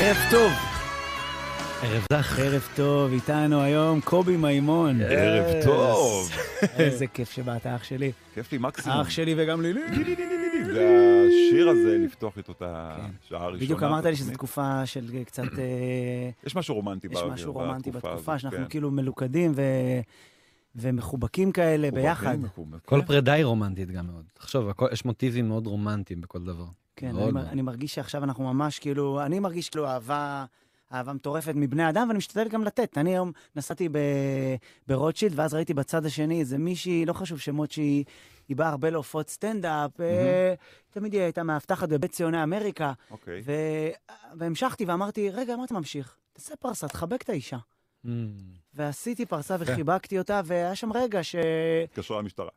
ערב טוב. ערב זך. ערב טוב, איתנו היום קובי מימון. אה, ערב טוב. כן. איזה כיף שבאת, אח שלי. כיף לי מקסימום. אח שלי וגם לילי. והשיר הזה, לפתוח איתו את השעה הראשונה. כן. בדיוק אמרת לי שזו התוכנית. תקופה של קצת... אה, יש משהו רומנטי יש באוויר, משהו רומנטי בתקופה הזאת, שאנחנו כן. כאילו מלוכדים ו- ומחובקים כאלה מחובקים, ביחד. מחובקים. כל פרידה היא רומנטית גם מאוד. תחשוב, הכל- יש מוטיבים מאוד רומנטיים בכל דבר. כן, מאוד אני, מר- מאוד. אני מרגיש שעכשיו אנחנו ממש כאילו, אני מרגיש כאילו אהבה, אהבה מטורפת מבני אדם, ואני משתדל גם לתת. אני היום נסעתי ב, ברוטשילד, ואז ראיתי בצד השני איזה מישהי, לא חשוב שמות שהיא, היא באה הרבה להופעות סטנדאפ, אה, תמיד היא הייתה מאבטחת בבית ציוני אמריקה, אוקיי. ו, והמשכתי ואמרתי, רגע, מה אתה ממשיך? תעשה פרסה, תחבק את האישה. Mm. ועשיתי פרסה וחיבקתי אותה, והיה שם רגע ש... התקשרה המשטרה.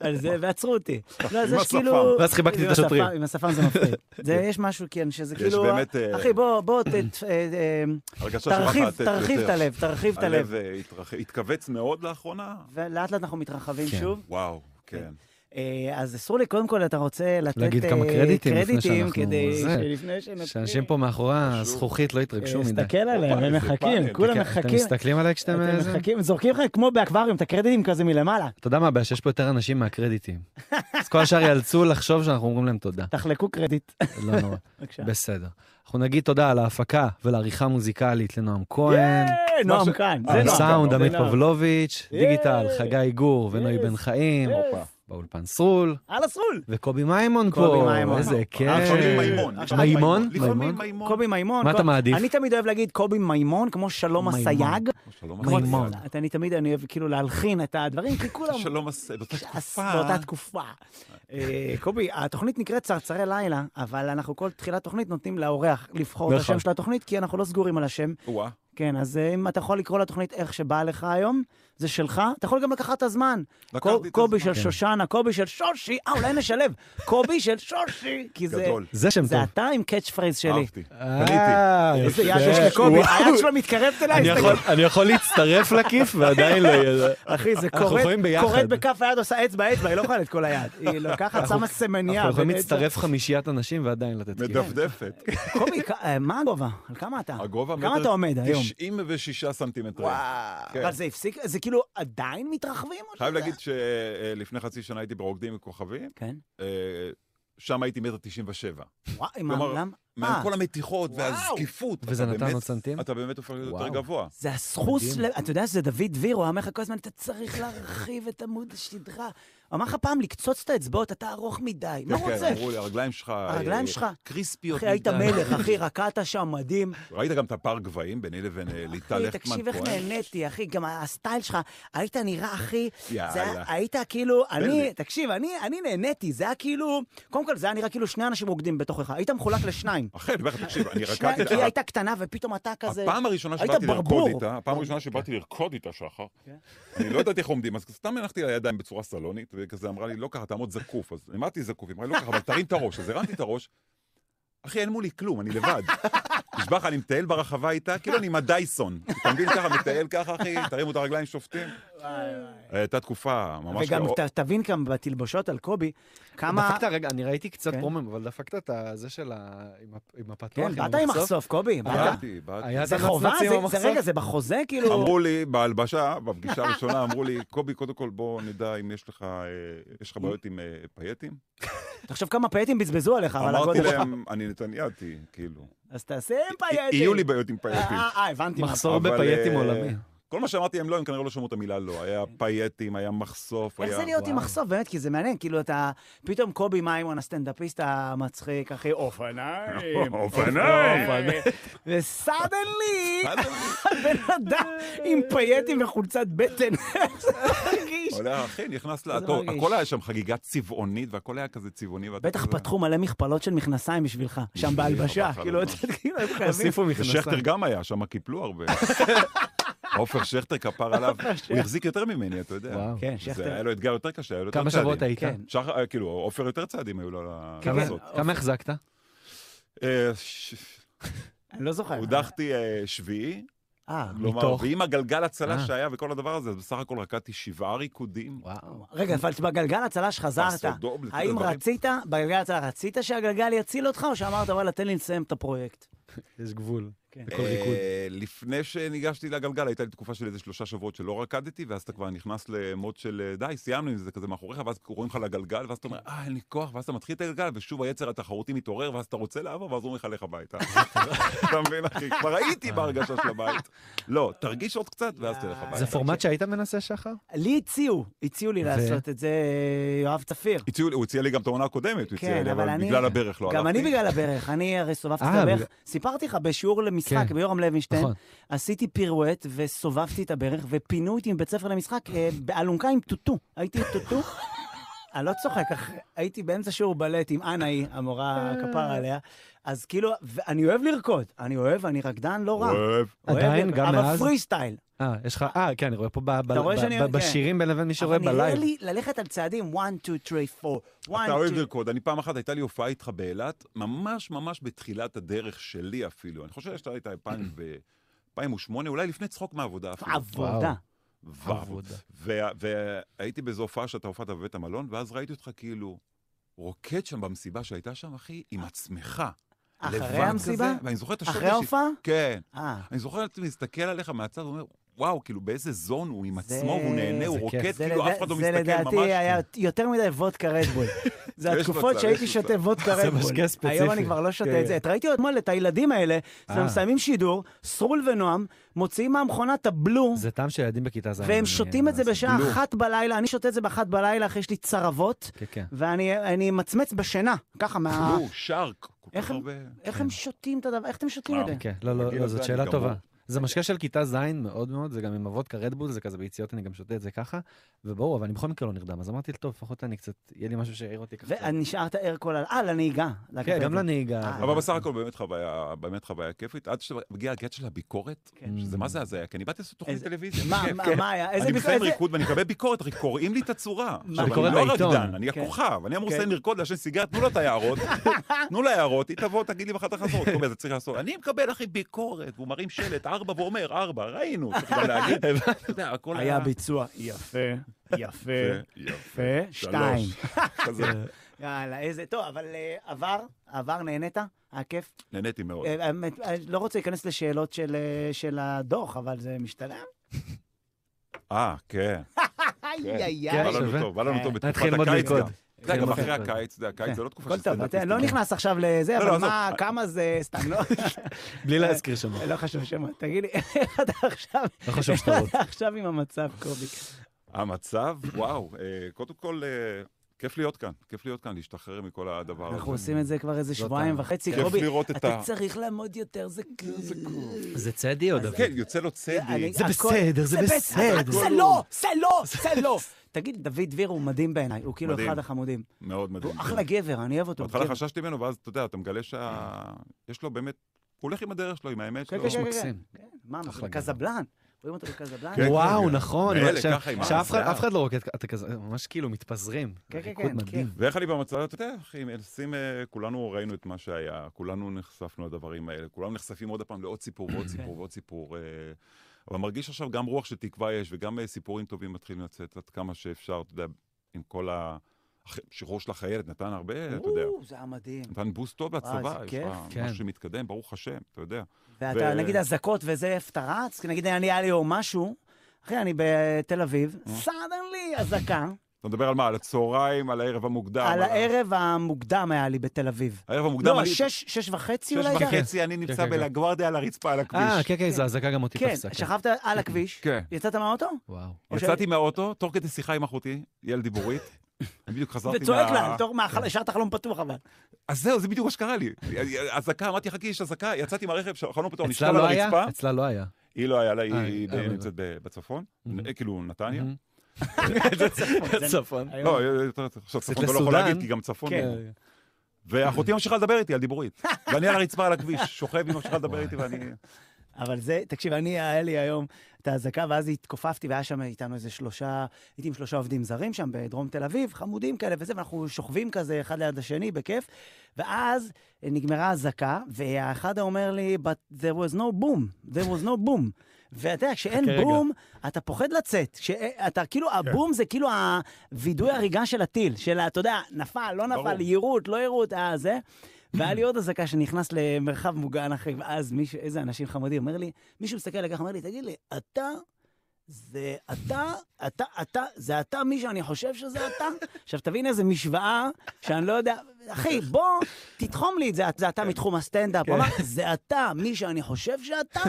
על זה, ועצרו אותי. לא, זה עם שכאילו... ואז חיבקתי עם את השוטרים. השפם- עם השפם זה מפחיד. זה, יש משהו, כן, שזה יש כאילו... באמת אה, אחי, בוא, בוא, ת- ת- אה, הרגשה של תרחיב, מחטט תרחיב את יותר. הלב, תרחיב את הלב. הלב אה, התרח- התכווץ מאוד לאחרונה. ולאט לאט אנחנו מתרחבים כן. שוב. וואו, כן. אה, אז אסור לי, קודם כל, אתה רוצה לתת להגיד כמה אה, קרדיטים לפני שאנחנו- כדי זה. שלפני שנתחיל... שאנשים פה מאחורי פשוט. הזכוכית לא יתרגשו אה, מדי. תסתכל עליהם, וואי, הם איזה מחכים, פאנל. כולם אתם מחכים. מסתכלים עליי כשאתם... אתם זה? מחכים, זורקים לך כמו באקווריום, את הקרדיטים כזה מלמעלה. אתה יודע מה הבעיה? שיש פה יותר אנשים מהקרדיטים. אז כל השאר ייאלצו לחשוב שאנחנו אומרים להם תודה. תחלקו קרדיט. לא נורא. בבקשה. בסדר. אנחנו נגיד תודה על ההפקה ועל המוזיקלית לנועם כהן. אה, נועם מה ש- כאן, זה על נועם. הסאונד, זה עמית נועם. פבלוביץ', דיגיטל, יאיי. חגי גור ונוי בן חיים, הופה. באולפן סרול, על הסרול. וקובי מימון פה. קובי מימון. איזה כיף. אה, עכשיו עם מימון. עכשיו עם כן. מימון? לפעמים מימון? מימון. קובי מימון. מה אתה קוב- מעדיף? אני תמיד אוהב להגיד קובי מימון, כמו שלום מימון. אסייג. לא, שלום כמו- מימון. אתה- אני תמיד, אני אוהב כאילו להלחין את הדברים, כי כולם... שלום עשה, באותה אז תקופה. באותה תקופה. אה, קובי, התוכנית נקראת צרצרי לילה, אבל אנחנו כל תחילת תוכנית נותנים לאורח לבחור את נכון. השם של התוכנית, כי אנחנו לא סגורים על השם. וואה, כן, אז אה, אם אתה יכול לקרוא לתוכנית איך שבא לך היום, זה שלך. אתה יכול גם לקחת את הזמן. לקחתי קו- את הזמן. קובי כן. של שושנה, קובי של שושי, אה, אולי נשלב. קובי של שושי, כי זה... גדול. זה שם טוב. זה אתה עם קאץ' פרייז שלי. אהבתי. קניתי. אה, איזה יפה. יד יש לקובי, וואו. היד שלו מתקרבת אליי, אני הסתכל. יכול- אני יכול להצטרף לכיף ועדיין לא יהיה... אחי, זה אנחנו קורט, יכולים ביחד. קורט בכף היד, עושה אצבע, אצבע, היא לא יכולה את כל היד. היא לוקחת, שמה סמניה. אנחנו יכולים בין אצבע- להצטרף חמישיית אנשים ועדיין לתת כיף. כן. מדפדפת. קובי, כ- אה, מה הגובה? על כמה אתה? הגובה כמה אתה עומד היום? 96 סנטימטרים. וואו, כן. אבל זה הפסיק, זה כאילו עדיין מתרחבים? או חייב שזה- להגיד שלפני חצי שנה הייתי ברוקדים עם כוכבים, כן. אה, שם הייתי מטר 97. וואי, מה, כלומר, למה? אה, מכל המתיחות וואו. והזקיפות. וזה אתה נתן באמת- עוד סנטים? אתה באמת הופך להיות יותר וואו. גבוה. זה הסחוס, מדהים. ל... אתה יודע שזה דוד דביר, הוא אמר לך כל הזמן, אתה צריך להרחיב את עמוד השדרה. הוא אמר לך פעם לקצוץ את האצבעות, אתה ארוך מדי, מה כן, כן, רוצה? אמרו לי, הרגליים שלך... הרגליים אה, שלך. קריספיות אחי, היית מדי." מלך, אחי, רקעת שם מדהים. ראית גם את הפער גבהים ביני לבין אה, ליטל אחי, לכטמן תקשיב איך כהן? נהניתי, אחי, גם הסטייל שלך, היית נראה, אחי, יאללה. זה היה- היית כאילו, אני, בנדי. תקשיב, אני אני נהניתי, זה היה כאילו, קודם כל, זה היה נראה כאילו שני אנשים רוקדים בתוכך, היית מחולק לשניים. אכן, אני אומר לך, תקשיב, אני שני- רקדתי... כי היא הייתה קטנה ופתאום אתה כזה... הפעם הראשונה היית שבאתי לרקוד ברבור. איתה, הפעם הראשונה שבאתי לרקוד איתה, שחר, כן. אני לא ידעתי איך עומדים, אז סתם הנחתי על הידיים בצורה סלונית, וכזה אמרה לי, לא ככה, תעמוד זקוף. אז עמדתי זקוף, היא אמרה לי, לא ככה, אבל תרים את הראש. אז הרמתי את הראש, אחי, אין מולי כלום, אני לבד. נשבע לך, אני מטייל ברחבה איתה, כאילו אני עם הדייסון. אתה מבין ככה, מטייל ככה, אחי, תרימו את הרגליים, שופטים. הייתה תקופה ממש... וגם לא- ת- תבין כאן בתלבושות על קובי, כמה... דפקת, רגע, אני ראיתי קצת כן. פרומם, אבל דפקת את ה- זה של ה... עם הפ- עם הפתוח, כן, באת עם מחשוף, קובי, באת. באתי, באתי. היה זה את חובה, הנצנצים עם זה- זה רגע, המחשוף? זה בחוזה, כאילו... אמרו לי בהלבשה, בפגישה הראשונה, אמרו לי, קובי, קודם כל בוא נדע אם יש לך, אה, יש לך בעיות עם אה, פייטים. תחשוב כמה פייטים בזבזו עליך, על אמרתי הגודל שלך. להם, אני נתניהתי, כאילו. אז תעשה עם פייטים. יהיו לי בעיות עם אה, פייטים. אה, אה, הבנתי. מה. מחסור אבל, בפייטים אה, עולמי. כל מה שאמרתי הם לא, הם כנראה לא שמעו את המילה לא. היה פייטים, היה מחשוף, היה... איך זה להיות עם וואו. מחשוף, באמת, כי זה מעניין, כאילו אתה, פתאום קובי מימון, הסטנדאפיסט המצחיק, אחי, אופניים. אופניים. וסאדנלי, מה זה? בן אדם עם פייטים וחולצת בטן, איך זה מרגיש? עולה, אחי, נכנס זה לעתור. מרגיש. הכל היה שם חגיגה צבעונית, והכל היה כזה צבעוני. ואתה בטח כזה- פתחו מלא מכפלות של מכנסיים בשבילך, שם בשבילי, בהלבשה, חבל כאילו, על אתה כאילו, הם חייבים. הוסיפו ושכטר מכנסיים. גם היה, שם קיפלו הרבה. עופר שכטר כפר עליו, הוא החזיק יותר ממני, אתה יודע. וואו. כן, זה שכטר. היה לו אתגר יותר קשה, היה לו יותר כמה צעדים. שבועות היית? כן. שחר, אה, כאילו, עופר יותר צעדים היו לו כן, כמה- לעשות. כמה החזקת? אה, ש- אני לא זוכר. הודחתי אה, שביעי, אה, כלומר, מתוך? ועם הגלגל הצלה אה. שהיה וכל הדבר הזה, אז בסך הכל רקדתי שבעה ריקודים. וואו. רגע, אבל בגלגל הצלה שחזרת, פסודום, לכל האם הדברים. רצית, בגלגל הצלה, רצית שהגלגל יציל אותך, או שאמרת, וואלה, תן לי לסיים את הפרויקט? יש גבול. כן. לכל אה, ריקוד. לפני שניגשתי לגלגל, הייתה לי תקופה של איזה שלושה שבועות שלא רקדתי, ואז אתה כבר נכנס למוד של אה, די, סיימנו עם זה כזה מאחוריך, ואז רואים לך לגלגל, ואז אתה אומר, אה, אין לי כוח, ואז אתה מתחיל את הגלגל, ושוב היצר התחרותי מתעורר, ואז אתה רוצה לעבור, ואז אומרים לך, לך הביתה. אתה מבין, אחי? כבר הייתי בהרגשה של הבית. לא, תרגיש עוד קצת, ואז תלך זה זה הביתה. פורמט שהיית מנסה, שחר? לי הציעו, הציעו לי ו- לעשות את זה אה, יואב צפיר. הציעו לי- הוא הציע לי גם את העונה הקודמת, הוא כן, הציע לי, אבל אבל אני- בגלל הברך לא גם אני הלכתי. בגלל הברך, אני הרי סובבתי את אה, הברך. בגלל- סיפרתי לך, בשיעור למשחק כן. ביורם לוינשטיין, נכון. עשיתי פירואט וסובבתי את הברך, ופינו אותי מבית ספר למשחק אה, באלונקה עם טוטו. הייתי עם טוטו, אני לא צוחק, אח- הייתי באמצע שיעור בלט עם אנאי, המורה אה. כפרה עליה, אז כאילו, ואני אוהב לרקוד, אני אוהב, אני רקדן לא רע. אוהב אוהב. עדיין, לרקוד, גם אבל מאז? פרי סטייל. אה, יש לך... אה, כן, אני רואה פה ב- ב- רואה ב- שאני- ב- כן. בשירים בין לבין מי שרואה אבל נראה בלייב. לי ללכת על צעדים 1, 2, 3, 4. אתה אוהב לרקוד. אני פעם אחת, הייתה לי הופעה איתך באילת, ממש ממש בתחילת הדרך שלי אפילו. אני חושב שאתה היית 2008, אולי לפני צחוק מהעבודה אפילו. עבודה. וואו. עבודה. וה- והייתי באיזו הופעה שאתה הופעת בבית המלון, ואז ראיתי אותך כאילו רוקד שם במסיבה שהייתה שם, אחי, עם עצמך. לבד אחרי כזה, המסיבה? ואני זוכר את השוט אחרי ההופעה? כן. אה. אני זוכר את להסתכל עליך מהצד ואומר, וואו, כאילו באיזה זון הוא עם זה- עצמו, והוא נהנה, זה הוא כיף. רוקד, זה כאילו לדע- אף אחד לא זה מסתכל לדעתי ממש. היה יותר מדי וודקה רדבול. זה יש התקופות מצב, שהייתי יש שותה מצב. וודקה זה רדבול. משקה ספציפי. היום אני כבר לא כן, שותה את זה. כן. את ראיתי אתמול את הילדים האלה, אה. שהם שמים שידור, סרול ונועם, מוציאים מהמכונה את הבלו, זה טעם של ילדים בכיתה ז'. והם אני- שותים את זה בשעה בלו. אחת בלילה, אני שותה את זה באחת בלילה, אחרי יש לי צרבות, כן, כן. ואני אני מצמץ בשינה, ככה מה... נו, שרק. כל איך כך הם- הרבה... איך הם שותים את הדבר, איך אתם שותים את כן. וואו. זה? כן, לא, לא, בגיל לא, הזה זאת אני שאלה גמור. טובה. זה משקה של כיתה ז' מאוד מאוד, זה גם עם הוודקה רדבול, זה כזה ביציאות, אני גם שותה את זה ככה, וברור, אבל אני בכל מקרה לא נרדם, אז אמרתי, טוב, לפחות אני קצת, יהיה לי משהו שיעיר אותי כן. ככה. ונשארת ער כל ה... אה, לנהיגה. כן, גם אה. לנהיגה. אבל בסך הכל באמת חוויה, באמת חוויה כיפית, עד שמגיע הקטע של הביקורת, כן. שזה מה זה הזיה, כי אני באתי לעשות תוכנית איזה- טלוויזיה, מה- בכיף, מה- כן. מה היה? איזה אני ביקורת- מסיים איזה- ריקוד ואני מקבל ביקורת, רק קוראים לי את הצורה. עכשיו, ביקורת אני לא בעיתון. רקדן, אני כן. הכוכב, אני אמור כן. לסיים לרקוד, לעשן סיגר, תנו לה את ההערות, תנו לה הערות, היא תבוא, תגיד לי ואחר כך לעשות, קובי, אתה צריך לעשות. אני מקבל, אחי, ביקורת, והוא מרים שלט, ארבע, ואומר, ארבע, ראינו, צריך גם להגיד, אתה יודע, הכל היה ביצוע יפה, יפה, יפה, כן, יפה, שתיים. אה. שלוש, כזה. יאללה, איזה... טוב, אבל אה, עבר, עבר, נהנית? היה כיף? נהניתי מאוד. אה, האמת, אה, לא רוצה להיכנס לשאלות של, אה, של הדוח, אבל זה משתלם. אה, כן. לא איי, איי, כן, איי. בא לנו שווה. טוב, בא אה, לנו טוב בתקופת נתחיל ללמוד הקיץ לרקוד. גם. זה גם אחרי לרקוד. הקיץ, זה הקיץ, זה לא תקופה כן. הכל של טוב, אתה סטנדאפיסטים. לא נכנס עכשיו לזה, לא, אבל לא, מה, עזוב. כמה זה, סתם, לא, בלי להזכיר שמות, לא חשוב שמות. תגיד לי, איך אתה עכשיו, לא חשוב איך שאתה רוצה. אתה עכשיו עם המצב, קובי? המצב, וואו, אה, קודם כל, אה, כיף להיות כאן, כיף להיות כאן, להשתחרר מכל הדבר הזה. אנחנו עושים את זה כבר איזה שבועיים אתה. וחצי, אוקיי. כיף קובי, לראות את אתה ה- צריך לעמוד יותר, זה כיף. זה צדי או אה, דוד? כן, יוצא לו צדי. אני- זה הכל- בסדר, זה בסדר. זה לא, זה לא, זה לא. תגיד, דוד דביר הוא מדהים בעיניי, הוא כאילו מדהים. לא אחד החמודים. מאוד הוא מדהים. אחלה גבר, אני אוהב אותו. כן. הוא בהתחלה גבר. חששתי ממנו, ואז אתה יודע, אתה מגלה שיש לו באמת, הוא הולך עם הדרך שלו, עם האמת כן, שלו. כן, איש כן, מקסים. כן. מה, מה, אחלה גבר. בקזבלן? רואים אותו בקזבלן? כן, וואו, כן. נכון, מאלה, אני חושב- ככה, עם שאף אחד- השיער. אף אחד לא רוקד, אתה כזה, ממש כאילו מתפזרים. כן, כן, ריקוד כן, מדהים. ואיך אני במצב, אתה יודע, אחי, מנסים, אה, כולנו ראינו את מה שהיה, כולנו נחשפנו לדברים האלה, כולנו נחשפים עוד פעם לעוד סיפור כן. ועוד סיפור ועוד סיפור. אה, אבל מרגיש עכשיו גם רוח של תקווה יש, וגם אה, סיפורים טובים מתחילים לצאת עד כמה שאפשר, אתה יודע, עם כל ה... הח- שחרור של החיילת נתן הרבה, אה, אתה יודע. או, זה היה מדהים. נתן בוסט טוב וואי, לצבא, איזה יש כיף. לך כן. משהו שמתקדם, ברוך השם, אתה יודע. ואתה, ו- נגיד אזעקות וזה, איפה אתה רץ? כי נגיד אני- היה לי או משהו, אחי, אני בתל אביב, אה. סאדנלי אזעקה, אתה מדבר על מה? על הצהריים, על הערב המוקדם. על הערב המוקדם היה לי בתל אביב. הערב המוקדם. לא, אה, אני- שש, שש וחצי שש אולי? זה היה? וחצי, אני נמצא כן, כן. בלגוארדיה על הרצפה, על הכביש. אה, כן, כן, זה אזעקה גם אותי כן, תפסה. כן. שכבת על הכביש, כן. יצאת מהאוטו? וואו. או ש- יצאתי מהאוטו, תוך כדי שיחה עם אחותי, ילד דיבורית. אני בדיוק לא חזרתי מה... וצועק לה, תור- מה, כן. חל- השארת חלום פתוח אבל. אז זהו, זה בדיוק מה שקרה לי. אזעקה, אמרתי, חכי, יש אזעקה, יצאתי מהרכב, חלום פתוח, נשכב אצלה על לא היה? הרצפה. אצלה לא היה. היא לא היה לה, היא- אה, היא אה, נמצאת ב- בצפון, Mhm. אה, כאילו נתניה. צפון. לא, אה, אה, עכשיו צפון אתה לא יכול לסודאן. להגיד, כי גם צפון. כן. לא. ואחותי ממשיכה לדבר איתי על דיבורית. ואני על הרצפה על הכביש, שוכב, היא ממשיכה לדבר איתי ואני... אבל זה, תקשיב, אני, היה לי היום את האזעקה, ואז התכופפתי, והיה שם איתנו איזה שלושה, הייתי עם שלושה עובדים זרים שם בדרום תל אביב, חמודים כאלה וזה, ואנחנו שוכבים כזה אחד ליד השני, בכיף, ואז נגמרה האזעקה, והאחד אומר לי, but there was no boom, there was no boom. ואתה יודע, כשאין חכה רגע. בום, אתה פוחד לצאת. כשאתה, כאילו, הבום זה כאילו הווידוי הריגה של הטיל, של, ה- אתה יודע, נפל, לא ברור. נפל, יירו, לא יירו, אה, זה. והיה לי עוד אזעקה שנכנס למרחב מוגן אחרי, ואז מישהו, איזה אנשים חמודים, אומר לי, מישהו מסתכל עליי ככה, אומר לי, תגיד לי, אתה, זה אתה, אתה, אתה, זה אתה מי שאני חושב שזה אתה? עכשיו, תבין איזה משוואה שאני לא יודע, אחי, בוא, תתחום לי את זה, זה אתה מתחום הסטנדאפ. הוא אמר, זה אתה מי שאני חושב שאתה?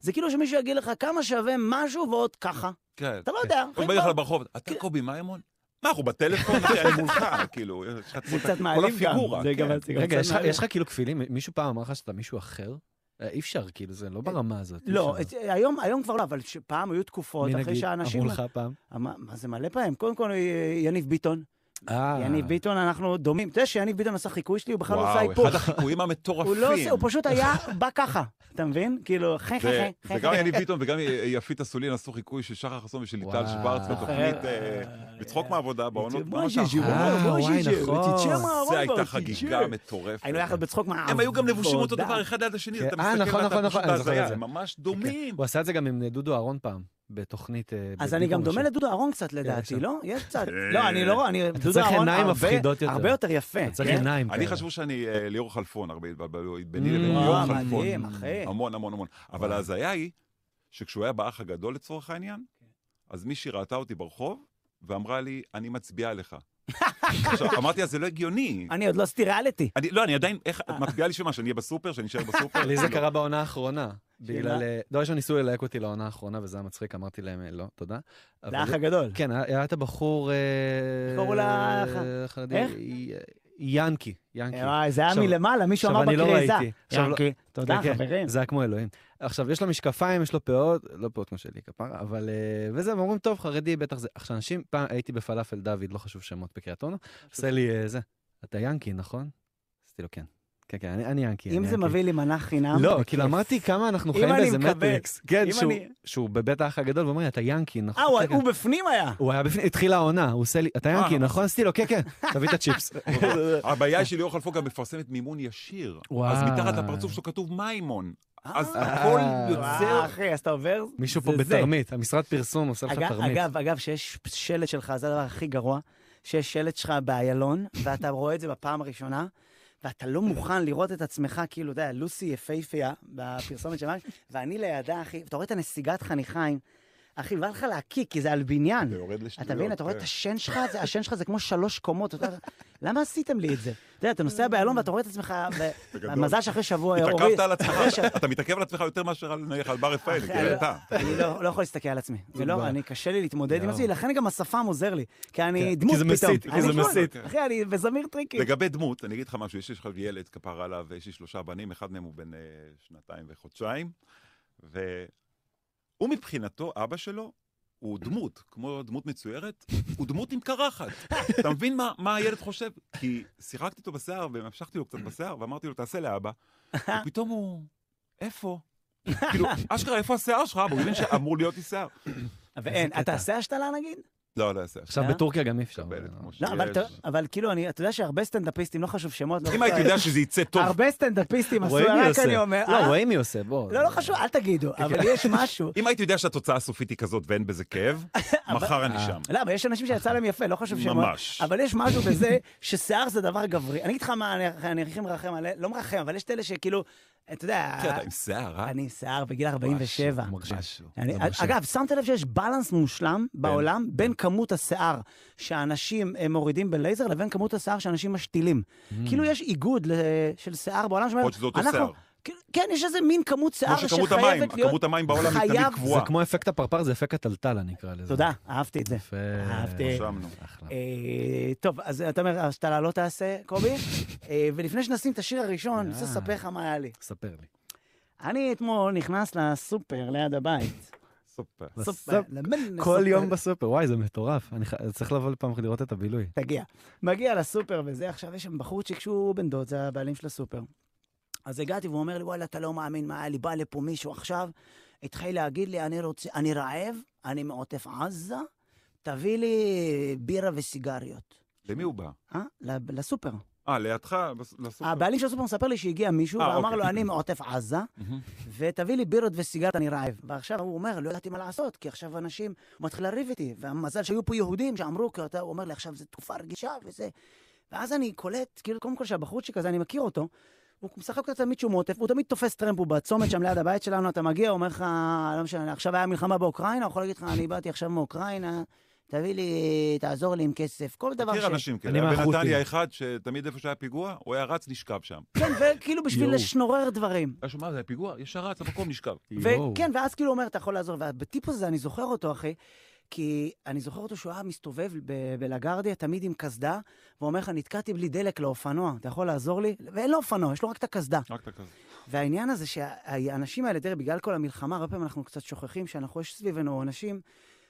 זה כאילו שמישהו יגיד לך כמה שווה משהו ועוד ככה. כן. אתה לא כן. יודע, הוא אחי, בא לך בוא. ברחוב, אתה קובי מימון? מה, אנחנו בטלפון? אחי, אני מולך, כאילו, יש לך את זה כל קצת מעליב גם. הפיגורה, זה כן. גם- זה גם רגע, קצת יש לך- מעליב. יש לך כאילו כפילים? מישהו פעם אמר לך שאתה מישהו אחר? אה, אי אפשר, כאילו, זה לא ברמה הזאת. אי לא, אפשר. את- היום היום כבר לא, אבל ש- פעם היו תקופות, מי אחרי נגיד? שהאנשים... לא- אמרו לך פעם? מה מה זה מלא פעמים? קודם כל, אה, יניב ביטון. אה. יניב ביטון, אנחנו דומים. אתה יודע שיניב ביטון עשה חיקוי שלי, הוא בכלל לא עשה וואו, היפוך. אחד החיקויים הוא לא עושה, המטורפים. הוא פשוט היה בא ככה, אתה מבין? כאילו, חי חי זה- חי. זה גם יניב ביטון וגם יפית אסולין עשו חיקוי של שחר חסון ושל ליטל וואו. שוורץ בתוכנית אה, בצחוק מהעבודה בעונות. בעונות האחרונות. אה, וואי, נכון. לא זה הייתה חגיגה מטורפת. היינו יחד בצחוק מהעבודה. הם היו גם לבושים אותו דבר אחד ליד השני, כן, אתה אה, מסתכל נכון, ואתה נכון, פשוט נכון, אני זוכר את בהזיה, זה. הם ממש כן. דומים. הוא עשה את זה גם עם אה, דודו אהרון פעם, בתוכנית... אה, אז בביפו אני גם דומה משהו. לדודו אהרון קצת כן, עכשיו. לדעתי, לא? יש קצת. אה. לא, אני לא רואה, אני... דודו צריך אהרון עיניים הרבה- מפחידות יותר. הרבה יותר יפה. אתה צריך כן? עיניים. אני כאלה. חשבו שאני אה, ליאור חלפון, הרבה התבלבלו ביני Mm. לבין וואו, ליאור וואו, חלפון. מדהים, אחי. המון, המון, המון. אבל וואו. ההזיה היא שכשהוא היה באח הגדול לצורך העניין, כן. אז מישהי ראתה אותי ברחוב ואמרה לי, אני מצביעה לך. עכשיו, אמרתי לה, זה לא הגיוני. אני עוד לא עשיתי ריאליטי. אני, לא, אני עדיין, איך, אה, את מצביעה לי שמה, שאני אהיה בסופר, שאני אשאר בסופר? לי זה לא. קרה בעונה האחרונה. שאלה? בגלל... אה, דבר ראשון ניסו ללהק אותי לעונה האחרונה, וזה היה מצחיק, אמרתי להם, אה, לא, תודה. אבל- לאח הגדול. כן, היה היה את הבחור... אה, איך קראו לה? אה, חרדי. איך? י- ינקי, ינקי. אה, וואי, זה היה כן. עכשיו- מלמעלה, מישהו עכשיו, אמר אני לא בכריזה. ראיתי. עכשיו, לא- ינקי, תודה, כן, כן, חברים. זה היה כמו אלוהים. עכשיו, יש לו משקפיים, יש לו פאות, לא פאות כמו שלי, כפרה, אבל... אה, וזה, הם אומרים, טוב, חרדי, בטח זה. עכשיו, אנשים, פעם הייתי בפלאפל דוד, לא חשוב שמות בקריית אונו, עושה לי אה, זה. אתה ינקי, נכון? עשיתי לו כן. כן, כן, אני אני ינקי. אם אני זה ינקי." מביא לי מנה חינם... לא, בכיף. כאילו אמרתי כמה אנחנו אם חיים אני באיזה מקבל- מטריקס. כן, אם שהוא- אני- שהוא בבית האח הגדול, ואומר לי, אתה ינקי, נכון? אה, כן, כן. הוא- הוא בפנים היה. הוא היה בפנים, התחילה העונה, הוא עושה לי, אתה ינקי, אה. נכון? עשיתי לו, כן, כן, תביא את הצ'יפס. הבעיה היא שליאור חלפון גם מפרסמת מימון ישיר. וואו. אז מתחת לפרצוף שלו כתוב מימון. אז אה, הכל אה, וואו, יוצר... אחי, אז אתה עובר... מישהו זה פה זה. בתרמית, המשרד פרסום עושה לך אגב, תרמית. אגב, אגב, שיש שלט שלך, זה הדבר הכי גרוע, שיש שלט שלך באיילון, ואתה רואה את זה בפעם הראשונה, ואתה לא מוכן לראות את עצמך, כאילו, אתה יודע, לוסי יפהפייה, בפרסומת של מרק, ואני לידה, אחי, אתה רואה את הנסיגת חניכיים, אחי, בא לך להקיא, כי זה על בניין. זה יורד לשטויות. אתה מבין, אתה רואה את לא, כן. השן שלך, זה- השן שלך זה כמו שלוש קומות. אתה- למה עשיתם לי את זה? אתה יודע, אתה נוסע באיילון ואתה רואה את עצמך, ו- אה, בגדול. מזל שאחרי שבוע... התעכבת הוריד- על אחרי ש- עצמך, אתה מתעכב על עצמך יותר מאשר על נניח על בר רפאלי, אחי, כאילו, אני- אתה. אני לא לא יכול להסתכל על עצמי. זה לא, בעיה. אני, קשה לי להתמודד עם יואו. עצמי, לכן גם השפם עוזר לי. כי אני כן, כי דמות זה פתאום. מסית, כי אני זה דמות. מסית. אחי, אני וזמיר טריקי. לגבי דמות, אני אגיד לך משהו, יש לי עכשיו ילד כפרה עליו, ויש לי שלושה בנים, אחד מהם הוא בן אה, שנתיים וחודשיים, והוא מבחינתו, אבא שלו, הוא דמות, כמו דמות מצוירת, הוא דמות עם קרחת. אתה מבין מה, מה הילד חושב? כי שיחקתי איתו בשיער, ומשכתי לו קצת בשיער, ואמרתי לו, תעשה לאבא. ופתאום הוא, איפה? כאילו, אשכרה, איפה השיער שלך? אבא, הוא הבין שאמור להיות לי שיער. ואין, קטע. אתה עושה השתלה נגיד? לא, לא, השיער. עכשיו אה? בטורקיה גם אי אפשר. מקבל את אבל- כמו שיש. לא, אבל אתה- אבל כאילו, אני- אתה יודע שהרבה סטנדאפיסטים, לא חשוב שמות. לא אם חשוב- הייתי יודע שזה יצא טוב, הרבה סטנדאפיסטים עשו, רואי מי רק עושה. אני אומר... לא, כן, אה? רואה מי עושה, בוא. לא, לא חשוב, אל תגידו, אבל יש משהו. אם הייתי יודע שהתוצאה הסופית היא כזאת ואין בזה כאב, מחר אה, אני שם. למה? יש אנשים שיצא להם יפה, לא חשוב שמות. ממש. אבל יש משהו בזה ששיער זה דבר גברי. אני אגיד לך מה, אני- אני הכי מרחם עליהם, לא מרחם, אבל יש את אלה שכאילו, אתה יודע... אחי, אתה עם שיער, אה? אני עם שיער בגיל 47. מרשים. אני, זה מרשים. אגב, שמת לב שיש בלנס מושלם כן. בעולם בין כמות השיער שאנשים אה, מורידים בלייזר לבין כמות השיער שאנשים משתילים. Mm. כאילו יש איגוד ל- של שיער בעולם שאומר, למרות שזה אותו אנחנו- שיער. כן, כן, יש איזה מין כמות שיער כמו שכמות המים, שחייבת להיות... כמות המים בעולם היא חייב- תמיד זה קבועה. כמו אפקט הפרפר, זה אפקט טלטלה נקרא לזה. תודה, אהבתי את כן. זה. יפה. אהבתי. רשמנו. אחלה. אה, טוב, אז אתה אומר, השתלה לא תעשה, קובי? אה, ולפני שנשים את השיר הראשון, אני רוצה אה. לספר לך מה היה לי. ספר לי. אני אתמול נכנס לסופר ליד הבית. סופר. סופר, למן- כל סופר. יום בסופר, וואי, זה מטורף. אני ח- צריך לבוא לפעם אחת לראות את הבילוי. תגיע. מגיע לסופר וזה, עכשיו יש שם בחורצ'יק שהוא בן דוד, זה הבעלים של הסופר. אז הגעתי והוא אומר לי, וואלה, אתה לא מאמין מה היה לי, בא לפה מישהו עכשיו, התחיל להגיד לי, אני רוצה, אני רעב, אני מעוטף עזה, תביא לי בירה וסיגריות. למי הוא בא? אה? ל- לסופר. אה, לידך? בס- לסופר? הבעלים של הסופר מספר לי שהגיע מישהו אה, ואמר אוקיי. לו, אני מעוטף עזה, מהמם. ותביא לי בירות וסיגרת, אני רעב. ועכשיו הוא אומר, לא ידעתי מה לעשות, כי עכשיו אנשים, הוא מתחיל לריב איתי, והמזל שהיו פה יהודים שאמרו, כי אתה, הוא אומר לי, עכשיו זו תקופה רגישה וזה. ואז אני קולט, כאילו, קודם כל שהבחורצ'יק הזה, אני מכיר אותו, הוא משחק אותו תמיד שהוא מוטף, הוא תמיד תופס טרמפ, הוא בצומת שם ליד הבית שלנו, אתה מגיע, הוא אומר לך, לא משנה, עכשיו היה מלחמה באוקראינה, הוא יכול להגיד לך, אני באתי עכשיו מאוקראינה, תביא לי, תעזור לי עם כסף, כל דבר מכיר אנשים כאלה. אני היה מהחות'ים. בנתניה אחד, שתמיד איפה שהיה פיגוע, הוא היה רץ, נשכב שם. כן, וכאילו בשביל יואו. לשנורר דברים. היה שומע, זה היה פיגוע, ישר רץ למקום, נשכב. יואו. וכן, ואז כאילו הוא אומר, אתה יכול לעזור. ובטיפ הזה, אני זוכר אותו, אחי, כי אני זוכר אותו שהוא היה מסתובב ב- בלגרדיה, תמיד עם קסדה, ואומר לך, נתקעתי בלי דלק לאופנוע, אתה יכול לעזור לי? ואין לו אופנוע, יש לו רק את הקסדה. רק אתה כזה. והעניין הזה שהאנשים האלה, תראה, בגלל כל המלחמה, הרבה פעמים אנחנו קצת שוכחים שאנחנו, יש סביבנו אנשים,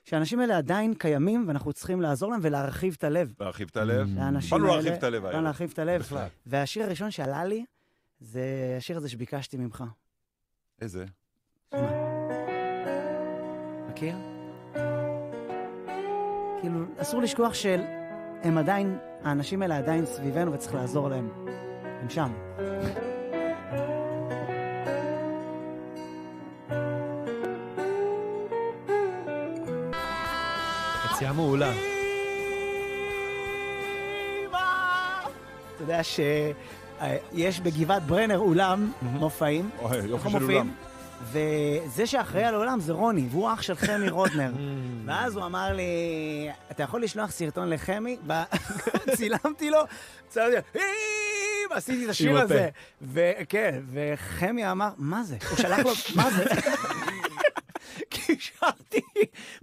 שהאנשים האלה עדיין קיימים, ואנחנו צריכים לעזור להם ולהרחיב את הלב. להרחיב את הלב. Mm. לאנשים באנו האלה... Mm. לא להרחיב את הלב באנו הערב. לא להרחיב את הלב. בכלל. והשיר הראשון שעלה לי, זה השיר הזה שביקשתי ממך. איזה? מכיר? כאילו, אסור לשכוח של... הם עדיין, האנשים האלה עדיין סביבנו וצריך לעזור להם. הם שם. יציאה מעולה. אתה יודע שיש בגבעת ברנר אולם מופעים. אוי, אנחנו יופי של מופיעים, אולם. וזה שאחראי על האולם זה רוני, והוא אח של חמי Mm. רודנר. ואז הוא אמר לי, אתה יכול לשלוח סרטון לחמי? ו- צילמתי לו, צילמתי לו, "אים", עשיתי את השיר עם הפה. הזה. וכן, וחמי אמר, מה זה? הוא שלח לו, מה זה? כי שרתי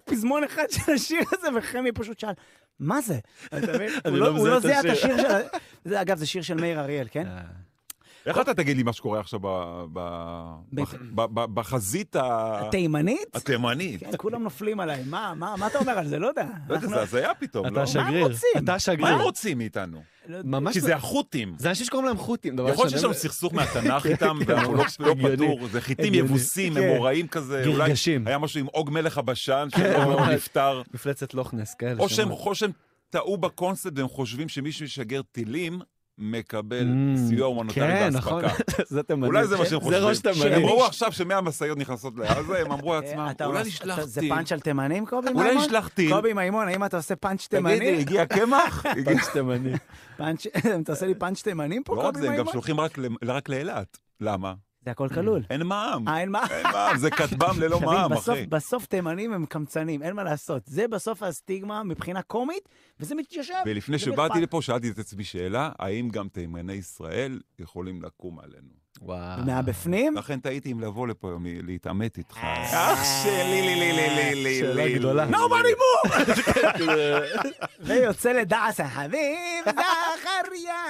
פזמון אחד של השיר הזה, וחמי פשוט שאל, מה זה? אתה מבין? הוא אני לא לא- הוא מזהה לא את זיהה את השיר. השיר של... ה- זה, אגב, זה שיר של מאיר אריאל, כן? אה, איך אתה תגיד לי מה שקורה עכשיו ב- ב- בטח. ב- ב- בחזית ה- אה. התימנית? התימנית? כן, כולם נופלים עליי, מה, מה, מה אתה אומר על זה? לא יודע. לא יודע, אנחנו- זה הזיה פתאום, לא? אתה שגריר. רוצים? אתה מה הם שגריר. רוצים מאיתנו? לא יודע. ממש כי לא- זה החות'ים. זה אנשים שקוראים להם חות'ים. דבר יכול להיות ראשון, שיש לנו הם- סכסוך מהתנ"ך איתם, ואנחנו לא כן, ממש לא הגיוני. פתור, זה חיתים הגיוני. יבוסים, כן. אמוראים כזה, אולי גרגשים. היה משהו עם עוג מלך הבשן, שלא כן, לא ממש. נפטר, מפלצת לוכנס, כאלה. או שהם שמות. או שהם טעו בקונספט והם חושבים שמי שישגר טילים מקבל Mm, סיוע הומניטרי כן, נכון. באספקה. זה תימני. כן? אולי זה מה שהם חושבים. זה ראש שהם- הם תימני. ראו עכשיו שמאה משאיות נכנסות לעזה, הם אמרו לעצמם, אה, אתה אולי עושה- נשלח אתה- זה טיל. פאנץ' על תימנים, קובי מימון? אולי נשלח טיל. קובי מימון, האם אתה עושה פאנץ' תגידי, תימני? הגיע קמח? הגיע- פאנץ' תימני. פאנץ', אתה עושה לי פאנץ' תימנים פה, לא רק קובי זה, הם גם מימון? שולחים רק ל- רק לאילת. למה? זה הכל כלול. אין מע"מ. אה, אין מה... אין מע"מ, זה כטב"ם ללא תבין, לא מע"מ, בסוף- אחי. בסוף תימנים הם קמצנים, אין מה לעשות. זה בסוף הסטיגמה מבחינה קומית, וזה מתיישב. ולפני זה שבאתי מלפ"מ. לפה, שאלתי את עצמי שאלה, האם גם תימני ישראל יכולים לקום עלינו? וואו. מהבפנים? לכן תהיתי אם לבוא לפה היום להתעמת איתך. אה. אח שלי, לי, לי, לי, לי, לי, שאלה לי. גדולה. Nobody move! ויוצא לדעס החביב, זכריה.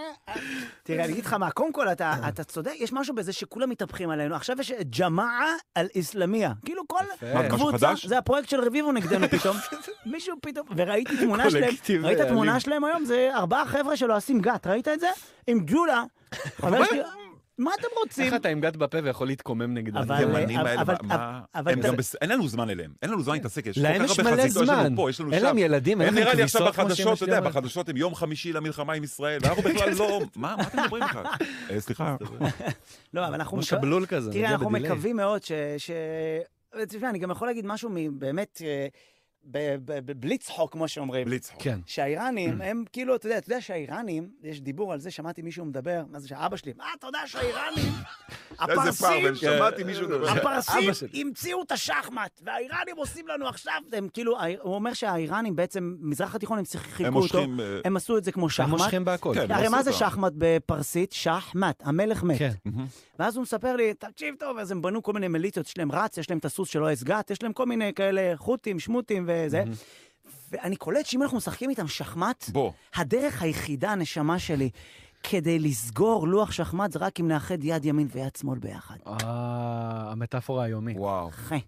תראה, אני אגיד לך מה, קודם כל, אתה, אתה צודק, יש משהו בזה שכולם מתהפכים עלינו. עכשיו יש ג'מאעה על אסלאמיה. כאילו כל יפה. מה, זה משהו קבוצה, חדש? זה הפרויקט של רביבו נגדנו פתאום. מישהו פתאום, וראיתי תמונה שלהם, קולקטיב אה, ראית האלים. תמונה שלהם היום? זה ארבעה חבר'ה שלו עושים גת, ראית את זה? עם ג'ולה. חבר שלי, מה אתם רוצים? איך אתה עם גת בפה ויכול להתקומם נגדם? אבל- התימנים אבל- האלה, אבל- מה? אבל- הם אבל- גם בס- אין לנו זמן אליהם, אין לנו זמן להתעסק, יש כל כן. להם כך יש הרבה מלא חזיתות, יש זמן. לנו פה, יש לנו אין שם. להם ילדים, אין הם להם נראה לי עכשיו כביסות כמו כן, בחדשות, שאמא אתה שלי יודע, אומרת. בחדשות הם יום חמישי למלחמה עם ישראל, ואנחנו בכלל לא... מה מה אתם מדברים בכלל? אה, סליחה. כן. לא, אבל אנחנו... כמו מקו- שבלול כזה, תראה, מגיע אנחנו בדיליי. מקווים מאוד ש... ש... תשמע, אני גם יכול להגיד משהו מ- באמת, אה, ב- ב- ב- בלי צחוק, כמו שאומרים. בלי צחוק. כן. שהאיראנים, הם כאילו, אתה יודע, אתה יודע שהאיראנים, יש דיבור על זה, שמעתי מישהו מדבר, מה זה שאבא שלי, מה, אתה יודע שהאיראנים, איזה פרוויל, הפרסים, שמעתי מישהו מדבר. הפרסים אבא שלי. המציאו את השחמט, והאיראנים עושים לנו עכשיו, הם כאילו, האיר- הוא אומר שהאיראנים בעצם, מזרח התיכון, הם שיחקו הם אותו, מושכים... אה, הם עשו את זה כמו הם שחמט. מושכים בהכל. כן. הרי הם מה עשו זה אותו. שחמט בפרסית? שחמט, המלך מת. Mm-hmm. כן. ואז הוא מספר לי, תקשיב טוב, אז הם בנו כל מיני מיליציות, יש להם רץ, יש להם את הסוס של אוהס גת, יש להם כל מיני כאלה חות'ים, שמותים וזה. ואני קולט שאם אנחנו משחקים איתם שחמט, בוא. הדרך היחידה, הנשמה שלי, כדי לסגור לוח שחמט זה רק אם נאחד יד ימין ויד שמאל ביחד. אה, המטאפורה היומית. וואו. אחי,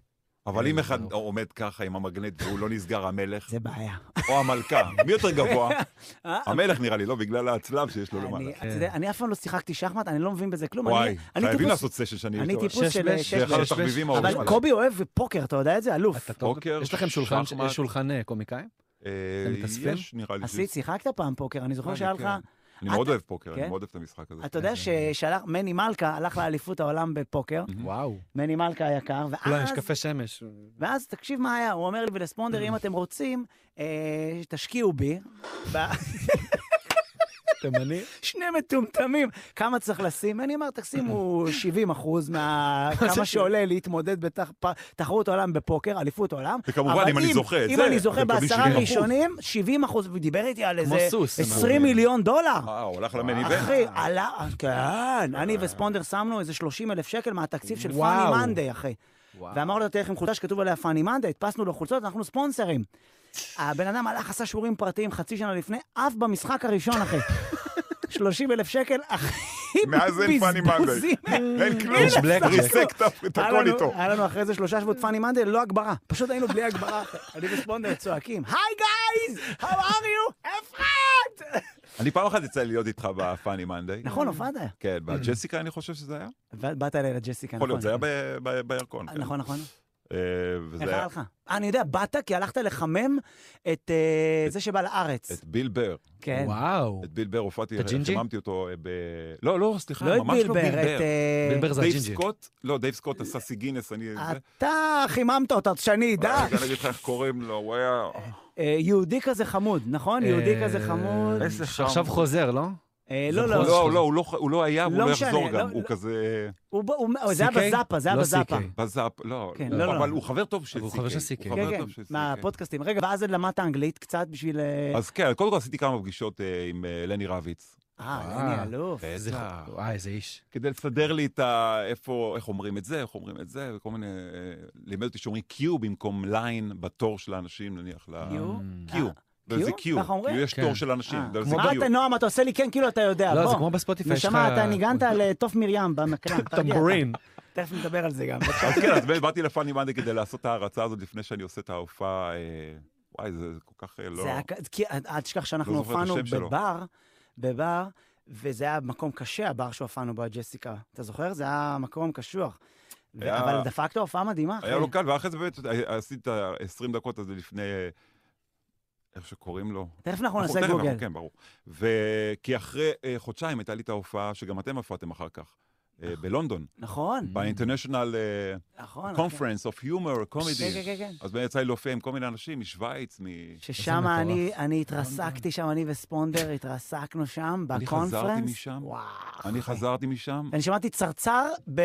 אבל אם אחד וואו. עומד ככה עם המגנט והוא לא נסגר, המלך כן, זה בעיה. או המלכה, מי יותר גבוה? אה, המלך נראה לי, לא? בגלל הצלב שיש לו אני- למעלה. אתה יודע, אני אף פעם לא שיחקתי שחמט, אני לא מבין בזה כלום. וואי, אני- אני חייבים טיפוס- לעשות סשן שאני... אני איתו. טיפוס של שש-בש. שש-בש. זה אחד שש-בש. התחביבים אבל האהובים אבל עליי. קובי אוהב פוקר, אתה יודע את זה? אלוף. אתה טוב? פוקר, יש לכם שולחן, שחמט. יש שולחן אה, קומיקאים? אה, אתם מתאספים? יש, נראה לי. עשית, ש- שיחקת פעם פוקר, אני זוכר אני שהיה לך... כן. אני מאוד אוהב פוקר, אני כן? מאוד אוהב את המשחק הזה. אתה יודע ששלח, מני מלכה הלך לאליפות העולם בפוקר, וואו. מני מלכה היקר, ואז... אולי יש קפה שמש. ואז תקשיב מה היה, הוא אומר לי, ולספונדר, אם אתם רוצים, אה, תשקיעו בי. ב- תימני. שני מטומטמים, כמה צריך לשים? אני אומר, תשימו 70 אחוז מה... כמה שעולה להתמודד בתחרות עולם בפוקר, אליפות עולם. וכמובן, אבל אם אני זוכה את אם זה, אני זוכה אתם מקבלים בעשרה 70%. הראשונים, 70 אחוז, הוא דיבר איתי על איזה סוס, הם 20 מיליון דולר. אה, הוא הלך למן איבנט. אחי, עלה, כן, אני וספונדר שמנו איזה 30 אלף שקל מהתקציב של פאני וואו. מנדי, אחי. ואמרנו לו, תלך עם חולצה שכתוב עליה פאני מנדי, הדפסנו לו חולצות, אנחנו ספונסרים. הבן אדם הלך, עשה שיעורים פרטיים חצי שנה לפני, עף במשחק הראשון, אחי. 30 אלף שקל, אחי, מאז אין פאני מנדי. בזבוזים. אין כלום, יש blackjack. ריסק את היה הכל לנו- איתו. היה לנו אחרי זה שלושה שבועות פאני מנדי, ללא הגברה. פשוט היינו בלי הגברה. אחי. אני וספונדר צועקים, היי גייז, how are you? אפרת! אני פעם אחת יצא לי להיות איתך בפאני מנדי. נכון, הופעת. כן, בג'סיקה אני חושב שזה היה. באת אליי לג'סיקה, יכול נכון. להיות, זה היה ב- ב- בירקון. כן. נכון, נכון. אה, וזה איך היה היה לך? אה, אני יודע, באת כי הלכת לחמם את אה, זה שבא לארץ. את ביל בר. כן. וואו. את ביל בר הופעתי, את ג'ינג'י? חיממתי אותו אה, ב... לא, לא, סליחה, לא את ממש לא ביל בילבר, בר. את... אה, בילבר זה דייב הג'ינג'י. סקוט, לא, דייב סקוט עשה סי גינס, אני... זה. אתה חיממת אותו, שאני אדע. אה, רגע, אני אגיד לך איך קוראים לו, הוא היה... אה, יהודי כזה חמוד, נכון? אה, יהודי כזה חמוד. איזה שעכשיו חם. חוזר, לא? אה, זה לא, לא, חוזר. לא. לא, לא, הוא לא ח- הוא לא היה, והוא לא לא משנה, יחזור לא, גם, הוא לא. כזה... הוא ב- הוא- זה היה CK? בזאפה, זה היה לא בזאפה. CK. בזאפ, לא, כן, הוא- לא, לא. אבל הוא חבר טוב של אבל הוא סיקי. חבר של סיקי. הוא כן, חבר כן, טוב של סיקי. מהפודקאסטים. רגע, ואז למדת אנגלית קצת בשביל... אה, אז כן, קודם כל עשיתי כמה פגישות אה, עם אה, לני רביץ. אה, אני אלוף. איזה ח- אה, וואי, איזה אה, איש. כדי לסדר לי את ה... איפה, איך אומרים את זה, איך אומרים את זה, וכל מיני... אה, לימד אותי שאומרים קיו במקום ליין בתור של האנשים, נניח, ל... קיו? Mm. קיו. אה, וזה קיו? קיו. ככה אומרים? כאילו יש כן. תור של אנשים, אה, זה מה אתה, קיו. נועם, אתה עושה לי כן כאילו אתה יודע, לא, זה בוא. כמו בספוטיפיי. אוקיי. יש נשמה, לך- אתה ניגנת על אה, תוף מרים במקרן. תרגיע. טמבורין. תכף נדבר על זה גם. אז כן, אז באתי לפאני מנדי כדי לעשות את ההרצה הזאת לפני שאני עושה את ההופעה. אה, וואי, זה זה כל כך אה, לא... זה היה, כ- כי אל אל תשכח שאנחנו לא זוכר את הופענו השם שלו. בבר, בבר, וזה היה מקום קשה, הבר שהופענו בו, ג'סיקה. אתה זוכר? זה היה מקום קשוח. ו- היה- אבל דפקת הופעה מדהימה, אחי. היה לו קל, ואחרי זה באמת אה, עשיתי את ה-20 דקות הזה לפני... אה, איך שקוראים לו. תכף אנחנו נעשה תכף, גוגל. אנחנו- כן, ברור. וכי אחרי אה, חודשיים הייתה לי את ההופעה שגם אתם הופעתם אחר כך, אה, בלונדון, נכון, ב-International נכון. אחי. כן. Conference of Humor כן, כן, Comedy. כן, כן. אז באמת יצא לי להופיע עם כל מיני אנשים משוויץ, מ... ששם איזה אני, מטורף. אני התרסקתי שם, אני וספונדר התרסקנו שם, אני בקונפרנס. חזרתי משם. וואו. אני אחי. חזרתי משם. אני שמעתי צרצר, ב-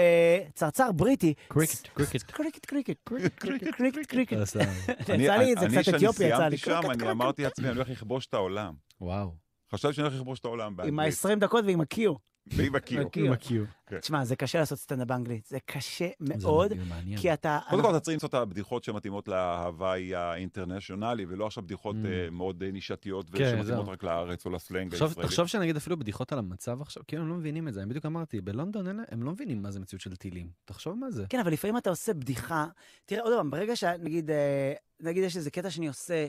צרצר בריטי. קריקט, קריקט. קריקט, קריקט, קריקט, קריקט, קריקט, קריקט. עשה- אני- כן, יצא לי את זה, אני, קצת אתיופי יצא כשאני סיימתי לי. שם, אני אמרתי לעצמי, אני הולך לכבוש את העולם. וואו. חשבתי שאני הולך לכבוש את העולם עם באנגלית. ה-20 דקות ועם ה-Q. ועם הקיו. הקיו. עם הקיו. כן. תשמע, זה קשה לעשות סטנדאפ באנגלית, זה קשה מאוד, כי אתה... קודם כל, אתה צריך למצוא את הבדיחות שמתאימות להוואי האינטרנשיונלי, ולא עכשיו בדיחות Mm. אה, מאוד אה, נישתיות, כן, ושמתאימות זהו. רק לארץ או לסלנג תחשוב- הישראלי. תחשוב שנגיד אפילו בדיחות על המצב עכשיו, כאילו הם לא מבינים את זה, אני בדיוק אמרתי, בלונדון אין לה- הם לא מבינים מה זה מציאות של טילים, תחשוב מה זה. כן, אבל לפעמים אתה עושה בדיחה. תראה, עוד פעם, ברגע שנגיד, אה, נגיד יש איזה קטע שאני עושה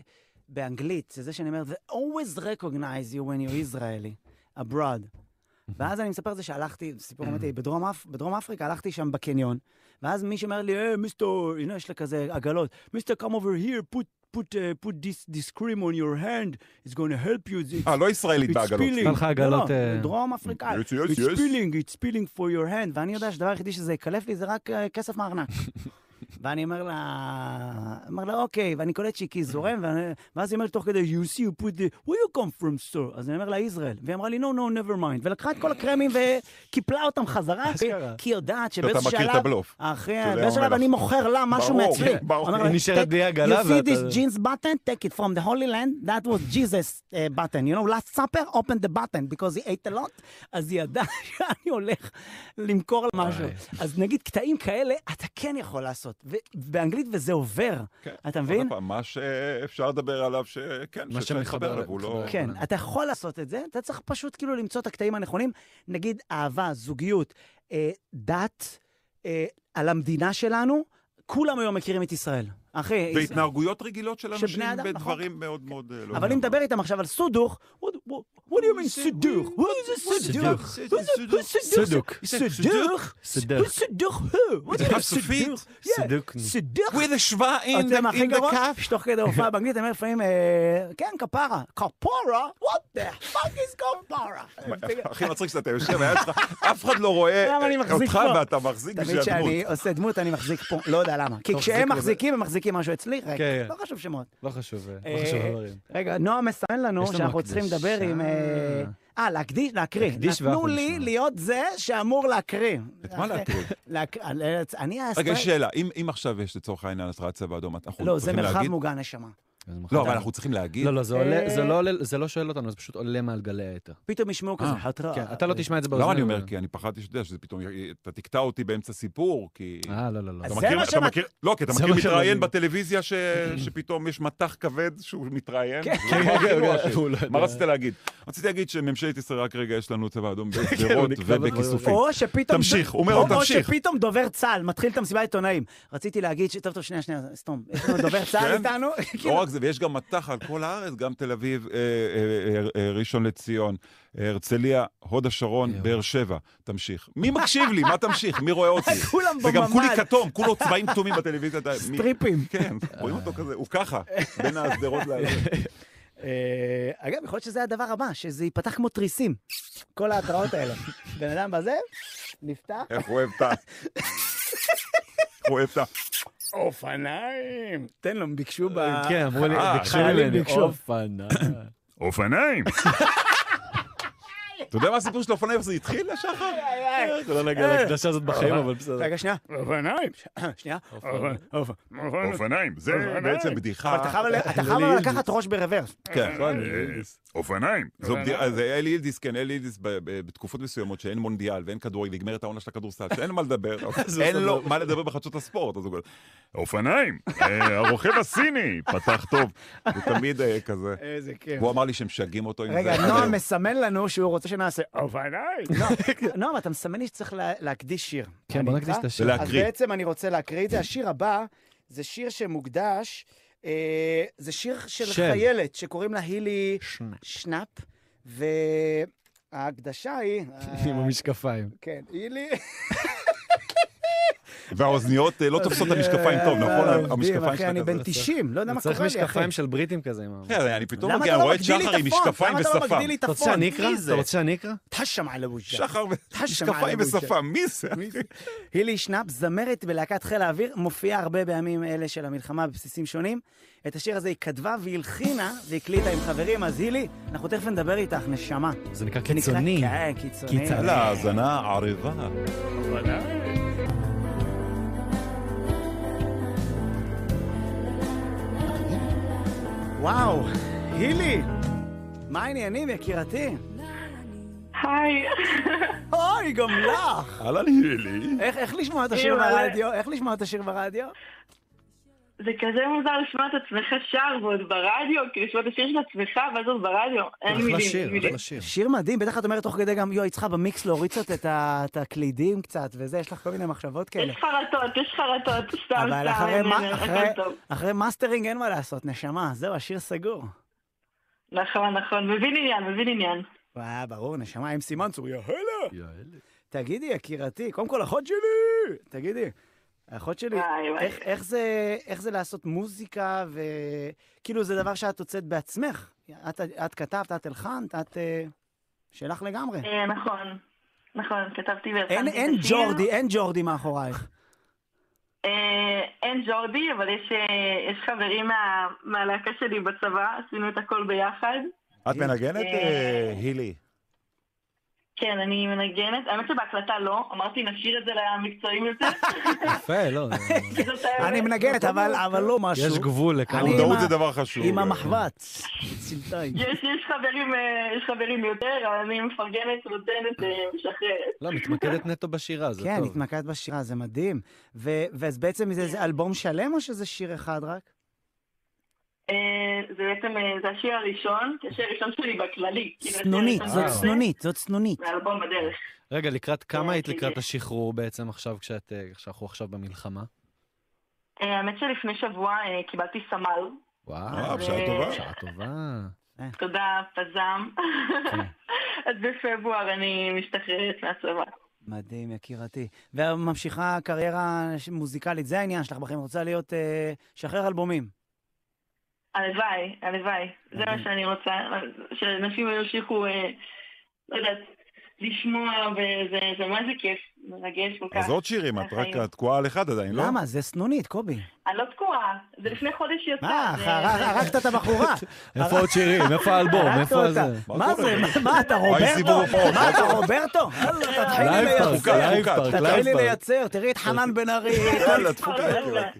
באנגלית, זה זה שאני אומר, They always recognize you when you're Israeli, abroad. ואז אני מספר את זה שהלכתי, סיפור אמיתי, בדרום, אפ, בדרום אפריקה הלכתי שם בקניון, ואז מישהו אומר לי, היי, מיסטר, you know, יש לה כזה עגלות, מיסטר, come over here, put, put, uh, put this, this cream on your hand, it's going to help you, it's אה, לא ישראלית It's בעגלות. peeling. נתן לך עגלות, לא, אה, לא, דרום אפריקאי. Yes, yes, It's yes. peeling, it's peeling for your hand. ואני יודע שהדבר היחידי שזה יקלף לי זה רק אה, כסף מהארנק. ואני אומר לה, אומר לה, אוקיי, ואני קולט שהיא כי זורם, ואני- ואז היא אומרת תוך כדי, you see, you put the, where you come from, sir? אז אני אומר לה, ישראל. והיא אמרה לי, no, no, never mind. ולקחה את כל הקרמים וקיפלה אותם חזרה, אשכרה. כי היא יודעת אתה שבאיזשהו מכיר את שלב... הבלוף. אחי, של ים באיזשהו שלב המלח. אני מוכר לה משהו ברור, מעצמי. כן, ברור. אומר לה, היא נשארת "Take- בלי עגלה You see ואתה- this jeans button? Take it from the Holy Land. That was Jesus uh, button. You know, last supper, open the button because he ate a lot. אז היא ידעה שאני הולך למכור לה משהו. וואי. אז נגיד קטעים כאלה, אתה כן יכול לעשות. ו- באנגלית וזה עובר. כן. אתה עוד מבין? פעם, מה שאפשר לדבר עליו, כן, שכן, מה שאפשר להתחבר שמתחבר אליו, הוא לא... להתחבר. כן, אתה יכול לעשות את זה, אתה צריך פשוט כאילו למצוא את הקטעים הנכונים. נגיד אהבה, זוגיות, אה, דת, אה, על המדינה שלנו, כולם היום מכירים את ישראל. אחי, והתנהגויות רגילות של שבני אנשים אדם, נכון. בדברים מאוד מאוד... אה, אבל לא אם יודע מה. נדבר איתם עכשיו על סודוך, וואט what, what do you mean סידור? What is a סידור? סדוק. סידור? סדוק. What סידור who? What do you mean סידור? Yeah, סדוק. סידור? With a שווה in אתה יודע מה the הכי in the גרוע? cup. שתוך כדי הופעה באנגלית, אני אומר לפעמים, אה, כן, כפרה. כפרה? What the fuck is כפרה? אה, הכי מצחיק שאתה יושב, היה שלך, אף אחד לא רואה למה אני מחזיק אותך פה? ואתה מחזיק בשביל תמיד הדמות. כשאני עושה דמות, אני מחזיק פה, לא יודע למה. כי מחזיק כשהם לבד. מחזיקים, הם מחזיקים משהו אצלי, רגע, כן. לא חשוב שמות. לא חשוב, אה, אה, לא חשוב דברים. רגע, נועה מסמן לנו יש לנו שאנחנו צריכים הקדשה. לדבר עם... אה, אה, להקדיש, להקריא. להקדיש נתנו ואנחנו לי נשמע. להיות זה שאמור להקריא. את מה להקריא? להק- אני רגע, האסטרט... יש שאלה, אם אם עכשיו יש לצורך העניין התרעת צבע אדום, לא, אנחנו זה צריכים מרחב להגיד? מוגן נשמה. אז מחר- לא, אבל אנחנו צריכים להגיד? לא, לא, זה עולה- אה. זה לא עולה- זה לא שואל אותנו, זה פשוט עולה מעל גלי היתר. פתאום ישמעו כזה אה, חתרה. כן, אתה לא תשמע את זה באוזן. למה אני אומר? כן? אבל- כי אני פחדתי שאתה יודע שזה פתאום, אתה תקטע אותי באמצע סיפור, כי... אה, לא, לא, לא. אז אתה זה מכיר, מה אתה שמת- מכיר, לא, כי אתה זה מכיר מה מתראיין שמדהים. בטלוויזיה ש... שפתאום יש מטח כבד שהוא מתראיין. כן. זה כמו כן, הראש. כן, הוא לא יודע. מה רצית להגיד? רציתי להגיד שממשלת ישראל רק רגע יש לנו צבע כן, אדום הוא בשדרות נקרא ובכיסופים. או שפתאום... תמשיך, הוא אומר או- לו, תמשיך. או שפתאום דובר צה"ל מתחיל את המסיבת עיתונאים. רציתי להגיד ש... טוב, טוב, שנייה, שנייה, סתום. יש לנו דובר צה"ל כן? איתנו? כאילו, לא רק זה, ויש גם מטח על כל הארץ, גם תל אביב, אה, אה, אה, אה, ראשון לציון, אה, הרצליה, הוד השרון, יואו. באר שבע. תמשיך. מי מקשיב לי? מה תמשיך? מי רואה אותי? כולם וגם כולי בממ"ד. כתום, כולו צבעים כתומים בטלוויזיה. אתה- מי- סטריפים. כן, רואים אותו כזה, הוא ככה, בין השדרות ל... אה, אגב, יכול להיות שזה הדבר הבא, שזה ייפתח כמו תריסים. כל ההתראות האלה. בן אדם בזה, נפתח. איך הוא אוהב את ה... הוא אוהב את ה... אופניים. תן לו, הם ביקשו ב... כן, אמרו לי, אה, ביקשו חיילים ממני, ביקשו. אופנה. אופניים! אתה יודע מה הסיפור של האופניים? איך זה התחיל, השחר? אתה לא נגיע אה. להקדשה הזאת בחיים, אבל בסדר. רגע, שנייה. אופניים. ש- שנייה. אה, אופניים. אופניים, זה בעצם בדיחה. אבל אתה חייב- אתה חייב אלי לקחת ראש ברוורס. כן. נכון, אלי ילדיס. אופניים. זו בדיחה, זה אלי ילדיס, כן, אלי ילדיס ב- ב- בתקופות מסוימות שאין מונדיאל ואין כדורגל, נגמרת העונה של הכדורסל, שאין מה לדבר, זה אין בסדר. לו מה לדבר בחדשות הספורט. אז הוא כזה, אופניים, אה, הרוכב הסיני, פתח טוב. הוא תמיד אה, כזה. איזה כיף. הוא אמר לי שמשגעים אותו עם זה. רגע, עד נועם היום. מסמן לנו שהוא רוצה שנעשה אופניים. נועם, נועם, אתה מסמן לי שצריך לה- להקדיש שיר. כן, אני בוא איתך? נקדיש את השיר. ולהק- אז להקריא. בעצם אני רוצה להקריא את זה. השיר הבא זה שיר שמוקדש, אה, זה שיר של של. חיילת שקוראים לה הילי שנ- שנאפ, וההקדשה היא... עם אה, המשקפיים. כן, הילי... והאוזניות אה, לא תופסות את המשקפיים טוב, נכון? המשקפיים אה, אחי, אני שלך בן כזה. 90, לא יודע מה קורה צריך לי, אחי. משקפיים של בריטים כזה. עם ה- אחי, כן, אני פתאום למה מגיע, אתה אני לא רואה את מגדיל לי שחר עם את הפונט? משקפיים למה אתה לא מגדיל לי ושפם. את אתה הפונט? רוצה שאני אקרא? מי אתה זה? רוצה שאני אקרא? תשם על הבושה. שחר, ו- תשמע, משקפיים אלוהים, ושפם, מי זה? הילי שנאפ, זמרת בלהקת חיל האוויר, מופיעה הרבה בימים אלה של המלחמה בבסיסים שונים. את השיר הזה היא כתבה והלחינה והקליטה עם חברים, אז הילי, אנחנו תכף נדבר איתך, נשמה. זה נקרא זה נקרא- קיצוני. כן, קיצוני. קיצוני. יאללה, האזנה ערבה. וואו, הילי, מה העניינים, יקירתי? היי, אוי, גם לך! אהלן הילי. איך, איך לשמוע את השיר אימא, זה- ברדיו? איך לשמוע את השיר ברדיו? זה כזה מוזר לשמוע את עצמך שר ועוד ברדיו, כי לשמוע את השיר של עצמך ואז עוד ברדיו, אין מילים. אחלה אין שיר, מילים. אחלה שיר. שיר מדהים, בטח את אומרת תוך כדי גם, יואי, צריכה במיקס להוריד קצת את ה- את הקלידים קצת וזה, יש לך כל מיני מחשבות כאלה. יש חרטות, יש חרטות, סתם, סתם, אבל אחרי, אין, מה- אין, אחרי, הכל טוב. אחרי מאסטרינג אין מה לעשות, נשמה, זהו, השיר סגור. נכון, נכון, מבין עניין, מבין עניין. וואה, אה, ברור, נשמה עם סימן צור, יאללה. תגידי, יקירתי, קודם כל אחות שלי! תגידי, אחות שלי, וואי, וואי. איך, איך, זה, איך זה לעשות מוזיקה ו... כאילו, זה דבר שאת הוצאת בעצמך. את, את כתבת, את הלחנת, את... אה, שלך לגמרי. אה, נכון, נכון, כתבתי והכנתי אין, את אין השיר. ג'ורדי, אין ג'ורדי מאחורייך. אה, אין ג'ורדי, אבל יש, אה, יש חברים מה, מהלהקה שלי בצבא, עשינו את הכל ביחד. את מנגנת, אה, הילי? כן, אני מנגנת, האמת שבהקלטה לא, אמרתי נשאיר את זה למקצועיים יותר. יפה, לא. זה- זאת האמת. אני מנגנת, אבל, אבל לא משהו. יש גבול לכמה. אני- מודעות עם זה ה- דבר חשוב. עם המחבץ. צלתיים. יש, יש חברים, אה, יש חברים יותר, אבל אני מפרגנת, נותנת, אה, משחררת. לא, מתמקדת נטו בשירה, זה כן, טוב. התמקדת בשירה, זה מדהים. ו- ואז בעצם זה, זה אלבום שלם או שזה שיר אחד רק? אה, זה בעצם, אה, זה השיר הראשון, זה השיר הראשון שלי בכללי. כאילו, השיר צנונית, הראשון זאת שלי צנונית, זאת צנונית. מהאלבום בדרך. רגע, לקראת כמה אה, היית כי- לקראת השחרור בעצם עכשיו, כשאת, אה, כשאנחנו עכשיו במלחמה? אה, האמת שלפני שבוע אה, קיבלתי סמל. וואו, וואו, בשעה טובה. שעה טובה. תודה, פזם. כן. אז בפברואר אני משתחררת מהצבא. מדהים, יקירתי. וממשיכה קריירה ש- מוזיקלית, זה העניין שלך בחיים, רוצה להיות, אה, שחרר אלבומים. הלוואי, הלוואי. זה מה מדהים. שאני רוצה, שאנשים ימשיכו, אה, לא יודעת, לשמוע, וזה זה מה זה כיף, מרגש כל כך. אז עוד שירים, את רק החיים. את תקועה על אחד עדיין, לא? למה? זה סנונית, קובי. אני לא תקועה, זה לפני חודש יצא. מה, זה- הר- הרגת את הבחורה. איפה עוד שירים? איפה האלבום? הרגת איפה אותה. זה? מה זה? מה- מה, אתה וואי, סיבוב רוברטו? הופעות. מה, אתה רוברטו? יאללה, תתחילי לייב פארק, לייצר. לייב פארק, תתחילי לייב פארק. לייצר, תראי את חנן בן ארי. יאללה, תפוקה, לא זה- יקירתי.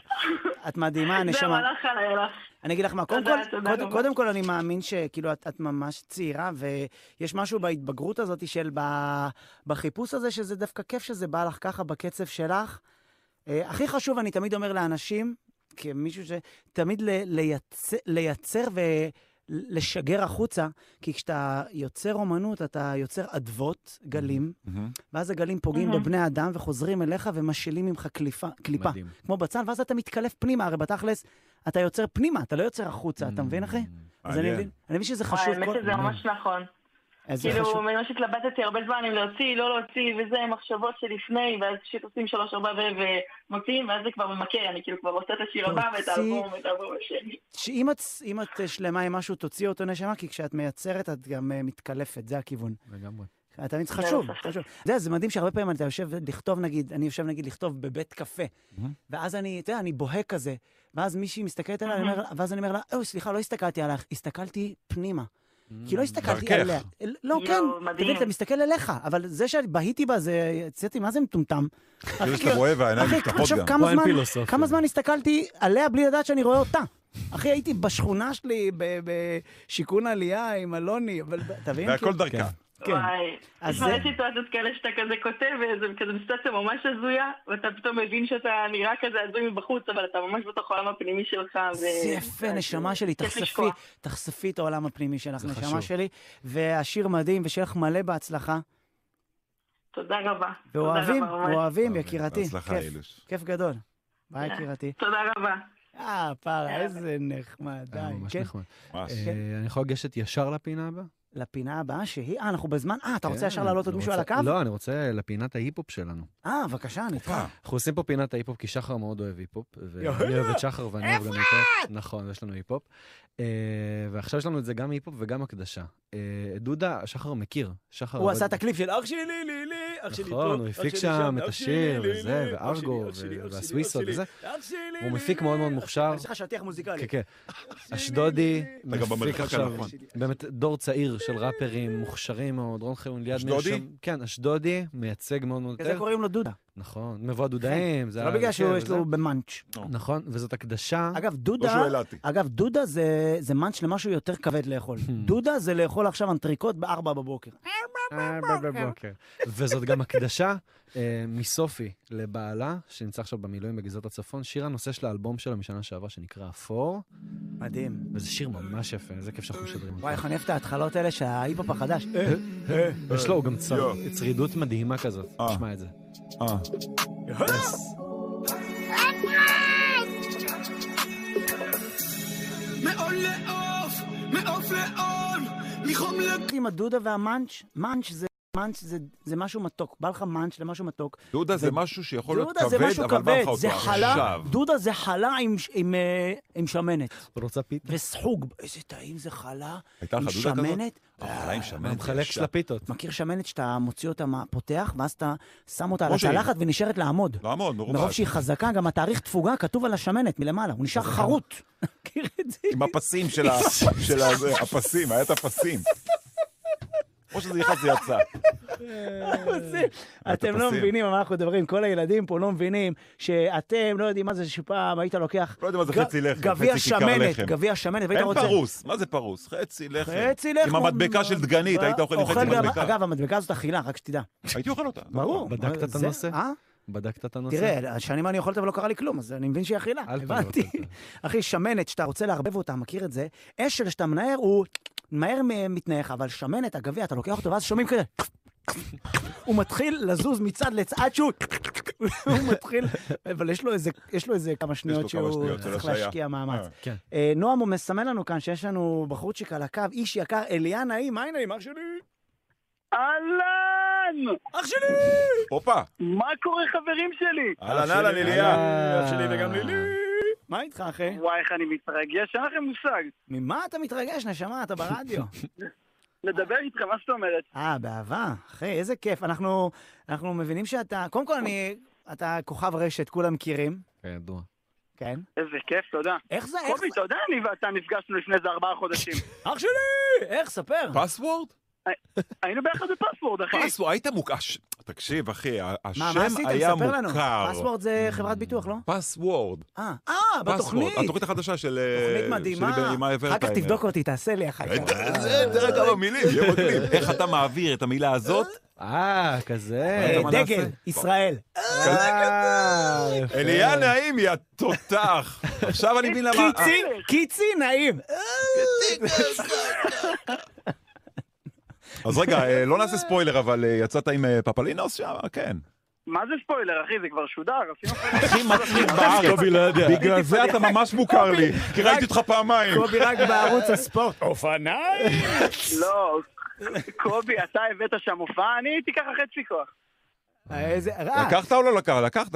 את מדהימה, זה נשמה. המהלך על הילך. אני אגיד לך מה, קודם תודה, כל, תודה קודם, רבה. קודם כל אני מאמין שכאילו את, את ממש צעירה, ויש משהו בהתבגרות הזאת של ב, בחיפוש הזה, שזה דווקא כיף שזה בא לך ככה בקצב שלך. אה, הכי חשוב, אני תמיד אומר לאנשים, כמישהו שתמיד ל, לייצר, לייצר ולשגר החוצה, כי כשאתה יוצר אומנות, אתה יוצר אדוות, גלים, מהמם. ואז הגלים פוגעים מהמם. בבני אדם וחוזרים אליך ומשילים ממך קליפה, קליפה. מדהים. כמו בצל, ואז אתה מתקלף פנימה, הרי בתכלס, אתה יוצר פנימה, אתה לא יוצר החוצה, אתה מבין, אחי? Mm, אז אני Mm, מעניין. מבין, אני מבין שזה וואי, חשוב. אה, האמת כל- שזה ממש נכון. אה, זה כאילו, חשוב. ממש התלבטתי הרבה זמן אם להוציא, לא להוציא, וזה, מחשבות שלפני, ואז פשוט עושים שלוש, ארבע ו- ומוציאים, ואז זה כבר ממכה, אני כאילו כבר עושה את השיר הבא ואת תוציא. האלבום ואת האלבום השני. שאם את, אם את אה, שלמה עם משהו, תוציאי אותו נשמה, כי כשאת מייצרת, את גם אה, מתקלפת, זה הכיוון. לגמרי. אתה מבין, זה לא חשוב, ספק. חשוב. אתה יודע, זה מדהים שהרבה פעמים אתה יושב לכתוב, נגיד, אני יושב, נגיד, לכתוב בבית קפה, מהמם. ואז אני, אתה יודע, אני בוהה כזה, ואז מישהי מסתכלת עליי, אני מהמם. אומר לה- ואז אני אומר לה, אוי, סליחה, לא הסתכלתי עלייך, הסתכלתי פנימה. כי Mm. לא הסתכלתי דרכך. עליה. לא, יואו, כן, מדהים. תגיד, אתה מסתכל אליך, אבל זה שבהיתי בה, זה, יצאתי, מה זה מטומטם? זה שאתה רואה והעיניים אחי, נפתחות תחשוב גם. כמה וואי, זמן, פילוסופיה. כמה זמן הסתכלתי עליה בלי לדעת שאני רואה אותה. אחי, הייתי בשכונה שלי, ב- בשיכון עלייה עם אלוני, אבל ב- אתה מבין? והכל כאילו- דרכה. כן. וואי. אז תשמע, זה- יש סיטואציות כאלה שאתה כזה כותב, וזה כזה סיטואציה ממש הזויה, ואתה פתאום מבין שאתה נראה כזה הזוי מבחוץ, אבל אתה ממש בתוך העולם הפנימי שלך. ו- זה יפה, ואז- נשמה שלי, כיף תחשפי, לשקוע. תחשפי את העולם הפנימי שלך, זה נשמה חשוב. שלי. והשיר מדהים, ושיהיה לך מלא בהצלחה. תודה רבה. ואוהבים, תודה רבה, ממש. ואוהבים, אוהבים, אוקיי, יקירתי. אה, בהצלחה, כיף, אילוש. כיף גדול. ביי, יאללה. יקירתי. תודה רבה. אה, פרה, יאללה. איזה נחמד, די. אה, ממש כן, נחמד. ממש. אה, אני יכול לגשת ישר לפינה הבאה? לפינה הבאה שהיא, אה, אנחנו בזמן, אה, אתה רוצה כן, ישר להעלות עוד אני מישהו על רוצה- הקו? לא, אני רוצה לפינת ההיפ-הופ שלנו. אה, בבקשה, אני איתך. אה, אנחנו עושים פה פינת ההיפ-הופ, כי שחר מאוד אוהב היפ-הופ. ואני יאללה. אוהב את שחר ואני אוהב גם היפ-הופ. נכון, יש לנו היפ-הופ. אה, ועכשיו יש לנו את זה גם היפ-הופ וגם הקדשה. אה, את דודה, שחר מכיר. שחר הוא עבד- עשה את הקליפ של אח שלי, לי, לי, אח שלי פה, נכון, הוא אח הפיק שלי שם אח את שלי, השיר לי, וזה, לי, אח וארגו, שלי, אח שלי, אח שלי, והסוויסות אח שלי, וזה. אח שלי, הוא לי, מפיק לי, מאוד מאוד אח שלי. מוכשר. יש לך שטיח מוזיקלי. כן, כן. שלי, אשדודי, לי. אתה גם מפיק במרחק עכשיו, נכון. הנכון. באמת דור צעיר של ראפרים מוכשרים מאוד, רון חיון ליד אשדודי? שם- כן, אשדודי, מייצג מאוד מאוד כזה טוב. קוראים לו דודה. נכון, מבוא הדודאים. זה לא בגלל שיש לו במאנץ'. כן, נכון, וזאת הקדשה. אגב, לא דודה, שהוא אילתי. אגב, דודה זה- זה מאנץ' למשהו יותר כבד לאכול. Hmm. דודה זה לאכול עכשיו אנטריקוט בארבע בבוקר. אה, בבוקר. וזאת גם הקדשה אה, מסופי לבעלה, שנמצא עכשיו במילואים בגזרת הצפון, שיר הנושא של האלבום שלה משנה שעברה, שנקרא אפור, מדהים. וזה שיר ממש יפה, איזה כיף שאנחנו משדרים אותו. וואי, איך אני אוהב את ההתחלות האלה של ההיפ-הופ החדש. אה, אה. יש לו, הוא גם צר- יואו. צרידות מדהימה כזאת, אה. תשמע את זה. אה. מעול לעוף, מעוף לעול, מחום לג... עם הדודה והמאנץ', מאנץ' זה... מאנץ' זה, זה משהו מתוק, בא לך מאנץ' למשהו מתוק. דודה זה זה- משהו שיכול להיות דודה זה משהו כבד, אבל בא כבד, לך אותו זה חלה, עכשיו. דודה זה חלה עם, ש- עם, אה, עם שמנת. רוצה פיתה? וסחוג, איזה טעים זה חלה הייתה לך עם דודה כזאת? שמנת. חלה עם אה, שמנת. אני מחלק ישר. של הפיתות. מכיר שמנת שאתה מוציא אותה, מה- פותח, ואז אתה שם אותה על כמו שהיא. לא, הצלחת ונשארת לעמוד. לעמוד, מרוב מרובעת. שהיא חזקה, גם התאריך תפוגה כתוב על השמנת מלמעלה, הוא נכון. נשאר חרוט. מכיר את זה? עם הפסים של ה... של ה... זה, הפסים, היה את הפסים. או שזה נכנס, זה יצא. זה- אתם לא הפסים. מבינים על מה אנחנו מדברים, כל הילדים פה לא מבינים שאתם לא יודעים מה זה שפעם היית לוקח לא יודע מה זה ג- חצי לחם, גביע חצי כיכר שמנת, לחם. גביע שמנת, והיית אין רוצה... פרוס, מה זה פרוס? חצי לחם. חצי לחם. אה, עם המדבקה של דגנית, היית אוכל עם חצי גם- מדבקה. אגב, המדבקה הזאת אכילה, רק שתדע. הייתי אוכל אותה. ברור. בדקת את זה- הנושא? אה? בדקת את הנושא? תראה, שנים אני אוכלת אבל לא קרה לי כלום, אז אני מבין שהיא אכילה. אל תבלבל הבנתי. אותה. אחי, שמנת שאתה רוצה לערבב אותה, מכיר את זה? אשל שאתה מנער, הוא מהר מ- מתנער, אבל שמנת, הגביע, אתה לוקח אותו, ואז שומעים כזה. הוא מתחיל לזוז מצד לצד עד שהוא הוא מתחיל, אבל יש לו איזה- יש לו איזה כמה שניות כמה שהוא שניות של צריך השהיה. להשקיע מאמץ. אה. כן. אה, נועם הוא מסמן לנו כאן שיש לנו בחורצ'יק על הקו, איש יקר, אליאן נעים, היי נעים, אח שלי, אהלן! אח שלי! אה, הופה, מה קורה חברים שלי? אהלן אהלן אליה. אה. מה איתך, אחי? וואי, איך אני מתרגש, אין לכם מושג. ממה אתה מתרגש, נשמה? אתה ברדיו. לדבר איתכם, מה זאת אומרת? אה, באהבה. אחי, איזה כיף. אנחנו, אנחנו מבינים שאתה... קודם כל, אני... אתה כוכב רשת, כולם מכירים, כידוע. כן? איזה כיף, תודה. איך זה, איך קובי, זה? אתה יודע, אני ואתה נפגשנו לפני איזה ארבעה חודשים. אח שלי! איך? ספר. פסוורד? היינו ביחד בפספורט, אחי. פסוורד, היית מוכר... תקשיב, אחי, ה- מה, מה עשיתם? השם היה ספר לנו. מוכר. פספורט זה חברת ביטוח, לא? פסוורד. אה, אה, בתוכנית. התוכנית החדשה של... אה, תוכנית מדהימה. אחר כך תבדוק אותי, תעשה לי אחר כך. אה, זה, תראה כמה מילים, יהיה מגניב. איך אתה מעביר את המילה הזאת? אה, כזה. אה, אתה מה דגל, נעשה? ישראל. אה, יפה. אליה נעים, יא תותח. עכשיו אני מבין למה... קיצי, קיצי נעים. אז רגע, אה, לא נעשה ספוילר, אבל אה, יצאת עם אה, פפלינוס שם? כן. מה זה ספוילר, אחי? זה כבר שודר, עשינו... הכי מצחיק בארץ. קובי לא יודע. בגלל זה אתה ממש מוכר לי, כי ראיתי אותך פעמיים. קובי רק בערוץ הספורט. אופניים! לא, קובי, אתה הבאת שם הופעה, אני הייתי ככה חצי כוח. איזה... אה, לקחת או לא לקחת? לקחת.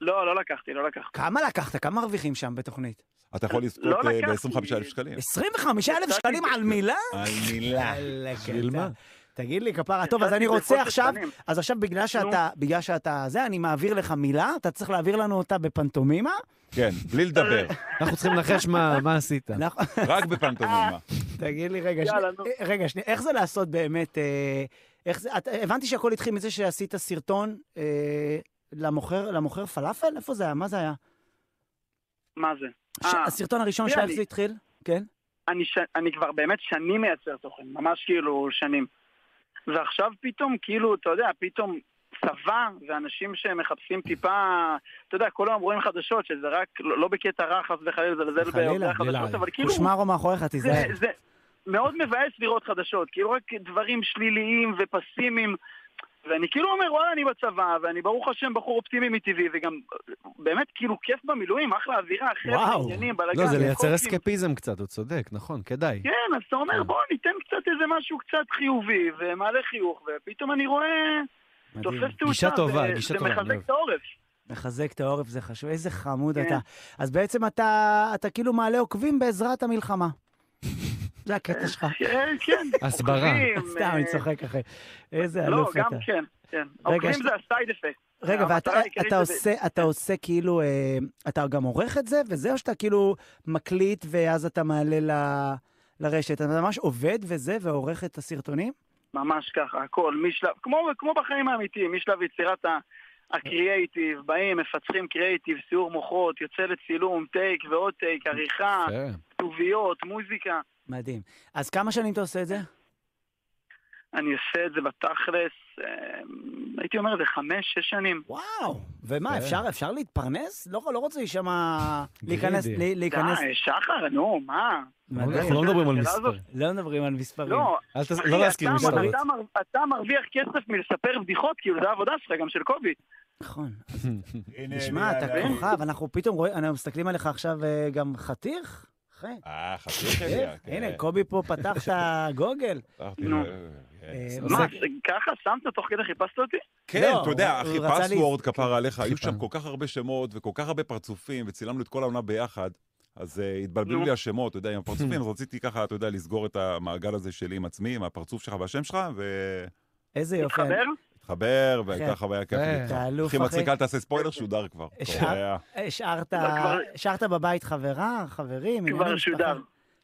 לא, לא לקחתי, לא לקחתי. כמה לקחת? כמה מרוויחים שם בתוכנית? אתה יכול לזכות אה, לא לקחתי. ב-25,000 שקלים. 25,000 שקלים על מילה? על מילה. וואלה, בשביל קטע. מה? תגיד לי, כפרה, טוב, אז אני יצאתי רוצה בחוסר עכשיו, פנים. אז עכשיו בגלל שאתה, בגלל שאתה זה, אני מעביר לך מילה, אתה צריך להעביר לנו אותה בפנטומימה. כן, בלי לדבר. אנחנו צריכים לנחש מה מה עשית. אנחנו- רק אה. בפנטומימה. נכון? תגיד לי, רגע, יאללה, שני- נו. אה, רגע, שנייה, איך זה לעשות באמת, אה, איך זה, את- הבנתי שהכל התחיל מזה שעשית סרטון אה, למוכר למוכר פלאפל? איפה זה היה? מה זה היה? מה זה? ש- אה, הסרטון הראשון נראה שאיך לי. זה התחיל? כן? אני, ש... אני כבר באמת שנים מייצר תוכן, ממש כאילו שנים. ועכשיו פתאום, כאילו, אתה יודע, פתאום צבא ואנשים שמחפשים טיפה, אתה יודע, כל היום רואים חדשות, שזה רק, לא, לא בקטע רע, חס וחלילה, לזלזל חלילה, בעובדי החדשות, חלילה. לא אבל כאילו, קושמרו מאחוריך, זה, תיזהר. זה מאוד מבאס לראות חדשות, כאילו רק דברים שליליים ופסימיים. ואני כאילו אומר, וואלה, אני בצבא, ואני ברוך השם בחור אופטימי מטבעי, וגם באמת כאילו כיף במילואים, אחלה אווירה, חבר'ה, וואו. עניינים, בלאגן. לא, זה לייצר קורסים. אסקפיזם קצת, הוא צודק, נכון, כדאי. כן, אז אתה אומר, בוא ניתן קצת איזה משהו קצת חיובי, ומעלה חיוך, ופתאום אני רואה, מדהים. תופס תאוצה, גישה טובה, זה- גישה זה טובה, אני מחזק אוהב. את העורף. מחזק את העורף, זה חשוב. איזה חמוד כן. אתה. אז בעצם אתה, אתה כאילו מעלה עוקבים בעזרת המלחמה. זה הקטע שלך. כן, כן. אה, הסברה. עוקבים, סתם, אני אה, צוחק אחי. איזה לא, אלוף גם אתה. כן, כן. רגע, עוקבים יש- זה הסייד אפקט. רגע, המטרה ואתה העיקרית אתה זה- כן. עושה, אתה עושה כאילו, אה, אתה גם עורך את זה, וזה או שאתה כאילו מקליט ואז אתה מעלה ל... לרשת. אתה ממש עובד וזה, ועורך את הסרטונים? ממש ככה, הכל, משלב, כמו, כמו בחיים האמיתיים, משלב יצירת ה- הקריאייטיב, באים, מפצחים קריאייטיב, סיור מוחות, יוצא לצילום, טייק ועוד טייק, עריכה, יפה. כתוביות, מוזיקה. מדהים. אז כמה שנים אתה עושה את זה? אני עושה את זה בתכלס, אה, הייתי אומר, זה חמש, שש שנים. וואו. ומה, כן. אפשר, אפשר להתפרנס? לא, לא רוצה להישמע... להיכנס... גרידי. לי- להיכנס... די, שחר, נו, מה? מדהים. אנחנו לא מדברים על השאלה הזאת- מספר. לא מדברים על מספרים. לא, אל תס- אחי, לא להזכיר אתה- מספרות. אתה מר- אתה מרוויח כסף מלספר בדיחות, כאילו, זה העבודה שלך, גם של קובי. נכון. אה, תשמע, אתה כוכב, אנחנו פתאום רואים, אנחנו מסתכלים עליך עכשיו אה, גם חתיך? אחי, אה, חצי כן, אה, חליה. הנה, קובי פה פתח את הגוגל. נו. אה, עושה- מה, זה ככה שמת תוך כדי חיפשת אותי? כן, לא, אתה הוא יודע, אחי, רצה לי- כן. פסוורד כפרה עליך, היו חיפה. שם כל כך הרבה שמות וכל כך הרבה פרצופים, וצילמנו את כל העונה ביחד, אז אה, התבלבלו נו. לי השמות, אתה יודע, עם הפרצופים, אז רציתי ככה, אתה יודע, לסגור את המעגל הזה שלי עם עצמי, עם הפרצוף שלך והשם שלך, והתחבר, איזה יופי. מתחבר? והייתה כן. חוויה כיפית. אה, איתך. אתה אלוף, אחי אחי. מצחיק, אל תעשה ספוילר, שודר כבר. אה, אפשר? כבר היה. השארת, כבר- השארת בבית חברה, חברים, כבר שודר.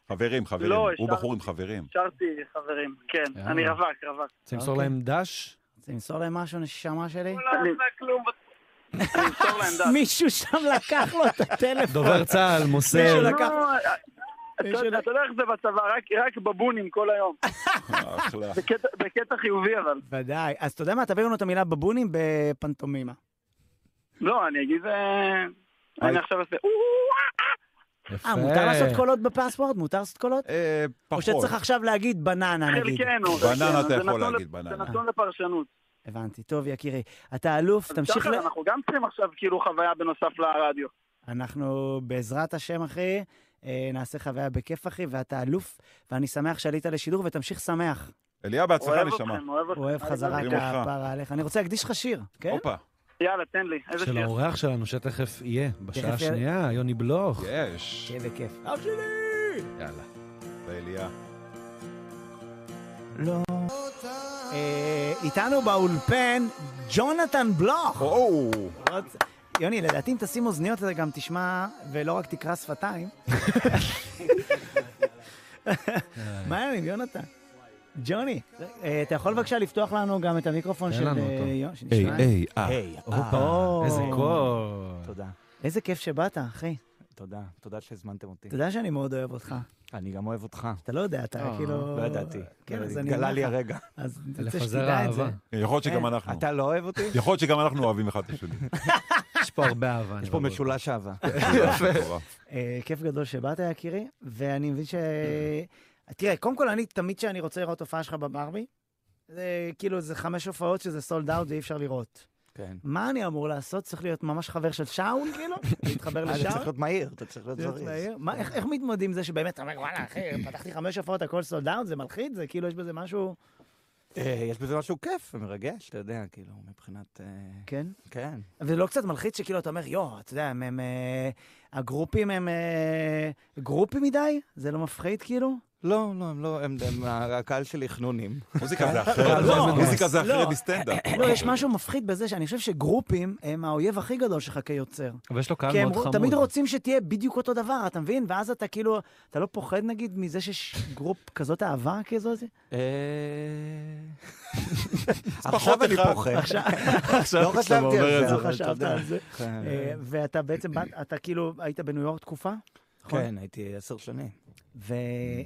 חברים, חברים, לא, הוא אפשר- בחור עם חברים. שרתי, חברים, כן, יאללה. אני רווק, רווק. צריך למסור אוקיי. להם דש? רוצה למסור להם משהו, נשמה שלי? אני אני אמסור להם דעת. מישהו שם לקח לו את הטלפון. אה, דובר צה"ל מישהו מוסר. לקח- לא, אתה מישהו- יודע- אתה יודע איך זה בצבא, רק- רק בבונים כל היום. אחלה. בקטע- בקטע חיובי אבל. ודאי. אז אתה יודע מה, תעביר לנו את המילה בבונים בפנטומימה. אה, לא, אני אגיד... אה, אני עכשיו אעשה... אה, מותר לעשות קולות בפסוורד? מותר לעשות קולות? אה, או פחות. כן, שצריך עכשיו להגיד בננה, נגיד. חלקנו. בננה חלקנו. אתה זה יכול נתון להגיד, לפ- בננה. זה נתון לפרשנות. הבנתי. טוב, יקירי. אתה אלוף, אז תמשיך ל... שחר, אנחנו גם צריכים עכשיו כאילו חוויה בנוסף לרדיו. אנחנו בעזרת השם, אחי, אה, נעשה חוויה בכיף, אחי, ואתה אלוף, ואני שמח שעלית לשידור, ותמשיך שמח. אליה, בהצלחה אוהב נשמה. אתכם, אוהב אתכם. אוהב חזרה אוהבים אותך. כפרה עליך. אני רוצה להקדיש לך שיר, כן? הופה, יאללה, תן לי. איזה של שיר. האורח שלנו, שתכף יהיה, בשעה תכף יהיה. השנייה, יוני בלוך. יש. שיהיה בכיף. יאללה. ואליה. אה. לא. אה, איתנו באולפן, ג'ונתן בלוך. או, יוני, לדעתי אם תשים אוזניות אתה גם תשמע, ולא רק תקרא שפתיים. מה העניינים, יונתן? ג'וני, אה, אתה יכול בבקשה לפתוח לנו גם את המיקרופון תן של אה, לנו אותו. יוני? היי, אה. היי, או. הופה, איזה קור. תודה, איזה כיף שבאת, אחי. תודה, תודה שהזמנתם אותי. אתה יודע שאני מאוד אוהב אותך. אני גם אוהב אותך. אתה לא יודע, אתה אה, כאילו... לא ידעתי. כן, אז אני... גלה אומר לי לך. הרגע. אז אני רוצה לפזר שתדע את זה. אהבה. יכול להיות אה, שגם אנחנו. אתה לא אוהב אותי? יכול להיות שגם אנחנו אוהבים אחד את השני. יש פה הרבה אהבה. אני לא יש פה בטוח. משולש אהבה. אה, כיף גדול שבאת, יקירי, ואני מבין ש... תראה, קודם כל, אני, תמיד כשאני רוצה לראות הופעה שלך בברבי, זה כאילו, זה חמש הופעות שזה סולד אאוט ואי אפשר לראות. כן. מה אני אמור לעשות? צריך להיות ממש חבר של שאול, כאילו? להתחבר אה, אתה צריך לשאול? להיות מהיר, אתה צריך להיות להיות זריז. מהיר? מה, איך איך מתמודדים עם זה שבאמת, אתה אומר, וואלה, אחי, פתחתי חמש הופעות, הכל סולד אאוט, זה מלחיץ? זה כאילו, יש בזה משהו... אה, יש בזה משהו כיף ומרגש, אתה יודע, כאילו, מבחינת... אה, כן. כן. וזה לא קצת מלחיץ שכאילו, אתה אומר, יואו, אתה יודע, הם... הם, אה, הגרופים הם אה, גרופים מדי? זה לא מפחיד, כאילו? לא, לא, הם לא, הם, הם- הקהל שלי חנונים. מוזיקה זה לא, אחרת, מוזיקה זה לא. אחרת מסטנדאפ. לא, יש משהו מפחיד בזה שאני חושב שגרופים הם האויב הכי גדול שלך כיוצר. אבל יש לו קהל כי הם מאוד חמוד. כן, תמיד רוצים שתהיה בדיוק אותו דבר, אתה מבין? ואז אתה כאילו, אתה לא פוחד נגיד מזה שיש גרופ כזאת אהבה כזאת? כן, אה, פחות עכשיו אני אחד. פוחד. עכשיו, לא חשבתי אומר על זה, לא את אבל אתה חשבת יודע. על זה. כן. אה, ואתה בעצם, באת- אתה כאילו, היית בניו יורק תקופה? נכון? כן, הייתי עשר שנים. ו...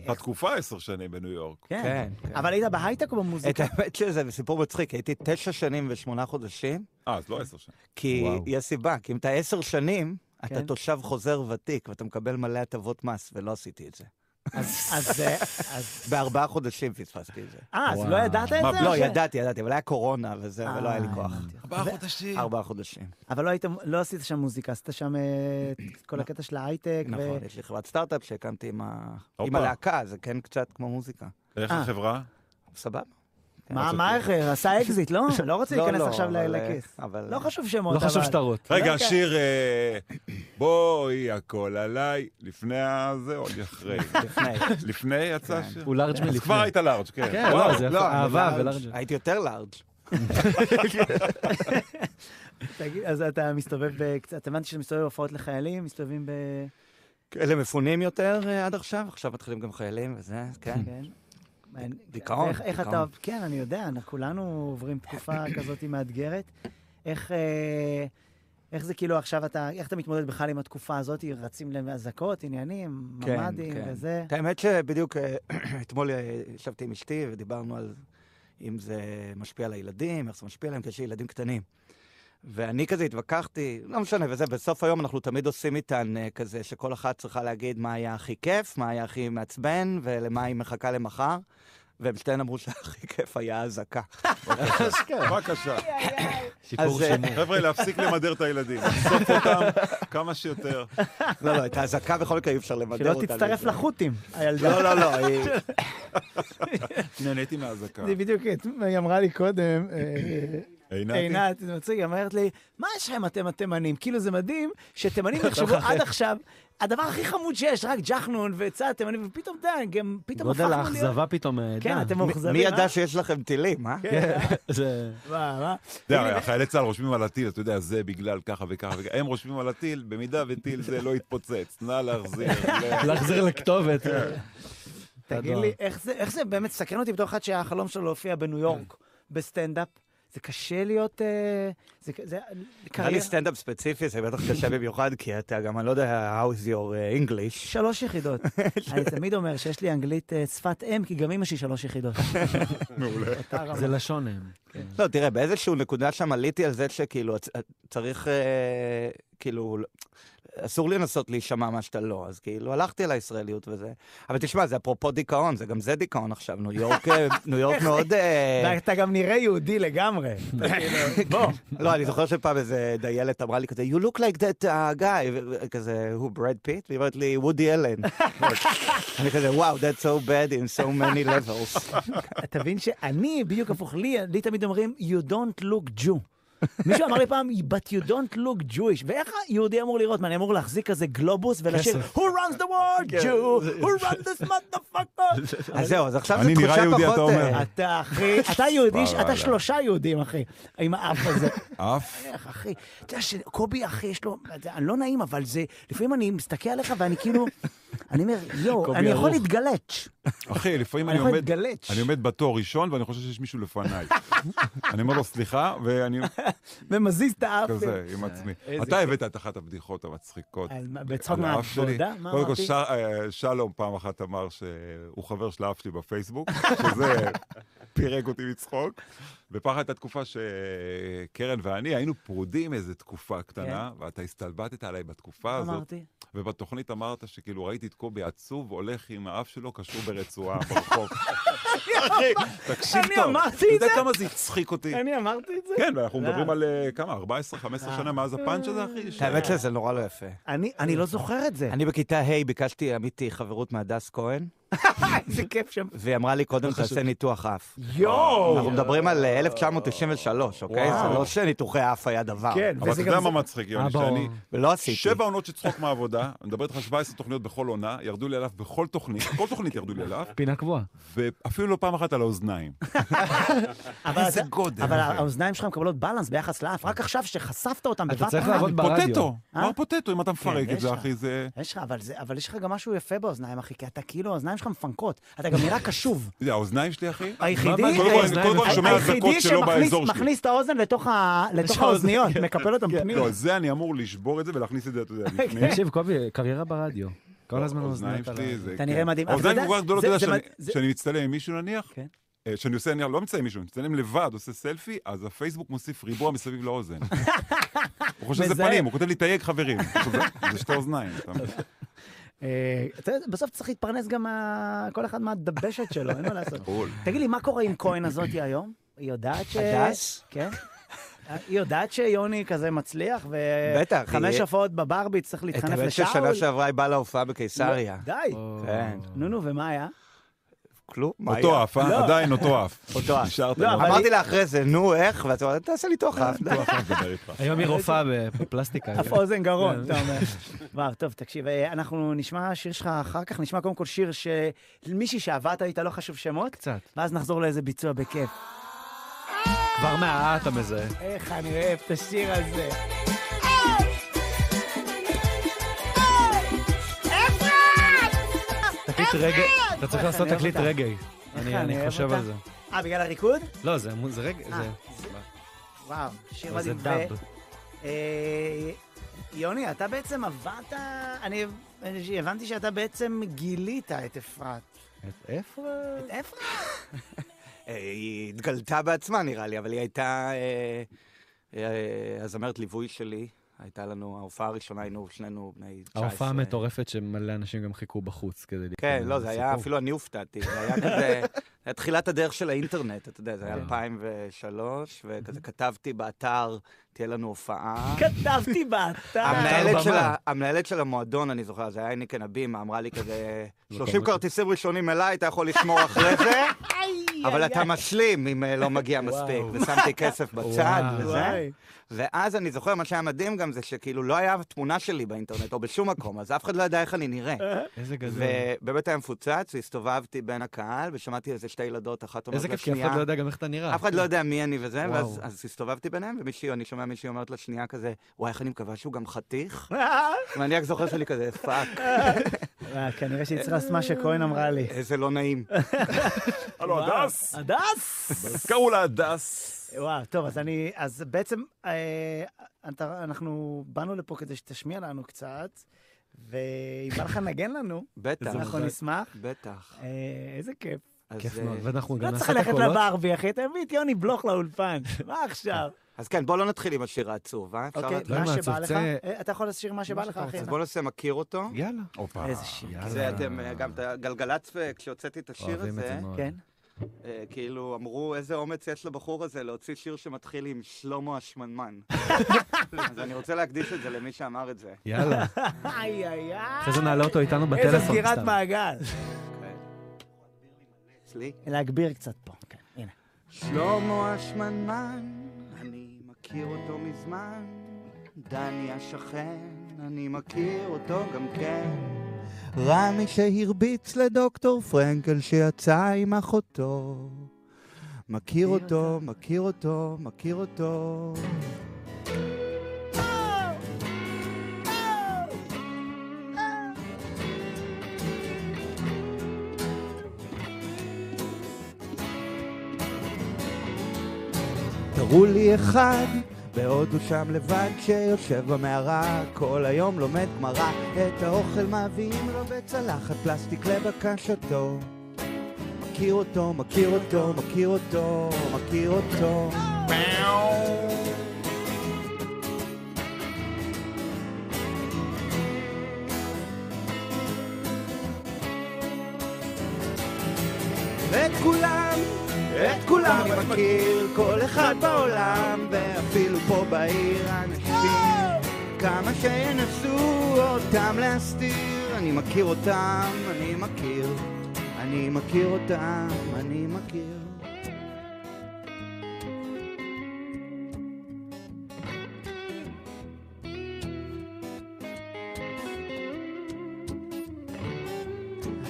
התקופה עשר שנים בניו יורק. כן. כן, כן. אבל היית בהייטק או את במוזיקה? האמת שזה סיפור מצחיק, הייתי תשע שנים ושמונה חודשים. אה, אז לא עשר שנים. כי וואו. יש סיבה, כי אם אתה עשר שנים, אתה כן. תושב חוזר ותיק ואתה מקבל מלא הטבות מס, ולא עשיתי את זה. אז- אז... אה, אז- בארבעה חודשים פספסתי את זה. אה, אז וואו. לא ידעת את מה, זה? לא, או ש- ידעתי, ידעתי, אבל היה קורונה וזה, ולא היה לי אה, כוח. הבנתי. חודשים. ארבעה חודשים. אבל לא היית, לא עשית שם מוזיקה, עשית שם אה, את כל הקטע של ההייטק. ו- נכון, יש לי חברת סטארט-אפ שהקמתי עם ה- עם הופה. הלהקה, זה כן קצת כמו מוזיקה. איך אה. החברה? סבבה. כן. מה, מה, איך, עשה אקזיט, כן. לא? לא רוצה לא, להיכנס לא, עכשיו ל- אבל, אה, לכיס. אבל... לא חשוב שמות, לא אבל. חשוב שטרות. רגע, רגע. השיר אה, בואי הכל עליי, לפני הזה או אחרי? לפני. לפני יצא כן. השיר? הוא לארג' אז מלפני. כבר היית לארג', כן. כן, וואו. לא, זה יפה, אני אהבה לארג'. ולארג'. הייתי יותר לארג'. תגיד, אז אתה מסתובב, ב- קצת- אתה הבנתי שאתה מסתובב בהופעות לחיילים, מסתובבים ב... אלה מפונים יותר אה, עד עכשיו, עכשיו מתחילים גם חיילים וזה, כן. כן. מעניין. דיכאון, ואיך- איך אתה... דיכאון. כן, אני יודע, אנחנו כולנו עוברים תקופה כזאת מאתגרת. איך... אה, איך זה כאילו עכשיו אתה, איך אתה מתמודד בכלל עם התקופה הזאת? רצים לאזעקות, עניינים, כן, ממ"דים כן. וזה? את האמת שבדיוק אה, אתמול אה, ישבתי עם אשתי ודיברנו על אם זה משפיע על הילדים, איך זה משפיע עליהם, כי יש לי ילדים קטנים. ואני כזה התווכחתי, לא משנה, וזה, בסוף היום אנחנו תמיד עושים איתן אה, כזה, שכל אחת צריכה להגיד מה היה הכי כיף, מה היה הכי מעצבן, ולמה היא מחכה למחר. והם שתיהן אמרו שהכי כיף היה אזעקה. בבקשה. שיפור אז, אה, שימור. חבר'ה, להפסיק למדר את הילדים. לחשוף אותם כמה שיותר. לא, לא, את האזעקה בכל מקרה אי אפשר למדר שלא אותה. תצטרף לזה. לחות'ים, הילדה. לא, לא, לא, היא- נהניתי מהאזעקה. זה בדיוק, היא אמרה לי קודם, אה, עינתי? עינת, זה מצחיק, היא אומרת לי, מה יש לכם אתם התימנים? כאילו זה מדהים שתימנים נחשבו עד עכשיו, הדבר הכי חמוד שיש, רק ג'חנון וצד תימנים, ופתאום, אתה יודע, גם פתאום גודל הפכנו להיות... האכזבה פתאום העדה. כן, אתם מאוכזבים. מי אה? ידע שיש לכם טילים, אה? כן, זה... מה, מה? אתה יודע, חיילי צה"ל רושמים על הטיל, אתה יודע, זה בגלל ככה וככה וככה. הם רושמים על הטיל, במידה וטיל זה לא יתפוצץ. נא להחזיר. ל- להחזיר לכתובת. תגיד לי, איך זה- איך זה באמת סקרן אותי בתור אחד שהחלום שלו להופיע כן. בניו יורק בסטנדאפ? זה קשה להיות... אה, זה- זה נראה לי קריירה... סטנדאפ ספציפי, זה בטח קשה במיוחד, כי אתה גם, אני לא יודע, how is your uh, English. שלוש יחידות. אני תמיד אומר שיש לי אנגלית אה, שפת אם, כי גם אמא שלי שלוש יחידות. כן. מעולה. זה לשון אה. הם. לא, תראה, באיזשהו נקודה שם עליתי על זה שכאילו, הצ- צריך, אה, כאילו, אסור לנסות להישמע מה שאתה לא, אז כאילו, הלכתי על הישראליות וזה. אבל תשמע, זה אפרופו דיכאון, זה גם זה דיכאון עכשיו, ניו יורק, אה, ניו יורק מאוד... אה, ואתה גם נראה יהודי לגמרי. אתה כאילו, בוא. לא, אני זוכר שפעם איזה דיילת אמרה לי כזה, you look like that uh, guy, ו- כזה, who, ברד פיט? והיא אומרת לי, וודי אלן. אני כזה, וואו, that's so bad in so many levels. תבין שאני בדיוק הפוך, לי, לי תמיד אומרים, you don't look Jew. מישהו אמר לי פעם, but you don't look Jewish, ואיך יהודי אמור לראות? מה, אני אמור להחזיק כזה גלובוס ולשיר, כסף. who runs the world, כן. Jew, who runs this motherfucker? אז זהו, אז עכשיו זו אני נראה תחושה יהודי, אתה פחות... אה, אומר. אתה אחי, אתה יהודי, ש- אתה וואלה. שלושה יהודים, אחי, עם האף הזה. אף. איך, אחי? אתה יודע שקובי, אחי, יש לו... זה לא נעים, אבל זה... לפעמים אני מסתכל עליך ואני כאילו... אני אומר, יואו, קובי אני יכול ערוך. להתגלץ'. אחי, לפעמים אני אני יכול עומד... להתגלץ'. אני עומד בתור ראשון ואני חושב שיש מישהו לפניי. אני אומר לו סליחה, ואני ומזיז את האף. כזה עם עצמי. אה, איזה אתה הבאת את אחת הבדיחות המצחיקות. על מה- בצחוק על האף שלי. מהעבודה? מה קודם כל, אמרתי? ש- אה, שלום פעם אחת אמר שהוא חבר של האף שלי בפייסבוק, שזה פירק אותי מצחוק. ופעם הייתה תקופה שקרן ואני היינו פרודים איזו תקופה קטנה, ואתה הסתלבטת עליי בתקופה הזאת, כן. אמרתי. ובתוכנית אמרת שכאילו ראיתי את קובי עצוב, הולך עם האף שלו קשור ברצועה ברחוב. אחי, תקשיב אני טוב. אמרתי אתה יודע את זה? כמה זה הצחיק אותי? אני אמרתי את זה. כן, ואנחנו מדברים לא. על אה, כמה? אה. 14-15 שנה מאז הפאנץ' הזה, אחי? ש- כן. האמת שזה נורא לא יפה. אני- אני לא זוכר את זה. אני בכיתה ה' ביקשתי, אמיתי, חברות מהדס כהן, אה, איזה כיף שם. והיא אמרה לי, לא קודם תעשה ניתוח אף. אנחנו יואו! מדברים על אה, 1993, אוקיי? וואו. זה לא שניתוחי אף היה דבר. כן. אבל וזה אתה גם יודע זה- מה מצחיק, יוני? ברור. שאני... ולא עשיתי. שבע עונות של צחוק מהעבודה, אני מדבר איתך 17 תוכניות בכל עונה, ירדו לי עליו בכל תוכנית, כל תוכנית ירדו לי עליו, פינה קבועה. אה? ואפילו לא פעם אחת על האוזניים. אבל איזה אתה- גודל, אבל אחי. אה. האוזניים שלך מקבלות בלנס ביחס לאף, רק עכשיו שחשפת אותם אתה בבת צריך אחת. לעבוד ברדיו. פוטטו, אה? מר פוטטו, אם אתה מפרק כן, את יש זה, אחי, לך. זה... יש לך, אבל זה- אבל יש לך גם משהו יפה באוזניים, אחי, כי אתה כאילו, האוזניים שלך מפנקות. אתה גם נראה קשוב. זה האוזניים שלי, אחי? היחידי, קודם כל, אני- האוזניים קודם כל אני שומע אזעקות כן, היחידי שלא באזור שלי. כן. שמכניס את האוזן לתוך ה- לתוך האוזניות, מקפל אותם פנימה. לא, זה אני אמור לשבור את זה ולהכניס את זה, אתה יודע, כן. לפני. תקשיב, קובי, קריירה ברדיו. כל הזמן האוזניים אוזניים לא, שלי זה... אתה כן. נראה מדהים. אבל אתה האוזניים יודע, כל כך גדולות, זה- אתה זה יודע, מד- שאני- זה- שאני מצטלם עם מישהו נניח, כן. אה, שאני עושה, אני לא מצטלם עם מישהו, אני מצטלם לבד, עושה סלפי, אז הפייסבוק מוסיף ריבוע מסביב לאוזן. הוא חושב שזה מזהה. פנים, הוא כותב לי תייג חברים. עכשיו, זה- זה שתי אוזניים. אתה מבין? אה, אתה יודע, בסוף צריך להתפרנס גם מה- כל אחד מהדבשת שלו, אין מה לעשות. בול. תגיד לי, מה קורה עם כהן הזאתי היום? היא יודעת ש... הדס? כן. היא יודעת שיוני כזה מצליח, בטח, היא- וחמש הופעות בברבי צריך את להתחנף האמת לשאול? ששנה שעברה היא באה להופעה בקיסריה. די. כן. נו, נו, ומה היה? כלום? מה היה? אותו אף, אה? לא. עדיין אותו אף. אותו אף. נשארת לא, לו. אבל- לא, אמרתי לה אחרי זה, נו, איך? ואת אומרת, תעשה ניתוח אף. די. אותו אף מדבר איתך. היום היא רופאה בפלסטיקה. אף אוזן גרון, אתה אומר. וואו, טוב, תקשיב, אה, אנחנו נשמע שיר שלך אחר כך, נשמע קודם כל שיר של מישהי שעבדת איתה, לא חשוב שמות, קצת. ואז נחזור לאיזה ביצוע בכיף. כבר מהאה אתה מזהה. איך אני אוהב את השיר הזה. תקליט רגעי. אתה צריך לעשות אני אוהב תקליט אותה. רגעי. אני אני אני אוהב חושב אותה. על זה. אה, בגלל הריקוד? לא, זה מו- זה רגע. אה, זה- וואו, שיר אבל זה מדהים. דאב. ו- אה, יוני, אתה בעצם עבדת, אני אני הבנתי שאתה בעצם גילית את אפרת. איפה? את אפרת? אה, היא התגלתה בעצמה, נראה לי, אבל היא הייתה אה, אה, הזמרת ליווי שלי. הייתה לנו, ההופעה הראשונה היינו שנינו בני 19. ההופעה המטורפת שמלא אנשים גם חיכו בחוץ כדי כן, להתכונן לא, זה היה, לסיפור. אפילו אני הופתעתי. זה היה כזה, זה היה תחילת הדרך של האינטרנט, אתה יודע, זה כן. היה 2003, וכזה כתבתי באתר, תהיה לנו הופעה. כן, כתבתי אה, באתר. המנהלת של, במה. ה, המנהלת של המועדון, אני זוכר, זה היה היניקן הבימה, אמרה לי כזה, לא 30 כמותי. כרטיסים ראשונים אליי, אתה יכול לשמור אחרי זה, אבל אתה משלים אם אה, לא מגיע מספיק. ושמתי כסף בצד וואו. וזה. וואי. ואז אני זוכר, מה שהיה מדהים גם זה שכאילו לא היה תמונה שלי באינטרנט או בשום מקום, אז אף אחד לא ידע איך אני נראה. איזה גדול. ובאמת היה מפוצץ, הסתובבתי בין הקהל ושמעתי איזה שתי ילדות, אחת אומרת איזה כיף, כי אף אחד לשנייה, לא יודע גם איך אתה נראה. אף אחד לא יודע מי אני וזה, וואו. ואז אז הסתובבתי ביניהם, ומישהי, אני שומע מישהי אומרת לשנייה כזה, וואי, איך אני מקווה שהוא גם חתיך? ואני רק זוכר שלי כזה, פאק, אה, כנראה שהיא צריכה לעשות מה שכהן אמרה לי. איזה לא נעים. הלו, הדס! הדס! אז קראו לה הדס. וואו, טוב, אז אני, אז בעצם, אה, אתה, אנחנו באנו לפה כדי שתשמיע לנו קצת, ואם בא לך לנגן לנו, בטח, אנחנו נשמח. בטח. אה, איזה כיף. אז, כיף אה, מאוד. ואנחנו לא גם צריך נעשה את ללכת הקולות. לברבי, אחי, תביא את יוני בלוך לאולפן. מה עכשיו? אז כן, בואו לא נתחיל עם השיר העצוב, אה? אפשר אוקיי, להתחיל? לא מה עם שבא לך, הצופצה. אה, אתה יכול לשיר מה שבא לך, שאתה אחי. אז בואו נעשה מכיר אותו. יאללה. הופה. איזה שיר. יאללה. זה אתם, אה, גם את הגלגלצ, אה, כשהוצאתי את השיר אוהבים את הזה, זה מאוד. כן. אה, כאילו אמרו, איזה אומץ יש לבחור הזה להוציא שיר שמתחיל עם שלמה השמנמן. אז אני רוצה להקדיש את זה למי שאמר את זה. יאללה. איי, איי, איי. אחרי זה נעלה אותו איתנו בטלפון. איזה סגירת סתם. מעגל. אצלי. להגביר קצת פה. כן, הנה. שלמה השמנמן, אני מכיר אותו מזמן. דני השכן, אני מכיר אותו גם כן. רמי שהרביץ לדוקטור פרנקל שיצא עם אחותו. מכיר אותו, מכיר אותו, מכיר אותו. תראו לי אחד, בעוד הוא שם לבד שיושב במערה, כל היום לומד גמרא, את האוכל מביאים לו בצלחת פלסטיק לבקשתו. מכיר אותו, מכיר אותו, מכיר אותו, מכיר אותו. את כולם, את כולם אני מכיר, כל אחד בעולם, ואפילו פה בעיר אנשים. כמה שינסו אותם להסתיר, אני מכיר אותם, אני מכיר, אני מכיר אותם, אני מכיר.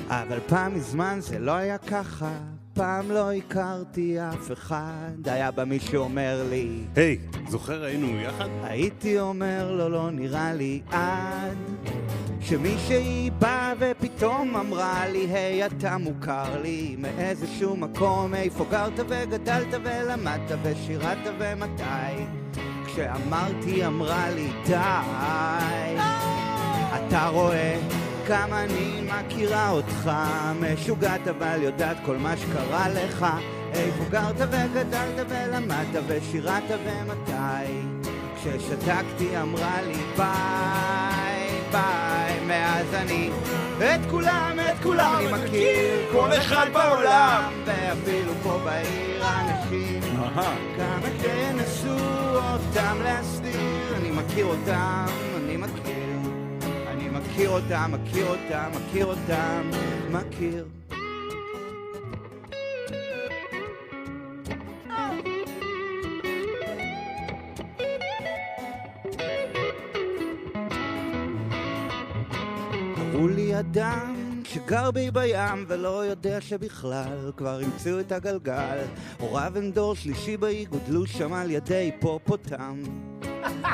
אבל פעם מזמן זה לא היה ככה, פעם לא הכרתי אף אחד, היה בה מי שאומר לי, היי, זוכר היינו יחד? הייתי אומר לו לא נראה לי עד שמישהי באה ופתאום אמרה לי היי אתה מוכר לי מאיזשהו מקום איפה גרת וגדלת ולמדת ושירת ומתי כשאמרתי אמרה לי די אתה רואה כמה אני מכירה אותך משוגעת אבל יודעת כל מה שקרה לך איפה גרת וגדלת ולמדת ושירת ומתי כששתקתי אמרה לי ביי ביי מאז אני את כולם את כולם אני מכיר כל אחד בעולם ואפילו פה בעיר אנשים אהה. כמה תנסו אותם להסתיר אני מכיר אותם אני מכיר אני מכיר אותם מכיר אותם מכיר אותם מכיר תראו לי אדם שגר בי בים ולא יודע שבכלל כבר המציאו את הגלגל הוריו הם דור שלישי באי גודלו שם על ידי היפופוטם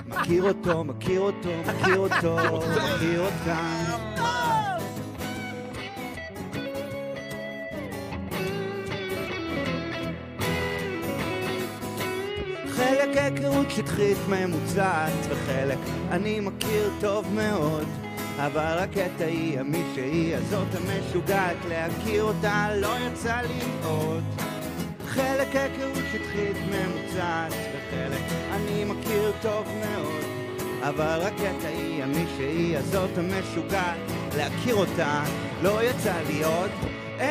מכיר אותו, מכיר אותו, מכיר אותו, מכיר אותם חלק היכרות שטחית ממוצעת וחלק אני מכיר טוב מאוד אבל הקטע היא המישהי הזאת המשוגעת להכיר אותה לא יצא לי עוד חלק היכרות שטחית ממוצעת וחלק אני מכיר טוב מאוד אבל הקטע היא המישהי הזאת המשוגעת להכיר אותה לא יצא לי עוד